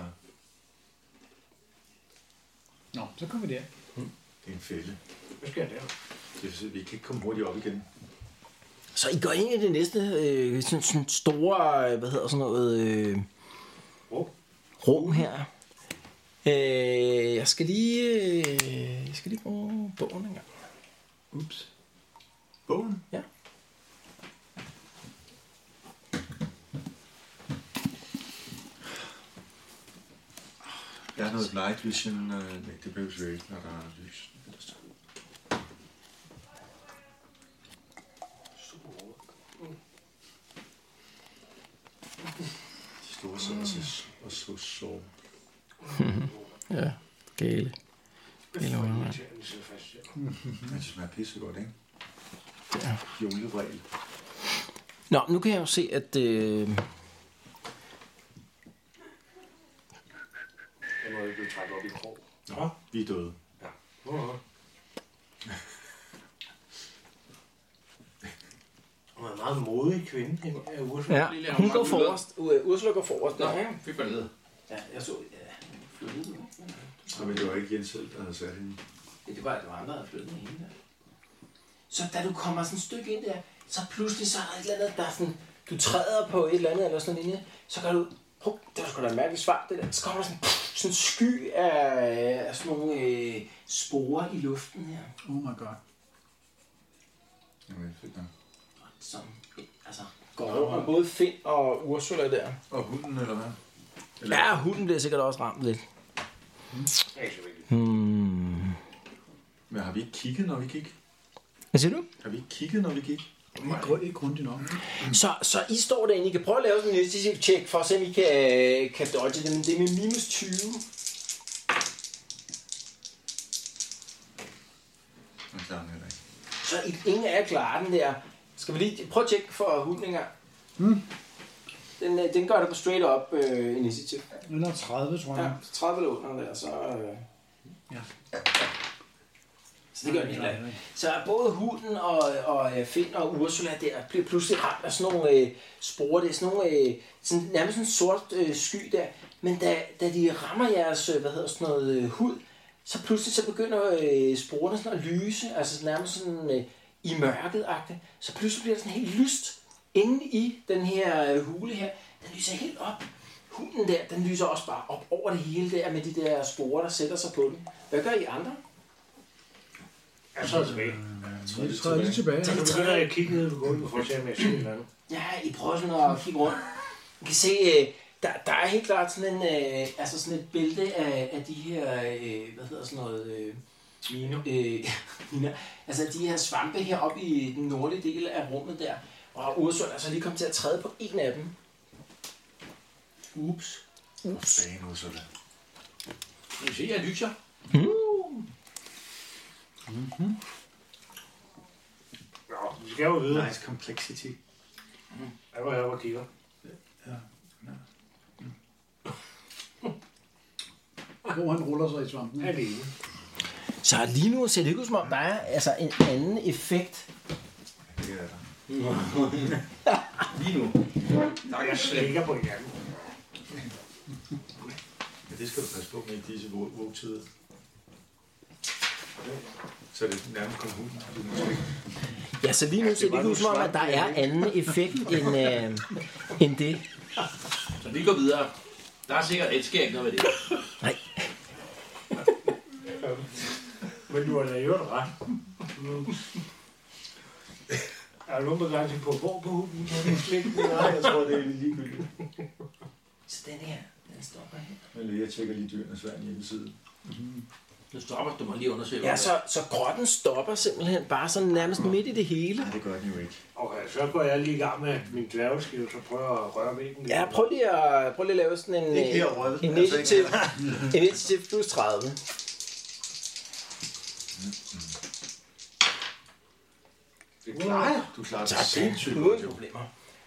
C: Nå, så kommer vi der.
F: det er en fælde.
D: Hvad skal jeg lave?
F: Det er, vi kan ikke komme hurtigt op igen.
B: Så I går ind i det næste øh, sådan, sådan store, øh, hvad hedder sådan noget, øh,
D: Rum.
B: rum her. Øh, jeg skal lige, øh, jeg skal lige bruge bogen en gang.
C: Ups.
F: Bogen?
B: Ja.
F: Jeg har noget night vision. Øh, nej, det behøves jo ikke, når der er lys. De store sidder og så- og så sove.
B: Ja, gale. Gale undervej.
D: Irriterende, de sidder fast her.
F: Ja, det smager altså pissegodt, ikke?
B: Ja.
F: Julevræl.
B: Nå, nu kan jeg jo se, at øh,
D: Jeg må jo ikke blive trækket op i krog.
F: Nå, vi er døde.
D: Åh. Hun er en meget modig kvinde, den er Ursula.
B: ja,
E: lige lave
B: hun
E: en
B: går
E: lang
B: forrest. U- Ursula går forrest.
E: Nå,
B: Der, ikke?
E: fik man ned.
G: Ja, jeg så, ja, flyttede den, ikke?
F: Og men det var ikke Jens selv, der havde sat hende.
G: Ja, det var, det var andre, der havde flyttet hende der. Så da du kommer sådan et stykke ind der, så pludselig så er der et eller andet, der er sådan, du træder på et eller andet eller sådan en linje, så gør du, hop, det var sgu da et mærkeligt svar, det der. Så kommer der sådan, pff, sådan en sky af, af sådan nogle øh, sporer i luften her,
C: Oh my god.
F: Jamen, fedt nok.
G: som altså,
B: Går rundt om både Finn og Ursula der.
F: Og hunden, eller hvad? Eller,
B: Ja, hunden bliver sikkert også ramt lidt.
D: Det er ikke så vigtigt.
B: Hmm.
F: Men har vi ikke kigget, når vi gik?
B: Hvad siger du?
F: Har vi ikke kigget, når vi gik?
C: Ikke, grund, ikke grundigt nok.
B: Så, så I står derinde. I kan prøve at lave sådan en initiative check for at se, om I øh, kan, kan dodge det. Men det er med minus 20.
G: så I- ingen af jer klarer den der. Skal vi lige prøve at tjekke for hunden engang?
C: Hmm.
G: Mm. Den, øh, den gør det på straight up øh, initiativ.
C: Under 30, tror
G: Ja,
C: jeg.
G: 30 eller under der, så... Øh...
C: Ja.
G: Så det gør den heller ikke. Så både hunden og, og øh, Finn og Ursula der bliver pludselig ramt af sådan nogle øh, sporer. Det er sådan nogle, øh, sådan, nærmest sådan en sort øh, sky der. Men da, da de rammer jeres, øh, hvad hedder sådan noget, øh, hud, så pludselig så begynder øh, sporene sådan at lyse, altså sådan nærmest sådan øh, i mørket -agtigt. Så pludselig bliver det sådan helt lyst inde i den her øh, hule her. Den lyser helt op. Hunden der, den lyser også bare op over det hele der med de der sporer, der sætter sig på den. Hvad gør I andre?
D: Jeg så er jeg tilbage.
F: Så er det
C: Så er jeg lige
F: tilbage.
C: tilbage.
D: Så nu begynder jeg at kigge ned på gulvet for at se, om jeg ser et eller andet.
G: Ja, I prøver sådan at kigge rundt. I kan se, øh, der, der er helt klart sådan, en, øh, altså sådan et bælte af, af de her, øh, hvad hedder sådan noget, øh,
D: Mine.
G: øh, miner. altså de her svampe heroppe i den nordlige del af rummet der. Og Ursula er så lige kommet til at træde på en af dem. Ups.
F: Sagen ud, så der.
E: Kan du se, jeg lyser?
D: Nå, vi skal jo videre.
H: Nice complexity.
D: Jeg var heroppe og kigger.
C: Hvor han ruller sig i svampen.
D: Jeg er alene.
B: Så lige nu ser det ikke ud som om, der er altså en anden effekt.
F: Det er der.
E: Lige nu. Tak, jeg
D: Jeg
E: slet.
D: ligger på hinanden.
F: Men det skal du passe på med i disse vågtider. Så det nærmest kun hunden. Du må ikke.
B: Ja, så lige nu ser det ikke ud som om, at der er anden effekt end, øh, end det.
E: Så vi går videre. Der er sikkert et sker ikke noget ved det.
D: Men du har da i øvrigt ret. Mm. Er der nogen begrænsning på, hvor på hunden kan vi slikke den?
F: Nej, jeg tror, det er ligegyldigt.
G: Så den her, den stopper her.
F: Eller jeg tjekker lige dyrenes vand hjemmeside.
E: Nu stopper du mig lige undersøge.
B: Ja, så, så grotten stopper simpelthen bare sådan nærmest midt i det hele.
F: Nej, det gør den jo ikke.
D: Okay, så går jeg lige i gang med min dværgeskive, så prøver jeg at røre væggen.
B: Ja, prøv lige at, prøv lige at lave sådan en,
F: Ikke
B: øh,
F: herovre, vel?
B: en
F: Altså
B: initiativ,
F: ikke
B: initiativ plus 30.
F: Det klarer jeg. Du klarer det sindssygt godt,
B: Uden
F: jo.
B: problemer.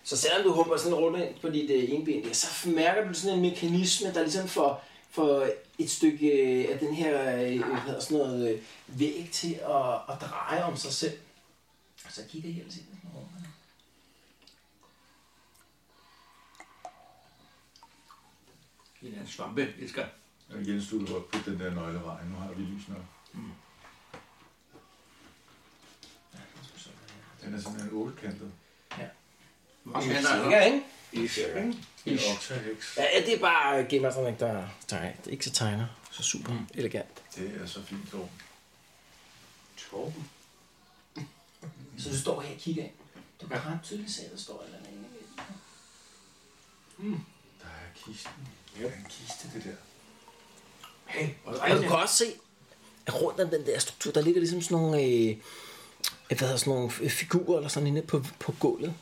B: Så selvom du humper sådan rundt ind på dit øh, ene ben, der, så mærker du sådan en mekanisme, der ligesom får, får et stykke øh, af den her øh, hvad hedder sådan noget, øh, væg til at, at dreje om sig selv. Og så kigger jeg ellers ind i sådan rummet.
E: Det er en svampe, elsker.
F: Og Jens, du kan godt putte den der nøglevej. Nu har vi lys nok. Den er simpelthen ottekantet.
E: Også
G: Ja,
E: han,
G: så
E: der
G: ligger den, ikke?
F: Ish, ikke? Det er oktaheks.
B: Ja, ja, det er bare gemmer sådan ikke, der, der er ikke så tegner. Så super elegant.
F: Det er så fint, dog.
G: Så du står her og kigger ind. Du kan ret tydeligt se, at der står et eller andet inde i væggen.
F: Der er kisten. Ja, en kiste, det der.
B: Og du kan også se, at rundt om den der struktur, der ligger ligesom sådan nogle, øh, hvad hedder sådan nogle øh, figurer eller sådan inde på, på gulvet.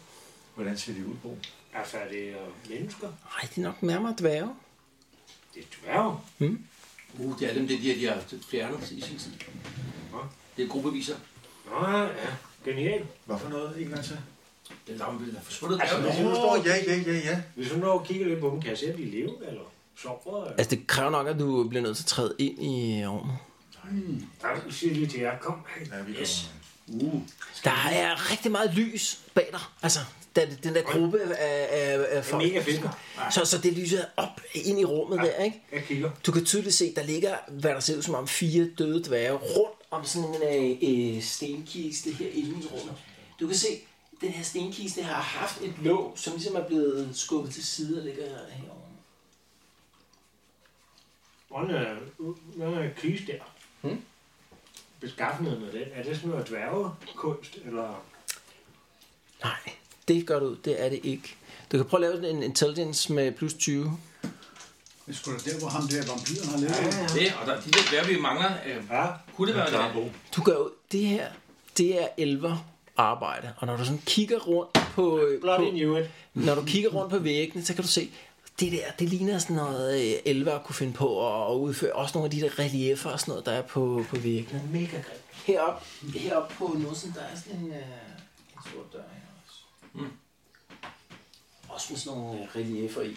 F: Hvordan ser det ud, Bo?
D: Altså, er det øh, mennesker?
B: Nej, det er nok nærmere dværge.
D: Det er dværge.
E: Uh, det er dem, det er de, her, de har fjernet i sin tid. Det er gruppeviser.
D: Nå, ja. Genial.
F: Hvad for noget, en gang til?
E: Den lampe, der er forsvundet.
D: Altså,
E: Der er jo-
D: nu
F: Åh,
D: står
F: ja, ja, ja, ja.
D: Hvis du når og kigger lidt på dem, kan jeg se, at de lever, eller sover? Eller?
B: Altså, det kræver nok, at du bliver nødt til at træde ind i øh, rummet.
D: Der siger lige til jer, kom
F: Ja,
D: her.
F: vi
D: Yes.
F: kommer.
B: Der er rigtig meget lys bag dig. Altså, der, den der gruppe af, af, af folk.
D: mega fedt.
B: Så, så det lyser op ind i rummet der, ikke?
D: Jeg kigger.
B: Du kan tydeligt se, der ligger, hvad der ser ud som om fire døde dværge rundt om sådan en øh, øh, stenkiste her i rummet.
G: Du kan se, at den her stenkiste har haft et låg, som ligesom er blevet skubbet til side og ligger her- herovre.
D: Hvordan er, hvordan er kis der? Hmm? Beskaffenheden af den, er det sådan noget dværgekunst, eller...
B: Nej, det gør du, det er det ikke. Du kan prøve at lave sådan en intelligence med plus 20.
C: Det er sgu da der, hvor ham der vampyren har levet.
E: Det, og der, de der dværge, vi mangler, øh,
D: Ja,
E: kunne det være
F: Der er
E: det?
F: Bo.
B: Du gør jo, det her, det er elver arbejde. Og når du sådan kigger rundt på, øh,
D: blot
B: på
D: in you it.
B: når du kigger rundt på væggene, så kan du se, det der, det ligner sådan noget, øh, elver kunne finde på at, at udføre. Også nogle af de der reliefer og sådan noget, der er på, på væggene.
G: Den er mega grim. Herop, herop på Norsen, der er sådan en, øh, en stor dør her også. Mm. Også med sådan nogle øh, reliefer i.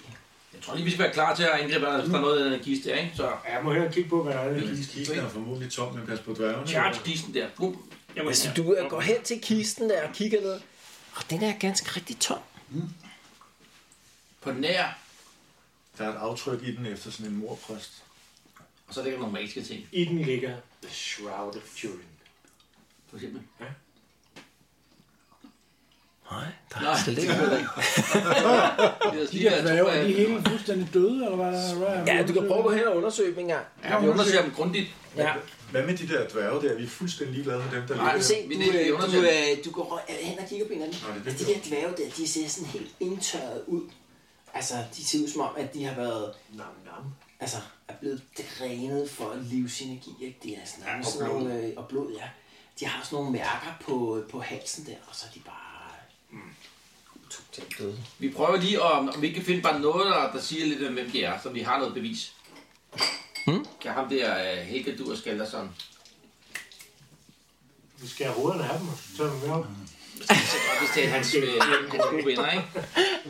E: Jeg tror lige, vi skal være klar til at angribe, hvis der er noget i den her kiste her, ikke? Så
D: Jeg må hellere kigge på, hvad der er i den kiste.
F: Kisten er formodentlig tom, men pas på dværgene.
E: charge kisten der. Uh, jeg må
B: Altså, du øh, går hen til kisten der og kigger ned. Og den er ganske rigtig tom.
E: på nær,
F: Der er et aftryk i den efter sådan en morpræst.
E: og så ligger der nogle magiske ting,
D: I den ligger The Shroud of Turin.
E: for eksempel.
B: Nej, der
E: Nej,
B: er slet
E: det
B: ikke
E: er
B: noget.
E: De der
C: Hvad er de hele fuldstændig døde, eller hvad? hvad er
B: Ja, du kan prøve at gå hen og undersøge dem engang.
E: Ja, vi undersøger dem grundigt.
B: Ja.
F: Hvad med de der dværge der? Vi er fuldstændig ligeglade med dem, der
E: Nej,
F: ligger.
G: Se,
E: vi
G: du,
E: det- vi
G: øh, du,
E: undersøger dem.
G: øh, du går rø- hen og kigger på hinanden.
F: Nå, det er
G: Og
F: det,
G: Altså, de
F: jo.
G: der dværge der, de ser sådan helt indtørret ud. Altså, de ser ud som om, at de har været...
D: Nam nam.
G: Altså, er blevet drænet for livsenergi, ikke? De er sådan, ja, og, sådan
E: blod.
G: nogle, øh, og blod, ja. De har sådan nogle mærker på, på halsen der, og så er de bare... øh,
E: Vi prøver lige, om, om vi ikke kan finde bare noget, der, der siger lidt om, hvem de er, så vi har noget bevis. Hmm? Kan ham der uh, Helge Dur Skalderson.
D: Vi skal have hovederne af dem, og så tager vi dem op.
E: Så godt, hvis det er hans, øh, hans gode venner, ikke?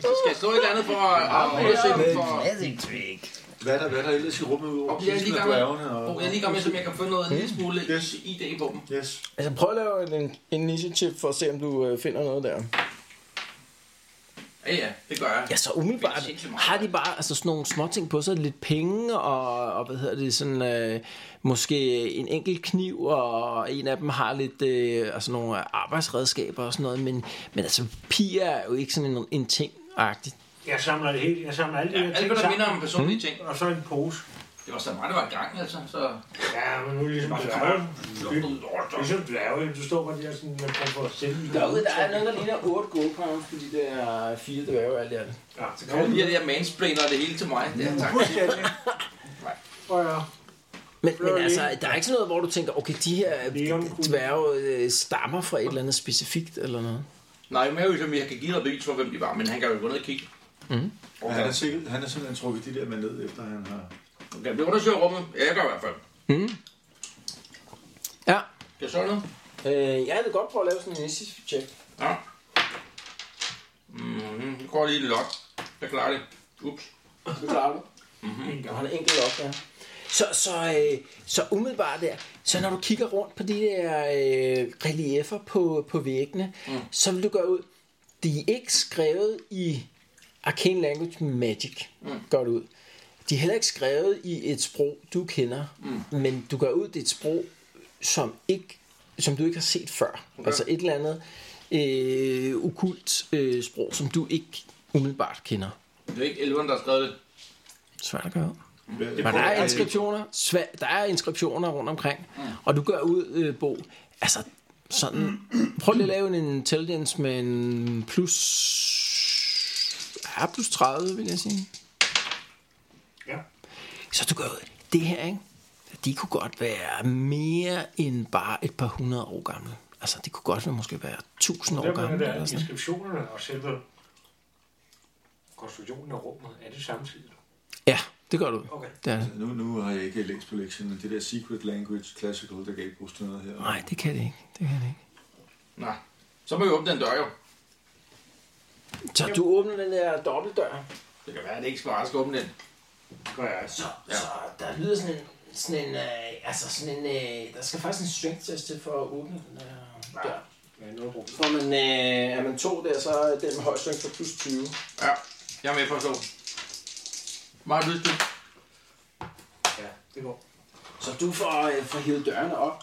E: Så skal jeg slå et eller andet for at at undersøge dem for...
F: Hvad er der, hvad er der ellers i rummet ud over
E: Og jeg er
F: kisten
E: lige
F: og
E: gang med,
F: dværgene? Og...
E: oh, jeg er lige gang med, som jeg kan få noget en lille smule idé på dem.
F: Yes.
B: Altså, prøv at lave en, en initiativ for at se, om du øh, finder noget der.
E: Ja, ja, det gør jeg.
B: Ja, så umiddelbart
E: sindssygt meget.
B: har de bare altså, sådan nogle småting på sig. Lidt penge og, og hvad hedder det, sådan, øh, måske en enkelt kniv, og en af dem har lidt øh, altså, nogle arbejdsredskaber og sådan noget. Men, men altså, piger er jo ikke sådan en, en ting -agtigt.
D: Jeg samler det hele. Jeg samler alle de her
E: Alt,
D: ting
E: hvad der minder
D: sammen. Hmm?
E: om personlige ting.
D: Og så en pose.
E: Det var så meget, der var i gang, altså. Så...
D: Ja, men nu er det ligesom dværge. Ligesom dværge, du står bare der sådan, man kan få selv.
G: Derude, der er
B: noget, der ligner 8 goldcrowns på de der fire dværge alt i alt.
D: Ja, så
E: Kom lige der mansplainer det hele til mig. Ja, tak.
D: Prøv at høre.
B: Men,
D: Prøv
B: men
D: lige.
B: altså, der er ikke sådan noget, hvor du tænker, okay, de her
D: Leonkugle.
B: dværge øh, stammer fra et eller andet specifikt eller noget.
E: Nej, men jeg ved, som jeg kan give dig bevis for, hvem de var, men han kan jo gå ned og kigge.
D: Hmm?
F: Og han er, sikkert, han er simpelthen trukket de der med ned, efter han har...
E: Okay, vi undersøger rummet. Ja, jeg gør i hvert fald.
D: Hmm?
B: Ja,
E: Skal jeg så noget?
B: øh, jeg vil godt prøve at lave sådan en initiative check.
E: Ja. Mm, jeg går lige et lok. Jeg klarer det. Ups.
B: Det klarer du. Mm-hmm. har en enkelt op, ja. Så, så, øh, så umiddelbart der, så når du kigger rundt på de der øh, reliefer på, på væggene, mm. så vil du gøre ud, de er ikke skrevet i Arcane Language Magic, mm. går det ud. De er heller ikke skrevet i et sprog, du kender, mm. men du går ud, det er et sprog, som, ikke, som du ikke har set før. Okay. Altså et eller andet øh, okult øh, sprog, som du ikke umiddelbart kender.
E: Det er ikke elveren, der har skrevet det.
B: Svært at gøre ud.
F: Hvad-
B: Men der er inskriptioner, sva- der er inskriptioner rundt omkring,
D: Mm.
B: og du gør ud, øh, Bo, altså sådan, prøv lige at lave en intelligence med en plus, ja, plus 30, vil jeg sige.
D: Ja.
B: Så du gør ud, det her, ikke? De kunne godt være mere end bare et par hundrede år gamle. Altså, det kunne godt være måske være tusind år
D: Derfor er
B: gamle.
D: der
B: Eller sådan.
D: inskriptionerne og selve konstruktionen af rummet er det samtidig.
B: Ja, det gør du.
D: Okay.
B: Det er det.
F: Nu, nu har jeg ikke læst på lektien, men det der Secret Language Classical, der kan ikke bruges til noget her.
B: Nej, det kan det ikke. Det kan det ikke.
E: Nej. Så må vi åbne den dør, jo.
B: Så du åbner den der dobbeltdør.
E: Det kan være, at det ikke skal være, at jeg skal åbne den.
D: Gør jeg.
G: Så, ja. så der lyder sådan en... Sådan en øh, altså sådan en... Øh, der skal faktisk en strength test til for at åbne den der dør.
D: Ja, nu er rummet.
B: Får man, øh, er man to der, så er den med høj styrke for plus 20.
E: Ja, jeg er med for at slå. Meget lyst til.
D: Ja, det går.
B: Så du får, øh, får hivet dørene op.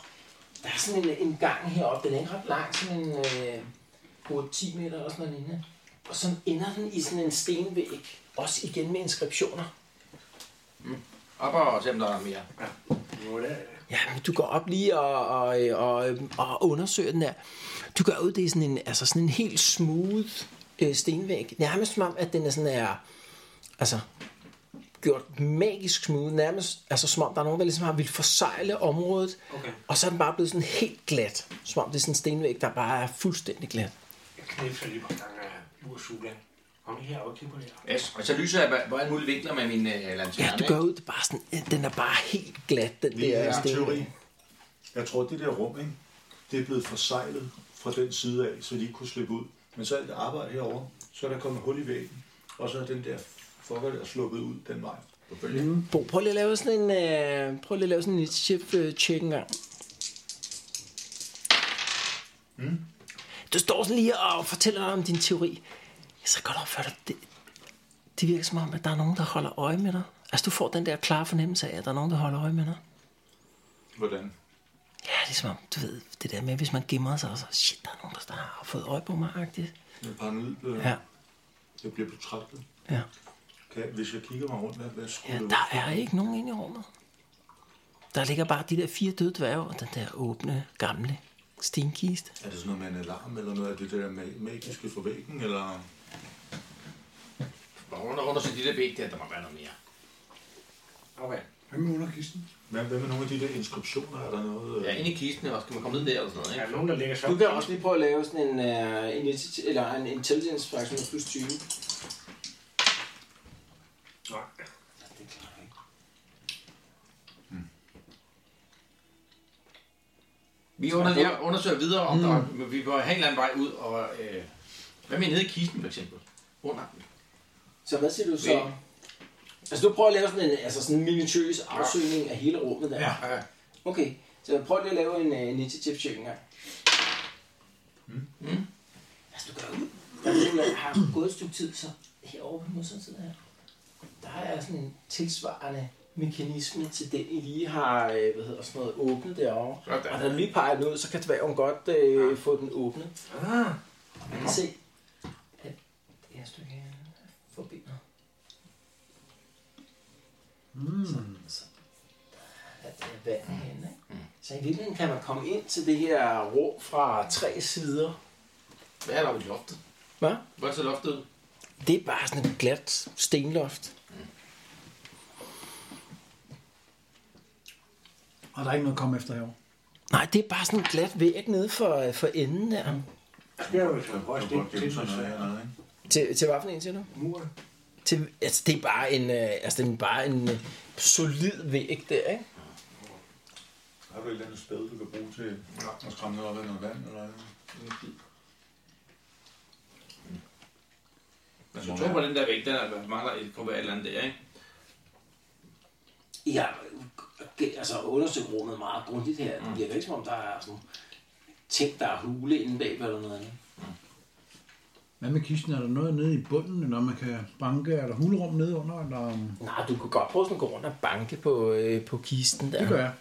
G: Der er sådan en, øh, en gang heroppe, den er ikke ret lang, sådan en øh, på 10 meter eller sådan noget lignende. Og så ender den i sådan en stenvæg, også igen med inskriptioner.
E: Op og se, om der er mere.
D: Nu er det.
B: Ja, men du går op lige og, og, og, og undersøger den der. Du gør ud, det er sådan en, altså sådan en helt smooth øh, stenvæg. Nærmest som om, at den er sådan er, altså, gjort magisk smooth. Nærmest altså, som om, der er nogen, der ligesom har ville forsegle området.
D: Okay.
B: Og så er den bare blevet sådan helt glat. Som om det er sådan en stenvæg, der bare er fuldstændig glat.
D: Jeg knipser lige på gang af Ursula. Kom her og kig på det her.
E: Yes, og så lyser jeg på- på alle mulige vinkler med min øh,
B: Ja,
E: lanterne.
B: du gør ud, det er bare sådan, øh, den er bare helt glat, den
F: Det
B: der
F: er en
B: sten.
F: teori. Jeg tror, det der rum, ikke, det er blevet forsejlet fra den side af, så de ikke kunne slippe ud. Men så alt det arbejde herovre, så er der kommet hul i væggen, og så er den der fucker der sluppet ud den vej. Mm.
B: Bo, prøv lige at lave sådan en, øh, prøv lige at lave sådan en chef øh, check engang. Mm. Du står sådan lige og fortæller om din teori. Jeg så godt opføre dig. Det, det virker som om, at der er nogen, der holder øje med dig. Altså, du får den der klare fornemmelse af, at der er nogen, der holder øje med dig.
F: Hvordan?
B: Ja, det er som om, du ved, det der med, hvis man gemmer sig, og så, shit, der er nogen, der har fået øje på mig, agtigt.
F: Jeg er paranoid. øh,
B: Ja,
F: Jeg bliver betragtet.
B: ja.
F: Kan, hvis jeg kigger mig rundt, hvad, hvad
B: Ja,
F: skulle det
B: der er ikke nogen inde i rummet. Der ligger bare de der fire døde dværge og den der åbne, gamle stenkiste.
F: Er det sådan noget med en alarm, eller noget af det der ma- magiske for væggen, eller...
E: Bare under, under så de der væg der, der må være noget mere. Okay.
H: Hvad med under kisten?
F: Hvad, hvad med nogle af de der inskriptioner? Er der noget... øh,
E: Ja, ind i kisten også. Kan man komme ned der eller sådan noget,
D: Der
E: ikke?
D: er nogen, der ligger så.
G: Du kan også lige prøve at lave sådan en, uh, initiativ, eller en intelligence faktor med plus 20.
D: Nej.
E: Vi under, jeg undersøger videre, om mm. der, vi bør have en eller anden vej ud, og øh, hvad med nede i kisten for eksempel? Under.
G: Så hvad siger du så?
E: Ja.
G: Altså du prøver at lave sådan en, altså sådan en miniatyrøs afsøgning af hele rummet der?
E: Ja. ja.
G: Okay, så prøv lige at lave en uh, initiative check engang.
E: Mm.
G: Altså, du gør ud. Jeg har gået et stykke tid, så herovre på modsatte side her, der er sådan en tilsvarende mekanisme til den, I lige har øh, hvad hedder, sådan noget, åbnet derovre.
E: Sådan.
G: Og da du Altså, lige peger den ud, så kan dværgen godt øh, få den åbnet.
D: Ah.
G: Og man kan se, at det her stykke her er forbindet.
B: Hmm.
G: Mm. Så, så der er det vand herinde, ikke?
B: Hmm.
G: Så i virkeligheden kan man komme ind til det her rum fra tre sider.
E: Hvad er der ved loftet?
G: Hvad?
E: Hvor er så loftet ud?
B: Det er bare sådan et glat stenloft.
C: Og der er ikke noget at komme efter herovre.
B: Nej, det er bare sådan en glat væg nede for,
G: øh,
B: for enden der.
D: Det er jo et højst
F: Jeg kan godt
D: det
F: gemme
D: til
F: sådan noget
D: mig.
F: hernede, ikke?
B: Til, til hvad for en, siger du?
D: Muren.
B: Til, altså, det er bare en, øh, altså, det er bare en øh, solid væg der, ikke?
F: Har du et eller andet spil, du kan bruge til at skræmme noget op af noget vand, eller noget?
E: Altså, jeg tror på den der væg, den er, mangler et kunne være et eller andet der, ikke?
G: I har øh, altså, undersøgt rummet meget grundigt her. Det virker ikke som om, der er sådan ting, der er hule inde bagved eller noget andet.
C: Hvad med kisten? Er der noget nede i bunden, når man kan banke? Er der hulrum nede under? Eller... um,
B: Nej, du kunne godt prøve sådan at gå rundt og banke på, øh, på kisten der.
C: Det gør jeg.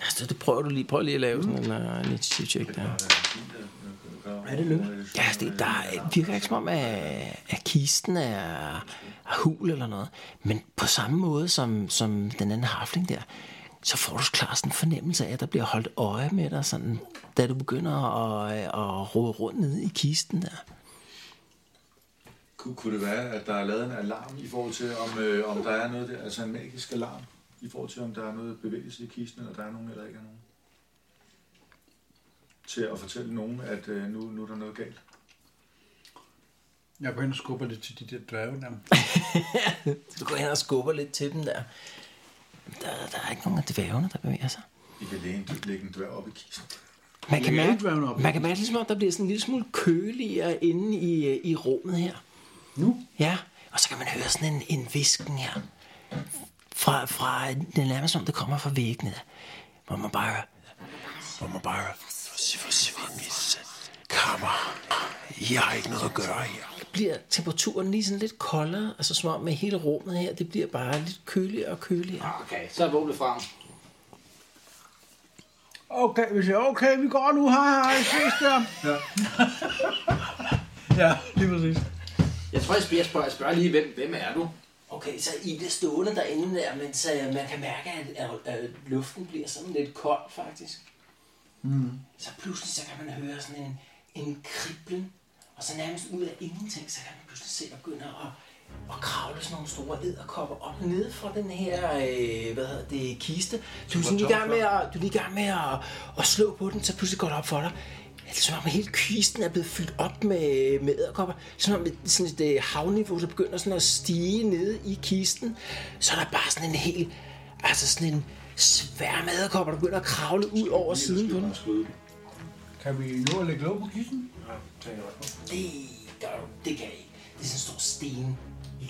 B: Altså, det prøver du lige. Prøv lige at lave sådan en uh, initiative check der.
F: Er det lykkeligt?
B: Ja, altså, det, der er- virker ikke som om, at, at kisten er, er hul eller noget. Men på samme måde som, som den anden hafling der, så får du klart sådan en fornemmelse af, at der bliver holdt øje med dig, sådan, da du begynder at, øh, at rode rundt nede i kisten der.
F: Kunne, kunne det være, at der er lavet en alarm i forhold til, om, øh, om der er noget der, altså en magisk alarm, i forhold til, om der er noget bevægelse i kisten, eller der er nogen, eller ikke er nogen? Til at fortælle nogen, at øh, nu, nu er der noget galt.
C: Jeg går hen og skubber lidt til de der dværge der.
B: Du går hen og skubber lidt til dem der. Der, der er ikke nogen af dværgene, der bevæger sig.
F: I kan lægge en, lægge en dværg op i kisten.
B: Man kan,
C: Lægger
B: mærke,
C: ikke dværgene op?
B: man kan mærke, ligesom, om der bliver sådan en lille smule køligere inde i, øh, i rummet her.
C: Nu?
B: Ja, og så kan man høre sådan en, en visken her. Fra, fra, det er nærmest som, det kommer fra væggene. der. Hvor man bare hører- hvor man bare hører, Kammer, jeg har ikke noget at gøre her. Bliver temperaturen lige sådan lidt koldere, altså som om med hele rummet her, det bliver bare lidt køligere og køligere.
E: Okay, så er våbnet frem.
C: Okay, vi siger, okay, vi går nu. Hej, hej, ses der. Ja. ja, lige præcis.
E: Jeg tror, jeg spørger, jeg spørger, jeg spørger lige, hvem, hvem er du?
G: Okay, så I bliver stående derinde der, men så øh, man kan mærke, at, at, at luften bliver sådan lidt kold faktisk. Mm. Så pludselig så kan man høre sådan en, en kriblen, og så nærmest ud af ingenting, så kan man pludselig se, at begynder at, at kravle sådan nogle store æderkopper op nede fra den her, øh, hvad hedder det, kiste.
B: Du er sådan lige i gang med at, du er lige i gang med at, at slå på den, så pludselig går det op for dig. det er som om, at hele kisten er blevet fyldt op med, med æderkopper. Som om at sådan et øh, havniveau, så begynder sådan at stige nede i kisten. Så er der bare sådan en hel, altså sådan en svær med æderkopper, der begynder at kravle ud over siden på den.
F: Kan vi nå at lægge låg på kisten?
G: Det gør du. Det kan jeg ikke. Det er sådan en stor sten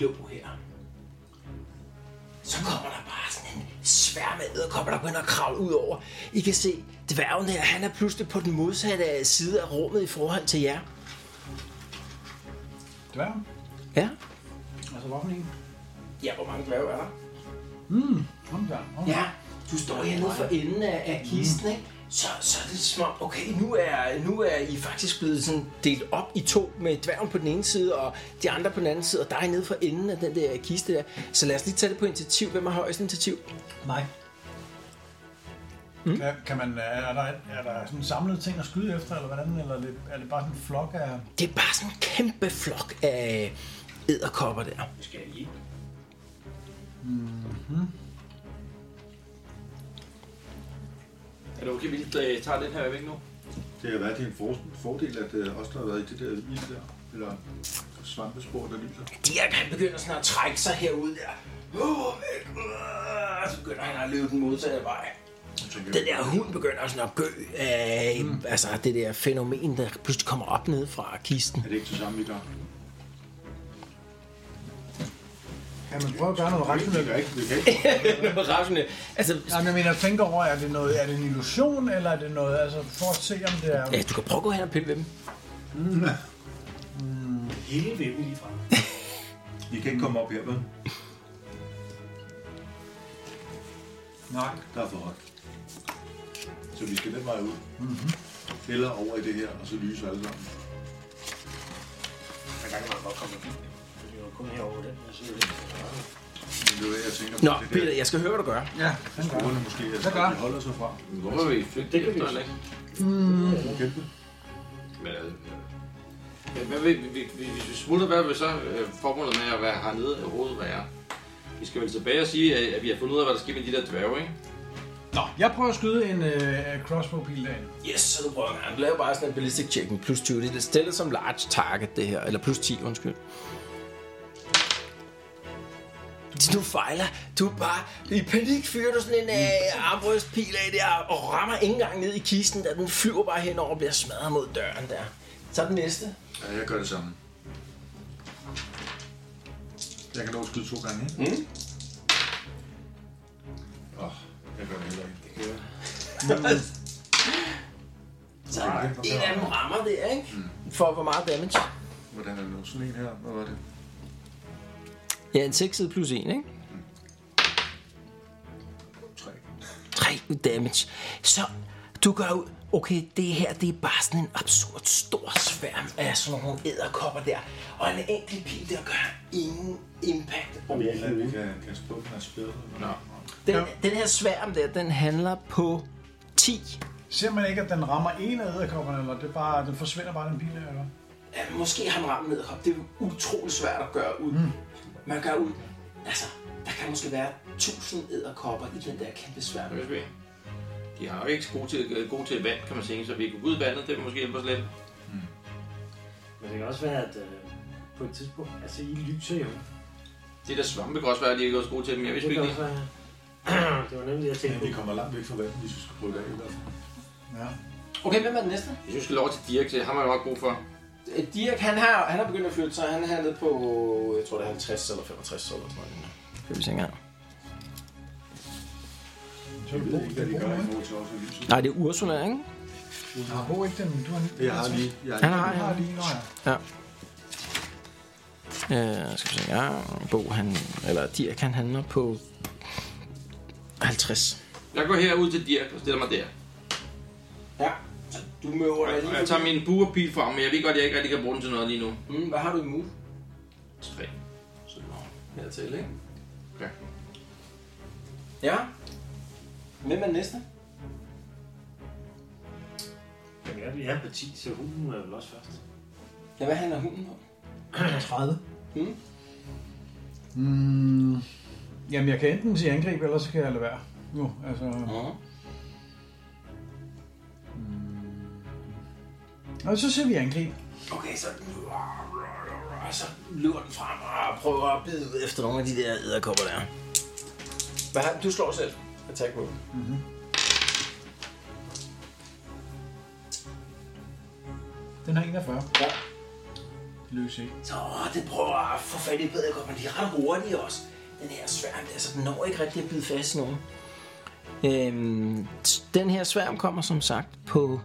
G: låg her.
B: Så kommer der bare sådan en svær med æderkopper, der begynder at kravle ud over. I kan se, dværgen her, han er pludselig på den modsatte side af rummet i forhold til jer.
F: Dværgen?
B: Ja.
H: Altså, hvorfor ikke?
G: Ja, hvor mange dværge er der?
H: Kom der. Kom.
G: Ja, du står hernede for enden af, af kisten, ikke?
B: Så, så er det som om, okay, nu er, nu er I faktisk blevet sådan delt op i to med dværgen på den ene side, og de andre på den anden side, og dig nede for enden af den der kiste der. Så lad os lige tage det på initiativ. Hvem har højst initiativ?
H: Mig. Mm. Kan, kan man, er, der, er der sådan samlede ting at skyde efter, eller hvordan? Eller er det, er det bare sådan en flok af...
B: Det er bare sådan en kæmpe flok af æderkopper der.
E: Er det okay, vi øh, tager den her væk nu?
F: Det har været en for- fordel, at øh, os, der har været i det der ild der, eller svampespor, der lyser.
B: Dirk, han begynder sådan at trække sig herud der. Åh, væk, øh, Så begynder han at løbe den modsatte vej. Den der hund begynder sådan at gø af mm. altså det der fænomen, der pludselig kommer op ned fra kisten.
F: Er det ikke det samme, vi gør?
H: Kan man prøve at gøre noget
F: Vi
H: rationelt?
F: gør ikke, vi kan ikke.
B: Rationelt. Altså,
H: Jamen, jeg mener, tænk over, er det, noget, er det en illusion, eller er det noget, altså for at se, om det er...
B: ja, du kan prøve at gå hen og pille ved dem.
D: Hele væven lige frem.
F: Vi kan ikke komme op her, vel?
H: Nej.
F: Der er for højt. Så vi skal den vej ud.
B: Mhm.
F: Mm-hmm. Eller over i det her, og så lyser alle sammen.
D: Der gang var godt kommet forbi. Det var kun herovre den her side.
F: Men det er det, jeg tænker på.
B: Nå,
F: det
B: Peter, jeg skal høre, hvad du gør.
H: Ja, den gør.
F: Skolerne måske, altså,
H: gør.
F: de holder sig fra.
E: Hvorfor vil vi flygte det efter, Hmm. eller ikke?
F: Kæmpe.
E: Men, øh, men hvad vil, vi, vi, vi, hvis vi smutter, hvad vil så øh, formålet med at være hernede i hovedet være? Vi skal vel tilbage og sige, at, at vi har fundet ud af, hvad der sker med de der dværge, ikke?
H: Nå, jeg prøver at skyde en øh, crossbow-pil derinde.
B: Yes, så du prøver at lave bare sådan en ballistic check med plus 20. Det er stillet som large target, det her. Eller plus 10, undskyld. Så du fejler. Du er bare i panik fyrer du sådan en øh, armbrystpil af der, og rammer ikke engang ned i kisten, da den flyver bare henover og bliver smadret mod døren der. Så den næste.
F: Ja, jeg gør det samme. Jeg kan dog skyde to gange, ikke? Mm. Åh, oh, jeg gør det heller ikke. Det kan jeg.
B: Så en af dem rammer det, ikke? For hvor meget damage?
F: Hvordan er det nu? Sådan en her, hvad var det?
B: Ja, en 6 plus 1, ikke?
F: Tre.
B: 3 damage. Så du gør ud, okay, det her, det er bare sådan en absurd stor sværm af sådan nogle æderkopper der. Og en enkelt pil, der gør ingen impact.
F: Om jeg eller vi kan kaste på den her spil. Nå.
B: Den, den her sværm der, den handler på 10.
H: Ser man ikke, at den rammer en af æderkopperne, eller det er bare, den forsvinder bare den pil der, eller?
B: Ja, måske har han ramt med Det er jo utrolig svært at gøre ud. Mm. Man gør ud, altså, der kan måske være 1000 æderkopper i den der kæmpe sværm.
E: Hvad skal vi? De har jo ikke så gode til, gode til vand, kan man sige, så vi kan gå ud i vandet, det vil måske hjælpe os lidt.
D: Men det kan også være, at øh, på et tidspunkt, altså I lyser jo.
E: Det der svampe kan også være, at de ikke er så gode til dem, jeg vidste
D: Det kan
E: ikke.
D: også være... det var nemlig det, jeg tænkte på.
F: Vi kommer langt væk fra vandet, hvis vi skal prøve det af i hvert fald.
B: Okay, hvem er den næste?
E: Jeg synes, vi skal over til Dirk, det har man jo nok brug for.
B: Øh, Dirk, han har, han har begyndt at flytte sig. Han er nede på, jeg tror det er 50 eller 65 eller sådan noget. Skal vi se engang.
H: Så er
F: Vi
H: det
F: ved ikke, hvad de gør i
H: ikke?
F: forhold til os og lyset.
B: Nej, det er Ursula, ikke?
H: Du har Bo ikke den, du har
F: Det jeg har lige. Jeg
B: Han har,
H: Du har
B: han.
H: lige, nå ja.
B: Øh, skal vi se engang. Bo, han, eller Dirk, han handler på 50.
E: Jeg går herud til Dirk og stiller mig der.
B: Ja, så du møver dig
E: Og jeg tager min buerpil frem, men jeg ved godt, at jeg ikke rigtig kan bruge den til noget lige nu.
B: Mm, hvad har du i move?
E: Tre.
B: Så nå, hertil, ikke?
E: Okay.
B: Ja. Hvem er den næste?
D: Men ja, vi er på 10, så hunden er vel også først.
B: Ja, hvad handler hunden om?
H: 30.
B: Mm.
H: Mm. Jamen, jeg kan enten sige angreb, eller så kan jeg lade være. Nu, altså...
C: Mm.
B: Nå.
L: Og så ser vi angreb.
B: Okay, så... Så løber den frem og prøver at bide ud efter nogle af de der æderkopper der. Hvad har, du slår selv. Attack roll.
C: Den har 41.
B: Ja.
C: Det lykkes ikke.
B: Så det prøver at få fat i bedre godt, men de er ret hurtige også. Den her sværm der, så den når ikke rigtig at bide fast i nogen. Øhm, t- den her sværm kommer som sagt på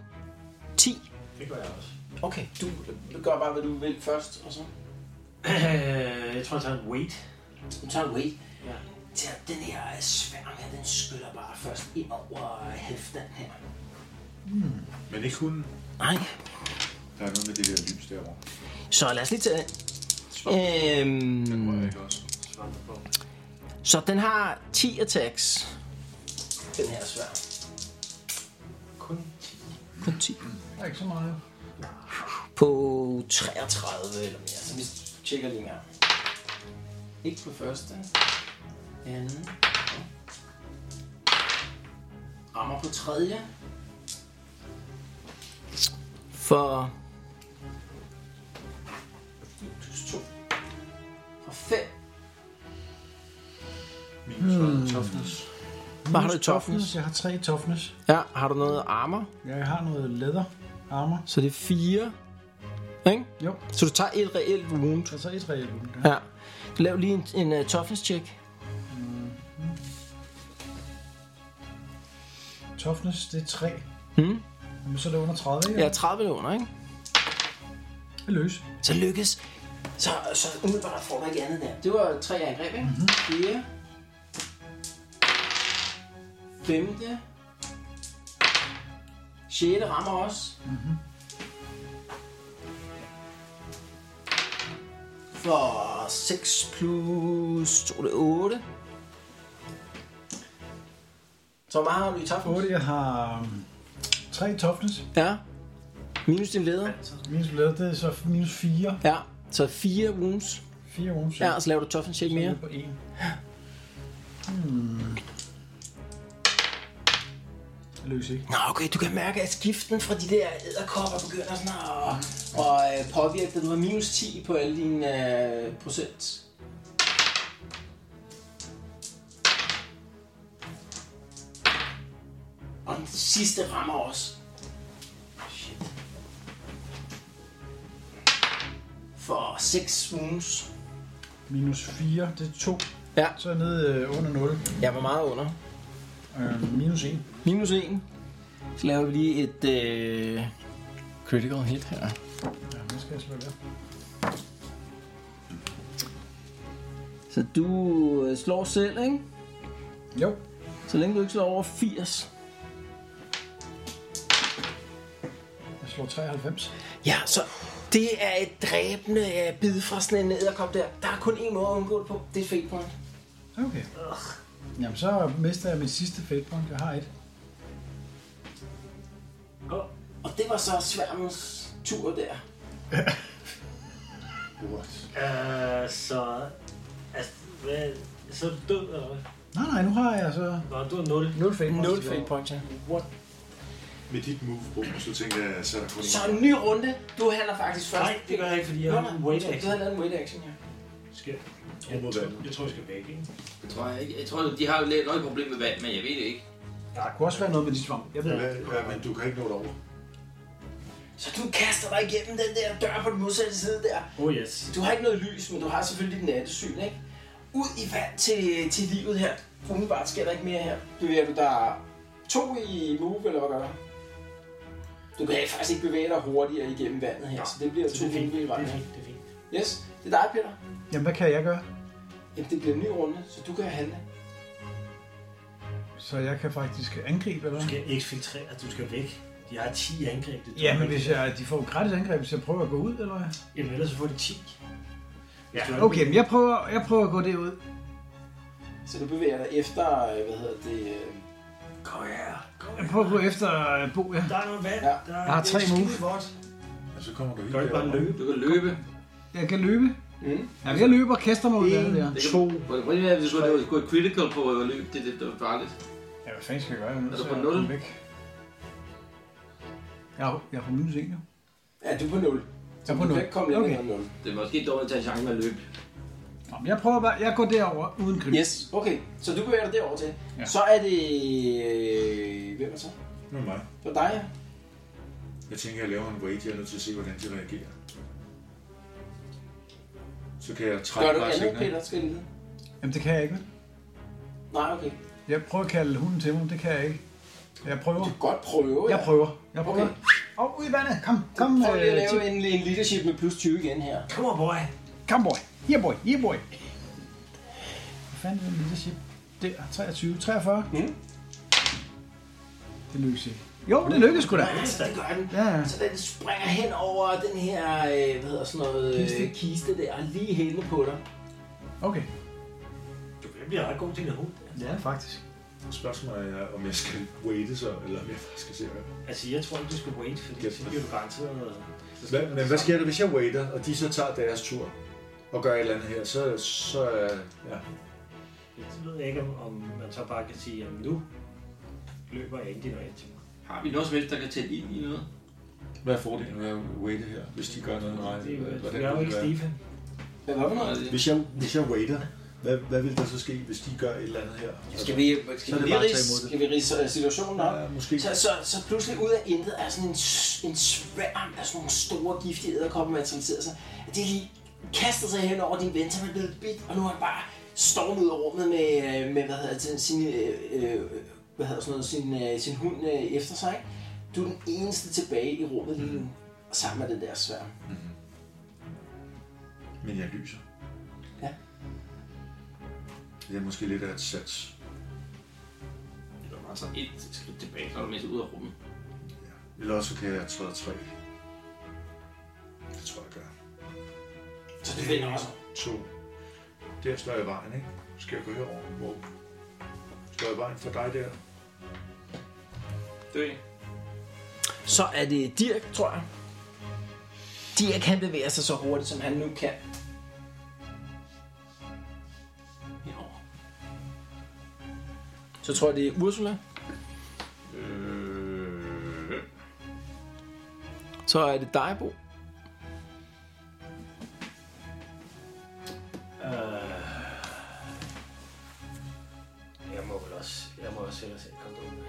B: 10.
D: Det gør jeg også.
B: Okay, du, du gør bare, hvad du vil først, og så...
D: Øh, jeg tror, jeg tager en weight.
B: Du tager weight.
D: Ja.
B: Så den her sværm her, den skyller bare først ind over hæften her.
F: Men ikke hunden.
B: Nej,
F: Der er noget med det der lys derovre.
B: så lad os lige tage... Øhm,
F: også.
B: så den har 10 attacks. Den her sværm. Kun 10. Kun 10.
C: Der er ikke så meget.
B: På 33 eller mere. Så vi tjekker lige mere. Ikke på første. Anden. Rammer på tredje. For... Plus 2. For 5.
F: Minus mm. toughness.
B: Hvad har du i
C: Minus
B: toughness?
C: Jeg har tre i toughness.
B: Ja, har du noget armor?
C: Jeg har noget leather armor.
B: Så det er 4. Ikke?
C: Jo,
B: Så du tager et reelt wound.
C: jeg tager et reelt wound.
B: Ja. Lav lige en, en uh, toughness check.
C: Toughness, det er 3.
B: Mm.
C: Jamen, så er det under 30, ikke?
B: Ja, 30 millioner, ikke?
C: Det løs.
B: Så lykkes. Så, så umiddelbart får du ikke andet der. Det var tre angreb, ikke? Mm-hmm. Fire. Femte. Sjette rammer også. Mm-hmm. For 6 plus 2, det er 8. Så hvor meget har du i toughness?
C: 8, jeg har 3 i toughness.
B: Ja. Minus din leder.
C: Minus leather, det er så minus 4.
B: Ja. Så 4 wounds.
C: 4 wounds.
B: Ja, og så laver du toughness check mere.
C: på 1. Hmm. Det lykkes ikke.
B: Nå, okay, du kan mærke, at skiften fra de der æderkopper begynder sådan at, at, øh, påvirke dig. Du har minus 10 på alle dine øh, procent. Og den sidste rammer også. Shit. For 6 wounds.
C: Minus 4, det er 2.
B: Ja.
C: Så er jeg nede øh, under 0.
B: Jeg var meget under.
C: Øh, minus 1.
B: Minus 1. Så laver vi lige et øh, critical hit her.
C: Ja, nu skal jeg slå der.
B: Så du øh, slår selv, ikke?
C: Jo.
B: Så længe du ikke slår over 80.
C: Jeg slår 93.
B: Ja, så det er et dræbende øh, bid fra sådan en æderkop der. Der er kun én måde at undgå det på. Det er et fake point.
C: Okay. Jamen, så mister jeg mit sidste fate point. Jeg har et.
B: Og det var så sværmens tur der.
D: Øh, så... Altså, hvad, så er du død, eller hvad?
C: Nej, nej, nu har jeg så
D: Nå, du er 0.
C: 0 fate points.
B: Nul
C: tilbage.
B: fake point, ja.
D: What?
F: Med dit move, Bo, så tænker jeg, så er der kun
B: Så en ny runde. Du handler faktisk først.
D: Nej, det gør jeg ikke, fordi jeg
B: Nå,
D: har en
B: nej,
D: weight
B: undskyld, Du
D: action.
B: har lavet en wait action, ja.
D: Skal jeg, jeg, tror- jeg tror, jeg skal væk, ikke?
E: Jeg tror, jeg, ikke. jeg tror, de har lidt noget problem med vand, men jeg ved det ikke.
C: Der kunne også være noget med de svamp. Jeg ved det.
F: Hvad, ja, men du kan ikke nå det over.
B: Så du kaster dig igennem den der dør på den modsatte side der.
D: Oh yes.
B: Du har ikke noget lys, men du har selvfølgelig dit nattesyn, ikke? Ud i vand til, til livet her. Umiddelbart sker der ikke mere her. Bevæger du dig to i move, eller hvad gør du? Du kan faktisk ikke bevæge dig hurtigere igennem vandet her, så det bliver
D: Så
B: to
D: det er fint,
B: henvige
D: det
B: vej.
D: er fint, det er fint.
B: Yes, det er dig, Peter.
C: Jamen, hvad kan jeg gøre?
B: Jamen, det bliver en ny runde, så du kan handle.
C: Så jeg kan faktisk angribe, eller
D: Du
C: hvad?
D: skal eksfiltrere, du skal væk. Jeg har 10 angreb. Det er
C: Ja, men
D: dumt.
C: hvis jeg, de får gratis angreb, hvis jeg prøver at gå ud, eller hvad?
D: Jamen, ellers så får de 10. Ja,
C: Okay, men jeg prøver, jeg prøver at gå derud.
B: Så du bevæger dig efter, øh, hvad hedder det... øh,
D: Kom her. Kom
C: Jeg
D: her.
C: prøver at gå efter øh, Bo, ja.
D: Der er noget vand.
B: Ja.
D: Der er,
C: Jeg har tre move.
D: Godt.
F: Og så Altså, kommer du helt
D: Gør ikke bare
F: derover.
D: løbe.
E: Du kan løbe.
C: Jeg kan løbe.
B: Mm.
C: Ja, jeg løber og kaster mig ud af det der.
E: Det kan, to. Prøv lige at hvis du har gået critical på at løbe, det, det, det er farligt.
C: Ja, hvad fanden skal jeg gøre? Jeg er nødt
E: Er du
C: til
E: på
C: at
E: nul?
C: komme væk. Jeg er, jeg er på minus 1, jo.
G: Ja, du er på 0. Så
H: Jeg er på
G: du
H: nul.
G: kan ikke komme længere
H: Okay.
G: okay. end 0.
E: Det er måske dårligt at tage chancen med at løbe.
H: Nå, men jeg prøver bare, jeg går derover uden grim.
G: Yes, okay. Så du bevæger dig derover til.
H: Ja.
G: Ja. Så er det... øh, Hvem er så?
F: Nu er mig.
G: Det var dig, ja.
F: Jeg tænker, jeg laver en wage, jeg er nødt til at se, hvordan de reagerer. Så kan jeg trække
G: Gør du
F: bare
G: andet,
F: senere.
G: Peter? Skal jeg lige?
H: Jamen det kan jeg ikke. vel?
G: Nej, okay.
H: Jeg prøver at kalde hunden til mig, men det kan jeg ikke. Jeg prøver.
G: Du kan godt prøve,
H: Jeg
G: ja.
H: prøver. Jeg prøver.
G: Okay.
H: Åh, ud i vandet. Kom, kom.
G: Prøv lige at
H: øh,
G: lave en, en leadership med plus 20 igen her.
D: Kom on, boy.
H: Come boy. Here boy. Here boy. Hvad fanden er det leadership? Der. 23. 43.
G: Mm.
H: Det lykkes ikke. Jo, det lykkes sgu da.
G: Altså, det gør den.
H: Ja, ja.
G: Så den springer hen over den her, øh, hvad hedder sådan noget, kiste,
H: Kiste.
G: kiste der, og lige hælde på dig.
H: Okay.
D: Du kan blive ret god til din hund.
H: Ja, faktisk.
F: Spørgsmålet er, om jeg skal waite så, eller om jeg skal se, hvad.
D: Altså, jeg tror ikke, du skal wait, fordi
F: Ja.
D: så bliver du garanteret...
F: Hvad, men hvad sker der, hvis jeg waiter, og de så tager deres tur og gør et eller andet her, så, så øh, ja.
D: Så ved jeg ikke, om, om man så bare kan sige, at nu løber jeg ikke din vej til mig.
E: Har vi noget som helst, der kan tælle ind i noget?
F: Hvad er fordelen ved at waite her, hvis de gør noget? Nej,
D: Det er
F: hvordan
D: jo-
F: vil
D: Jeg er jo
F: det
D: ikke
F: være?
D: Stefan.
G: Hvad var det for noget?
F: Hvis jeg, hvis jeg waiter, hvad, hvad vil der så ske, hvis de gør et eller andet her?
G: Skal vi,
F: Så er
G: skal
F: det
G: vi, lige
F: bare at tage
G: ris,
F: imod det.
G: skal vi rise øh, situationen op?
F: Ja, måske.
G: Så, så, så pludselig ud af intet er sådan en, s- en sværm af sådan nogle store giftige æderkopper, man sig. At de lige kastet sig hen over din ven, som er blevet bidt, og nu har han bare stormet ud af rummet med, øh, med hvad hedder det, sin, øh, øh, hvad hedder sådan noget, sin, øh, sin hund øh, efter sig. ikke? Du er den eneste tilbage i rummet lige nu, og sammen med den der sværm.
F: Men jeg lyser.
G: Ja.
F: Det er måske lidt af et sats.
E: Det var altså et skridt tilbage, så er du mest ud af rummet.
F: Eller også kan jeg træde tre. Det tror jeg, jeg gør.
G: Så du vender også.
F: To. Der står jeg i vejen, ikke? Skal jeg gå herover? Hvor? Står jeg i vejen for dig der?
E: Det er
G: Så er det Dirk, tror jeg. Dirk han bevæger sig så hurtigt, som han nu kan. Jo. Så tror jeg, det er Ursula.
E: øh,
B: Så er det dig, Bo.
D: Øh. Jeg må vel også, jeg må også hellere selv komme derud.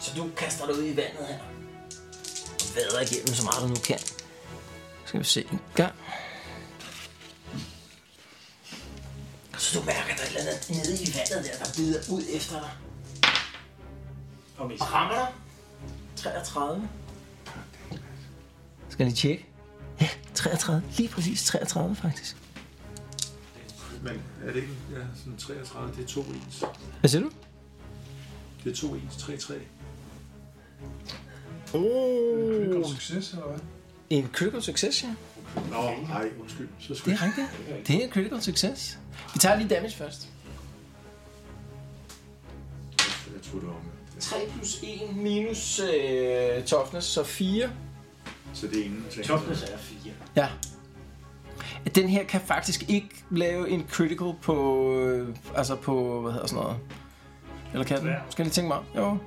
G: Så du kaster dig ud i vandet her. Og vader igennem så meget, du nu kan.
B: Skal vi se en gang.
G: Så du mærker, at der er et eller andet nede i vandet der, der bider ud efter dig.
D: Og mest.
G: Og rammer dig. 33.
B: Skal jeg lige tjekke? Ja, 33. Lige præcis 33, faktisk.
F: Men er det ikke ja, sådan 33? Det er to ens.
B: Hvad siger du?
F: Det er to ens. 3-3.
H: Lykkelig succes, eller hvad?
B: En critical success, ja.
F: Nå, nej, undskyld. Så
B: Det
F: skulle
B: er rigtigt. Det er en critical success. Vi tager lige damage først.
F: jeg... Jeg troede, det var omvendt.
G: 3 plus 1
B: Minus øh, toughness, så 4.
F: Så det er ingenting.
D: Toughness er 4.
B: Ja. Den her kan faktisk ikke lave en critical på, øh, altså på, hvad hedder sådan noget. Eller kan den? Skal jeg lige tænke mig om? Jo.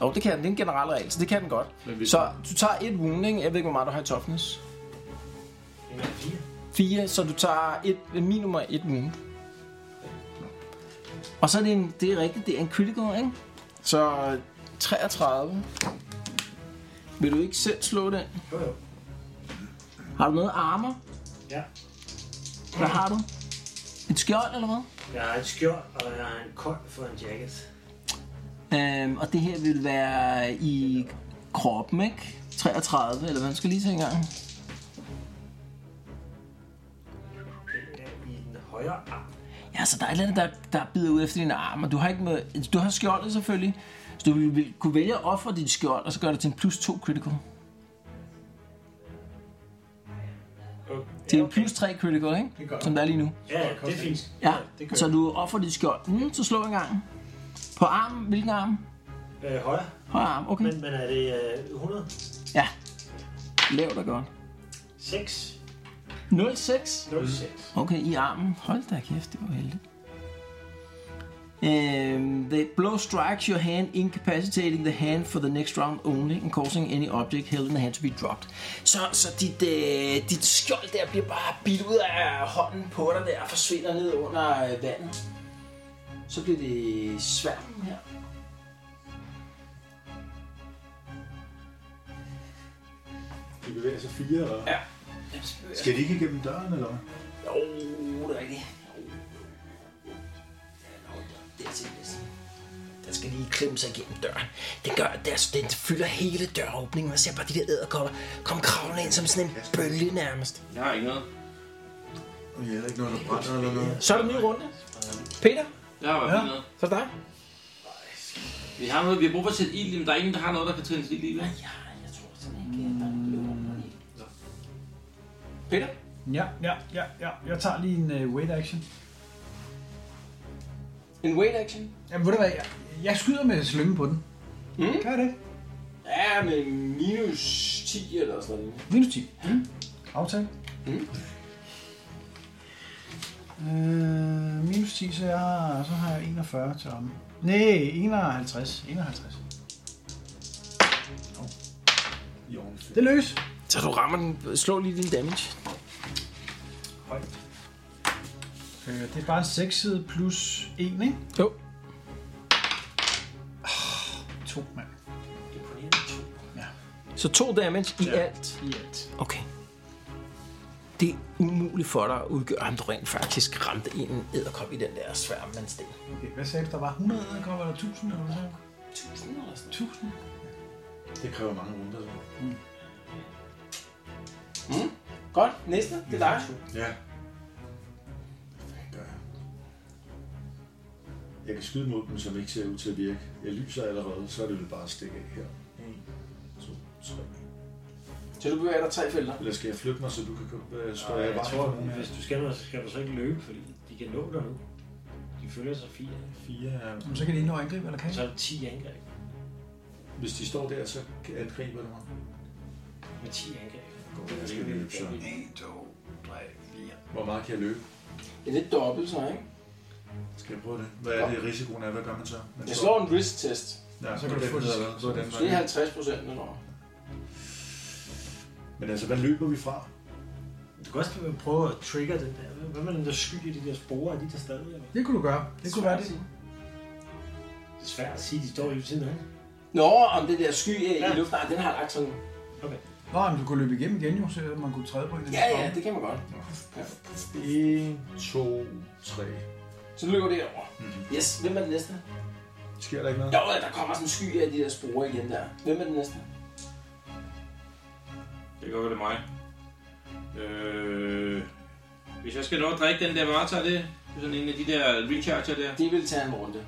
B: Jo, det kan den. Det er en generel regel, så det kan den godt. Så du tager et wounding. Jeg ved ikke, hvor meget du har i toughness.
D: En er 4.
B: 4, så du tager et, øh, minimum af et wound. Og så er det en, det er rigtigt, det er en critical, ikke? Så 33. Vil du ikke selv slå den?
D: Jo, jo.
B: Har du noget armor?
D: Ja.
B: Hvad har du? Et skjold eller hvad?
D: Jeg har et skjold, og jeg har en kold for en jacket.
B: Øhm, og det her vil være i kroppen, ikke? 33, eller hvad? Jeg skal lige se en gang.
D: Den er i den højre arm.
B: Ja, så der er et eller andet, der, der bider ud efter dine arme, og du har, ikke med, du har skjoldet selvfølgelig. Så du vil, vil kunne vælge at ofre dit skjold, og så gør det til en plus 2 critical. Det er en plus 3 critical, ikke?
H: Det gør
B: Som
H: det.
B: der er lige nu.
D: Ja, det er fint.
B: Ja,
D: det gør
B: så du offer dit skjold. Mm, så slå en gang. På armen, hvilken arm?
D: Øh, højre.
B: Højre arm, okay.
D: Men, men er det øh, 100?
B: Ja. Lav dig godt.
D: 6?
B: 06.
D: 06.
B: Okay, i armen. Hold da kæft, det var heldigt. Um, the blow strikes your hand, incapacitating the hand for the next round only, and causing any object held in the hand to be dropped. Så, så dit, øh, dit skjold der bliver bare bidt ud af hånden på dig der, og forsvinder ned under øh, vandet. Så bliver det sværmen her.
F: De bevæger sig fire, eller?
B: Ja.
F: Skal de ikke igennem døren, eller hvad?
B: Jo, det er rigtigt. Jo, jo, jo. Ja, nå, Det er til næsten. Der skal lige klemme sig igennem døren. Det gør, der, den fylder hele døråbningen. Man ser bare de der æderkopper kom kravlende ind som sådan en bølge nærmest.
E: Jeg har ikke noget.
M: Jeg har ikke noget, der brænder eller noget.
B: Så er der en ny runde. Peter,
E: Jeg har i hvert fald noget.
B: så er det dig.
E: Vi har noget, vi har brug for at sætte ild i, men der er ingen, der har noget, der kan tændes ild i. vel?
B: Peter?
C: Ja, ja, ja, ja. Jeg tager lige en uh, wait action.
B: En wait action?
C: Jamen, ved du hvad? Jeg, jeg skyder med slynge på den. Mm. Gør jeg det?
B: Ja, med minus 10 eller sådan noget.
C: Minus 10. Mm. Aftale. Mm. Øh, minus 10, så, jeg har, så har jeg 41 til om. Nej, 51. 51. Hov. Det lykkes.
B: Så du rammer den. Slå lige din damage.
C: Øh, det er bare 6 plus 1, ikke?
B: Jo.
C: 2, mand.
B: Så to damage i alt.
C: I alt.
B: Okay. Det er umuligt for dig at udgøre, om du rent faktisk ramte en æderkop i den der sværm, man steg.
C: Okay, hvad sagde du? Der var 100 æderkopper eller 1000 eller hvad?
B: 1000 eller sådan
C: 1000?
F: Det kræver mange runder, så.
B: Godt, næste. Det er dig.
F: Ja. Hvad fanden gør jeg? Jeg kan skyde mod dem, som ikke ser ud til at virke. Jeg lyser allerede, så er det vel bare at stikke af her. 1, 2, 3.
B: Så du bevæger dig tre felter.
F: Eller skal jeg flytte mig, så du kan komme- øh, stå
D: Nej,
F: af
D: jeg
F: vejen?
D: tror, at hvis du skal, der, så skal du så ikke løbe, fordi de kan nå dig nu. De følger sig fire.
F: Fire er...
C: Jamen, så kan de ikke nå at angribe, eller kan
D: Så
C: de?
D: er der 10 angreb.
F: Hvis de står der, så angriber de mig.
D: Med 10 angreb.
F: Godt, jeg skal løbe, så.
C: 1, 2, 3, 4.
F: Hvor meget kan jeg løbe?
B: Det er lidt dobbelt så, ikke?
F: Skal jeg prøve det? Hvad er det risikoen er? Hvad gør man så? Man
B: Jeg slår en risk test.
F: Ja,
C: Så kan du få det.
F: det. Så er den
B: Det er
F: vej.
B: 50 procent nu.
F: Men altså, hvad løber vi fra?
D: Du kan også prøve at trigger den der. Hvad med den der sky i de der sporer? Er de der stadig? Eller?
C: Det kunne du gøre. Det kunne være det.
D: Det er svært at sige, de står jo ved siden af.
B: Nå, om det der sky øh, i luften, nej, den har lagt sådan.
C: Nå, men du kunne løbe igennem igen jo, så man kunne træde på en af de
B: Ja, ja,
C: skovle.
B: det kan man godt.
F: 1, 2, 3.
B: Så løber det over. Yes, hvem er den næste?
F: Sker der ikke noget?
B: Jo, ja, der kommer sådan en sky af de der sporer igen der. Hvem er den næste?
E: Det går det er mig. Øh, hvis jeg skal nå at drikke den der Marta, det er sådan en af de der recharger der.
B: De vil tage en runde.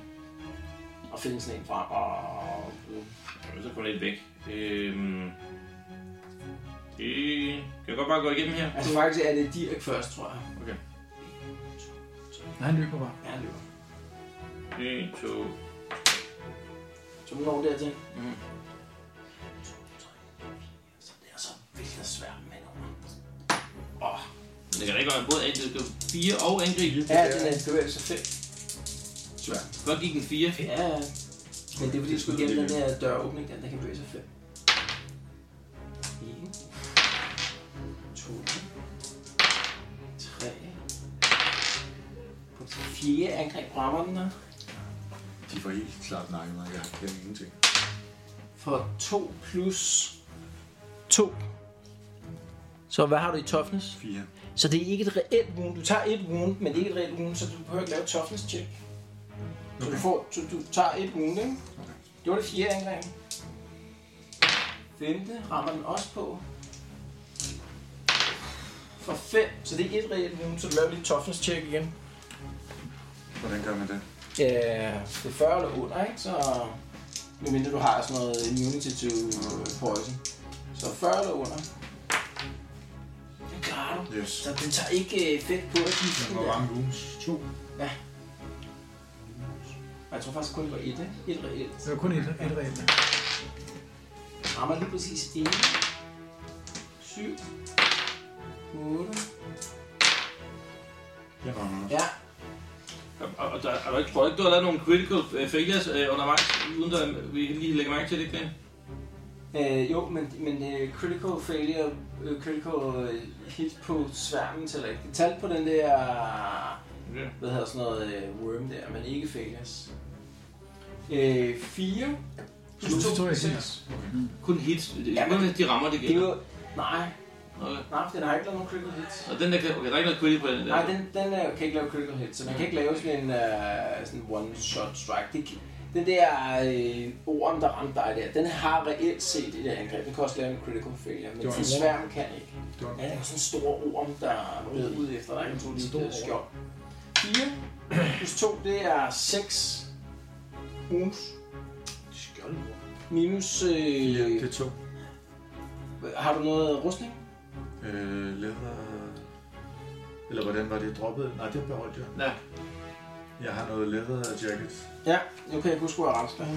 B: Og finde sådan en frem og...
E: Jamen, så går det lidt væk. Øhm, det kan jeg godt bare gå igennem her.
B: Altså faktisk er det Dirk først, tror jeg.
C: Nej, han løber bare.
B: Ja, han løber.
E: 1, 2,
B: Så du når dertil.
E: Mhm.
B: Så der, så vælger sværmen med
E: Men det kan da ikke være både at det skal 4 og angribe.
B: Ja, den er bevægelse 5.
E: Godt gik en 4.
B: Ja, ja. men det er fordi, du skulle igennem den der døråbning, den der kan bevæge sig 5. 1. 2. 3. På det fjerde angreb rammer den der.
M: De får helt klart nakket mig. Jeg kan ingenting.
B: For 2 plus 2. Så hvad har du i toughness?
M: 4.
B: Så det er ikke et reelt wound. Du tager et wound, men det er ikke et reelt wound, så du behøver ikke lave et toughness check. Så du, får, så du tager et wound, ikke? Det var det fjerde angreb. Femte rammer den også på. For fem, så det er et reelt wound, så du laver lige et toughness check igen.
M: Hvordan gør man det?
B: Ja, det er 40 eller under, ikke? Så medmindre du har sådan noget immunity to øh, poison. Så 40 eller under. Det klarer du.
M: Yes.
B: Så den tager ikke øh, effekt på at giften
M: Hvor
B: der.
M: mange wounds? To.
B: Og Jeg tror faktisk kun det var et, ikke? Et reelt.
C: Det var kun et, et reelt.
B: Rammer lige præcis inden. 7. 8.
M: Jeg rammer.
B: Ja,
E: Og, og, og og der, er du ikke, tror du ikke, du har lavet nogle critical øh, failures øh, undervejs, uden at vi lige lægger mærke til det, ikke det?
B: Øh, jo, men, men øh, critical failure, øh, critical øh, hit på sværmen tæller ikke. Det talte på den der,
E: Okay.
B: hvad hedder sådan noget, øh, worm der, men ikke failures. Øh, 4 plus 2, 6.
E: Kun hits. Det,
B: Ja,
E: ja,
B: men-
E: men... De rammer det
B: Det er
E: gælder.
B: jo, nej,
E: Okay.
B: nej, for den har ikke lavet nogen critical hits.
E: Og den der, kan- okay, der er ikke noget critic på den der.
B: Nej, den, den er, kan ikke lave critical hit, så man kan ikke lave sådan en uh, sådan one-shot strike. Det, kan- den der øh, orm, der ramte dig der, den har reelt set et angreb. Den kan også lave en critical failure, men
C: var en
B: den
C: orm.
B: sværm kan ikke.
C: Det var en
B: Ja, det er sådan en stor orm, der er ud efter dig. Jeg tog lige et øh, skjold. 4 plus 2, det er 6 wounds. Minus...
F: Ja,
B: Øh,
F: det er to.
B: har du noget rustning?
F: Øh, lever... Eller hvordan var det droppet? Nej, det beholdt jeg.
E: Ja.
F: Jeg har noget leather jacket.
B: Ja, nu kan jeg huske, hvor jeg ramte dig.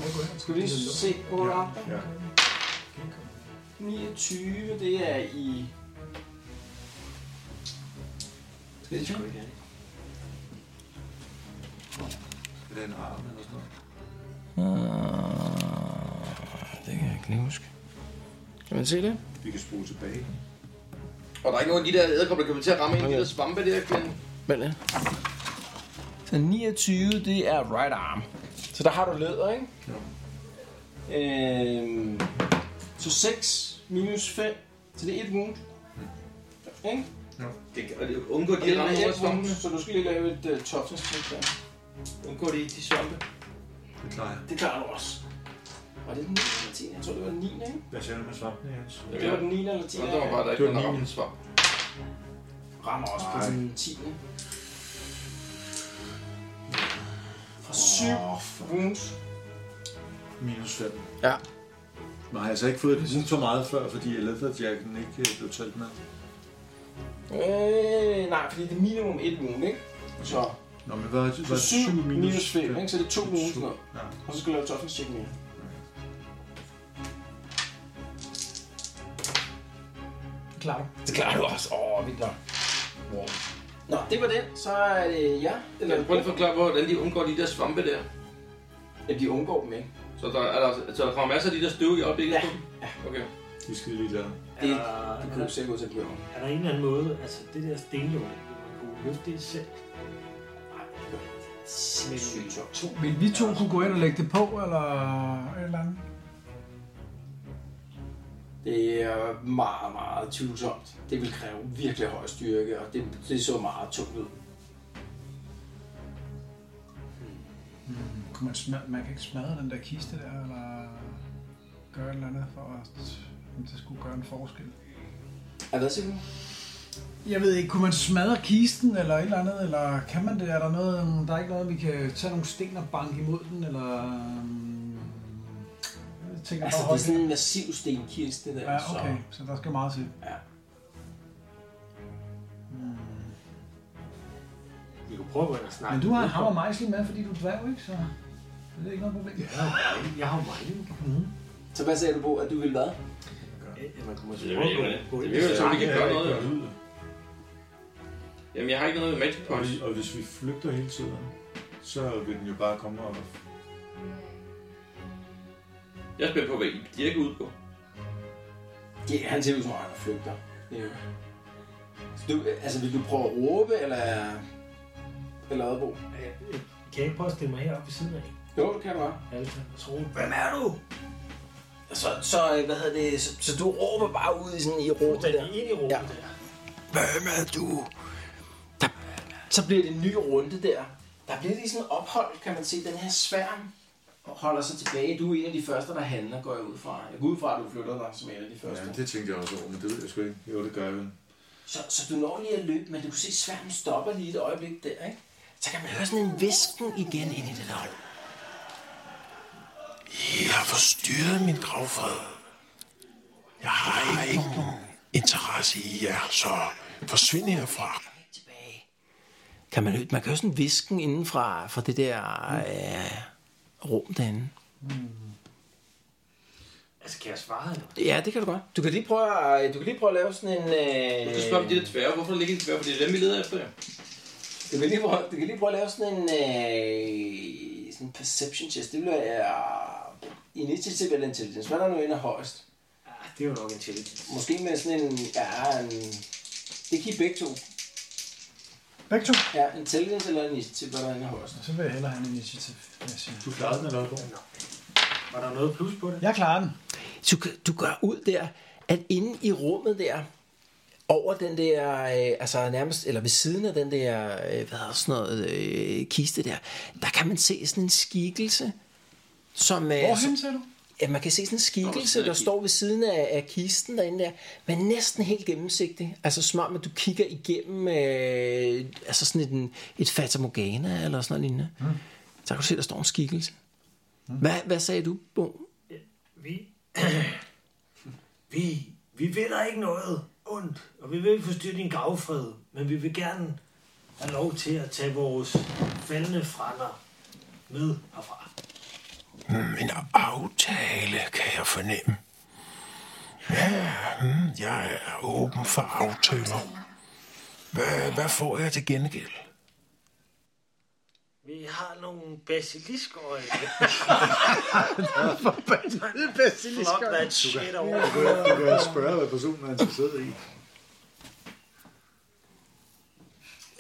B: Skal vi lige se, hvor du ramte dig?
F: Ja.
B: 29, det er i... Skal det sgu ikke
F: Er det en arm eller sådan noget?
N: Det kan jeg ikke lige huske. Kan man se det?
F: Vi kan spole tilbage.
E: Og der er ikke nogen af de der æderkopper, der kommer til at ramme en af de der svampe der, Glenn.
N: Vent lidt.
B: Så 29, det er right arm. Så der har du læder, ikke? Ja. Øhm, så 6 minus 5, så det er 1 wound. Ikke?
E: Det, og det undgår de
B: Det
E: at
B: er
E: ramme
B: et
E: over
B: wound,
E: svampene.
B: så du skal lige lave et uh, toughness check der.
E: Undgår de de svampe.
F: Det klarer jeg.
B: Det klarer du også. Var det den 9 eller 10? Jeg tror, det var den 9, ikke?
O: Hvad siger du med svampen, Jens?
E: Ja,
B: Det var den 9 eller 10.
E: det var bare, der ikke
F: Det
E: var
F: var
E: nogen der ramte
F: min.
E: en svamp.
B: rammer også på den 10. For 7 wounds.
F: Minus 5.
N: Ja.
F: Men har jeg altså ikke fået det lige så meget før, fordi leatherjacken ikke øh, blev talt med?
B: Øh, nej, fordi det er minimum 1 wound, ikke? Så,
F: Nå, men hvad var det?
B: så 7 minus 5, ikke? Så det er 2
F: Syv.
B: wounds nu.
F: Ja.
B: Og så skal du lave toughness check mere.
C: Klar.
B: Det klarer du også. Åh, oh, vildt nok. Wow. Nå, det var det. Så er det ja.
E: Kan du
B: Eller,
E: prøve lige at forklare, hvordan de undgår de der svampe der?
B: ja, de undgår dem, ikke?
E: Så der, er der, så der kommer masser af de der støv i øjeblikket?
B: Ja.
E: på dem? Okay.
F: Vi skal lige lade.
B: Det,
D: Er-
B: det kunne du sikkert gå til at blive
D: Er der en eller anden måde, altså det der stenlån, man kunne løfte det selv?
B: sindssygt tungt.
D: To
C: Vil vi to kunne gå ind og lægge det på, eller et eller andet?
B: Det er meget, meget tvivlsomt. Det vil kræve virkelig høj styrke, og det, det så meget tungt ud.
C: Kunne man, smadre, man kan ikke smadre den der kiste der, eller gøre et eller andet for at om det skulle gøre en forskel.
B: Er hvad siger du?
C: Jeg ved ikke, kunne man smadre kisten eller et eller andet, eller kan man det? Er der noget, um, der er ikke noget, vi kan tage nogle sten og banke imod den, eller... øhm, Jeg tænker
B: Altså,
C: bare
B: det er
C: højt.
B: sådan en massiv stenkiste der,
C: Ja, okay, så der skal meget til.
B: Ja.
D: Hmm. Vi kunne prøve at gå ind og snakke.
C: Men du har en hammer og mejsel med, fordi du er dværg, ikke? Så det er ikke noget problem.
D: Jeg har mange. Jeg har mange.
B: så... Så hvad sagde du på, at du ville hvad?
D: Ja, man kunne måske
E: Det ved
D: prøve
E: jeg
D: at gå gå
E: ikke, Det
D: ind.
E: virker jo som,
D: og
E: de kan gøre noget.
F: Ja,
E: jo. Jamen, jeg har ikke noget med magic
F: Og,
E: points.
F: vi- og hvis vi flygter hele tiden, så vil den jo bare komme og...
E: Jeg spiller på, hvad I de er ikke ude på.
B: Det, han ser ud som om, han flygter. Ja. Så du, altså, vil du prøve at råbe, eller... Eller hvad, Bo?
D: snakke. Ja, ja. Kan jeg ikke prøve at stille mig heroppe ved siden af?
B: Jo, det kan du godt.
D: Altså, og så råbe,
B: Hvem er du? Så, så, øh, hvad hedder det, så, så du råber bare ud i sådan i råb
D: "Hvad er
B: der.
D: det ind i rummet
B: Ja.
D: der.
B: Hvem er du? Der, så bliver det en ny runde der. Der bliver lige sådan et ophold, kan man se. Den her sværm holder sig tilbage. Du er en af de første, der handler, går jeg ud fra. Jeg går ud fra, at du flytter dig som en af de første.
F: Ja, det tænkte jeg også over, men det ved jeg sgu ikke. Jo, det gør jeg vel.
B: Så, så du når lige at løbe, men du kan se, at sværmen stopper lige et øjeblik der, ikke? Så kan man høre sådan en visken igen ind i det der hold.
N: I har forstyrret min gravfred. Jeg har ikke interesse i jer, så forsvind herfra.
B: Tilbage.
N: Kan man, høre- man kan høre sådan visken inden fra, fra det der øh, rum derinde.
D: Altså, kan jeg svare eller?
N: Ja, det kan du godt.
B: Du kan lige prøve at, du kan lige prøve at lave sådan en...
E: Du
B: Øh...
E: spørger om de der tværre. Hvorfor ligger de tværre? For det er dem, vi leder efter.
P: Du kan lige prøve, du kan lige prøve at lave sådan en øh, sådan en perception test. Det bliver øh, initiativ eller intelligence. Hvad er der nu ender højst?
D: Ah, det er jo nok en challenge.
P: Måske med sådan en... Ja, en det kan I begge to.
C: Begge to.
P: Ja, intelligence eller initiativ, hvad der ender højst.
C: Så vil jeg hellere have en initiativ. vil jeg sige.
F: Du klarede den eller hvad?
D: Var der noget plus på det?
C: Jeg klarer den.
Q: du, du gør ud der, at inde i rummet der, over den der, øh, altså nærmest, eller ved siden af den der, øh, hvad hedder sådan noget, øh, kiste der, der kan man se sådan en skikkelse, som... Øh,
C: Hvorhen ser du?
Q: Ja, man kan se sådan en
E: Nå, ved
Q: skikkelse,
E: siden af
Q: der
E: kisten.
Q: står ved siden af, af kisten derinde der, men næsten helt gennemsigtig. Altså som om, at du kigger igennem øh, altså sådan et, en- et fatamorgana eller sådan noget lignende. Mm. Så kan du se, der står en skikkelse. Mm. Hvad, hvad sagde du, Bo?
D: Vi... vi... Vi vil dig ikke noget ondt, og vi vil ikke forstyrre din gravfred, men vi vil gerne have lov til at tage vores faldende frænder med herfra.
B: En aftale, kan jeg fornemme. Ja, mm, jeg er åben for aftaler. Hvad, hvad får jeg til gengæld?
D: Vi har nogle basiliskøje. Fuck
C: Basilisker.
D: that shit over.
F: Du kan spørge, hvad personen er interesseret i.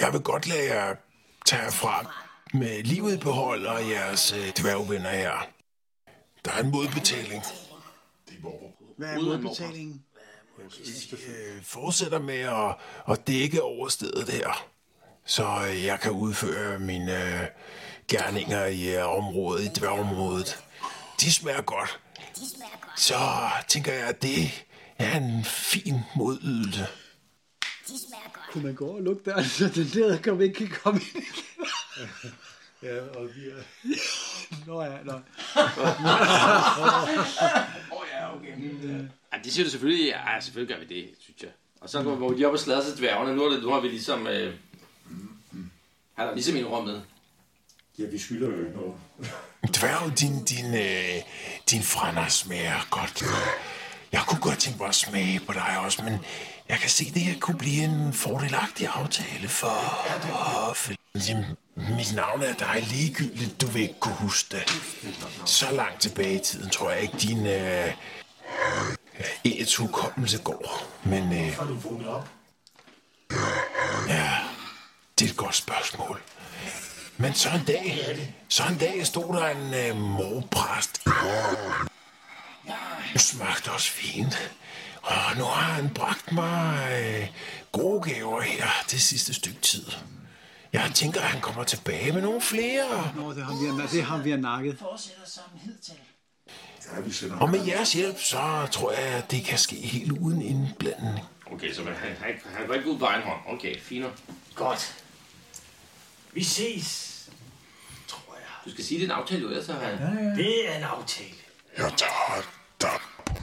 B: Jeg vil godt lade jer tage herfra med livet i behold og jeres øh, dværgvenner her. Der er en modbetaling.
C: Hvad er modbetalingen?
B: øh, fortsætter med at, at dække over stedet her, så øh, jeg kan udføre mine øh, gerninger i øh, området, i dværgområdet. De smager godt. Så tænker jeg, at det er en fin modydelse.
C: Kunne man gå og lukke døren, så den der kom ikke kan komme ind?
F: Ja, og vi er...
C: Nå ja, nå.
E: Ja, det siger du selvfølgelig. Ja, selvfølgelig gør vi det, synes jeg. Og så går hvor de op og slader sig dværgene. Nu, er det, nu har vi ligesom... Øh, han er ligesom i rummet.
F: Ja, vi skylder jo ikke noget.
B: Dværg, din, din, øh, din frænder smager godt. Jeg kunne godt tænke mig at smage på dig også, men jeg kan se, det her kunne blive en fordelagtig aftale for... for Jamen, mit navn er dig ligegyldigt, du vil ikke kunne huske det. Så langt tilbage i tiden tror jeg ikke, din øh, et hukommelse går. Men øh,
F: Har du vågnet op?
B: ja, det er et godt spørgsmål. Men så en dag, så en dag stod der en øh, morpræst. Det smagte også fint. Og nu har han bragt mig øh, gode gaver her det sidste stykke tid. Jeg tænker, at han kommer tilbage med nogle flere.
C: Nå, det har vi, har- det har vi har nakket.
F: Ja, vi sender
B: Og med jeres hjælp, så tror jeg, at det kan ske helt uden indblanding.
E: Okay, så han, han, han går ikke ud på egen hånd. Okay, finere.
D: Godt. Vi ses, tror jeg.
E: Du skal sige, det er en aftale, jo, ellers har han... Ja.
D: Det er en aftale.
B: Jeg tager dig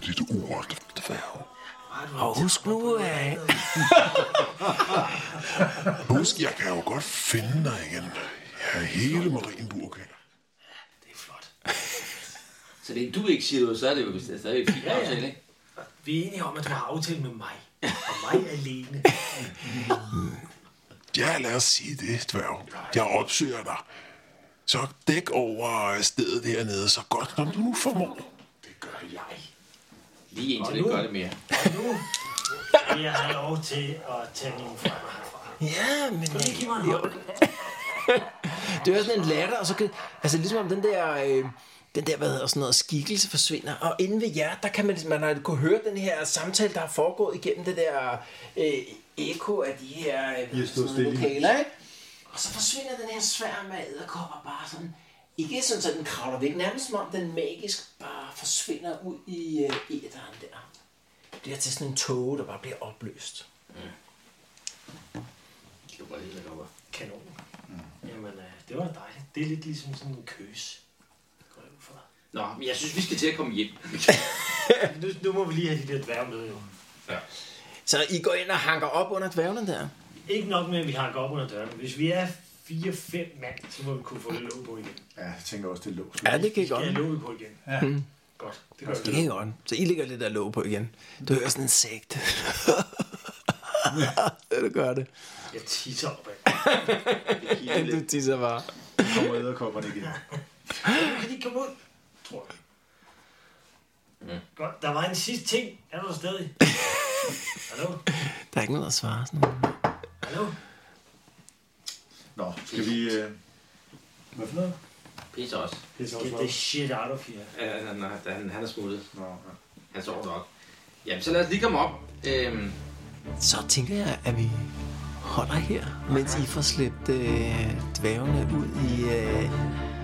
B: dit ord, dværg.
D: Bare du
B: Og husk nu, øh, at... Husk, jeg kan jo godt finde dig igen. Jeg er hele Marienburg.
D: Det er flot.
E: Så det du ikke siger noget, så er det jo stadig en fin aftale, ikke?
D: Vi er enige om, at du har aftalt med mig. Og mig alene.
B: Ja, lad os sige det, dværg. Jeg opsøger dig. Så dæk over stedet hernede så godt, som du nu formår.
E: Lige indtil det ikke gør det mere.
D: vil jeg have lov til at tage mine frænder herfra.
Q: Ja, men...
D: Giv mig en hånd.
Q: Det er sådan en latter, og så kan, altså ligesom om den der, øh, den der, hvad hedder sådan noget, skikkelse forsvinder. Og inde ved jer, der kan man, man har kunne høre den her samtale, der har foregået igennem det der øh, eko af de her øh,
F: I
Q: sådan
F: har stået
Q: nogle
F: stille.
Q: lokaler, ikke? Og så forsvinder den her sværm af æderkopper bare sådan, ikke sådan, så den kravler væk, nærmest som om den magisk bare forsvinder ud i øh, æderen der. Det er til sådan en tåge, der bare bliver opløst.
E: Det var bare helt deroppe.
D: Kanon. Jamen, øh, det var da dejligt. Det er lidt ligesom sådan en køs. Går jeg ud fra.
E: Nå, men jeg synes, vi skal til at komme hjem.
D: Nu, nu må vi lige have de der dværge med, jo.
Q: Så I går ind og hanker op under dværgene der?
D: Ikke nok med, at vi har gået op under døren. Hvis vi er 4-5 mand, så må vi kunne få det låg på igen.
F: Ja, jeg tænker også, det er låst.
Q: Ja, det kan I godt. Mm.
D: Ja, låget på igen. Ja. Godt. Det gør vi.
Q: Det kan godt. Så I ligger lidt der låg på igen. Du hører sådan en sigt. det gør det.
D: Jeg tisser op af.
B: du tisser bare.
R: Så kommer æderkopperne igen.
D: Kan de ikke komme ud? Tror jeg. Godt, der var en sidste ting. Er du der stadig? Hallo?
B: Der er ikke noget at svare. Sådan noget.
D: Hallo?
R: Nå, skal vi... Øh... Hvad for noget?
E: Pisse også.
R: Pisse også
D: Get
R: op.
D: the shit out of here.
E: Ja, nej, han, han er smuttet.
R: Nå, ja.
E: Han sover nok. Jamen, så lad os lige komme op. Øhm,
B: Så tænker jeg, at vi holder her, mens I får slæbt øh, dværgene ud i øh,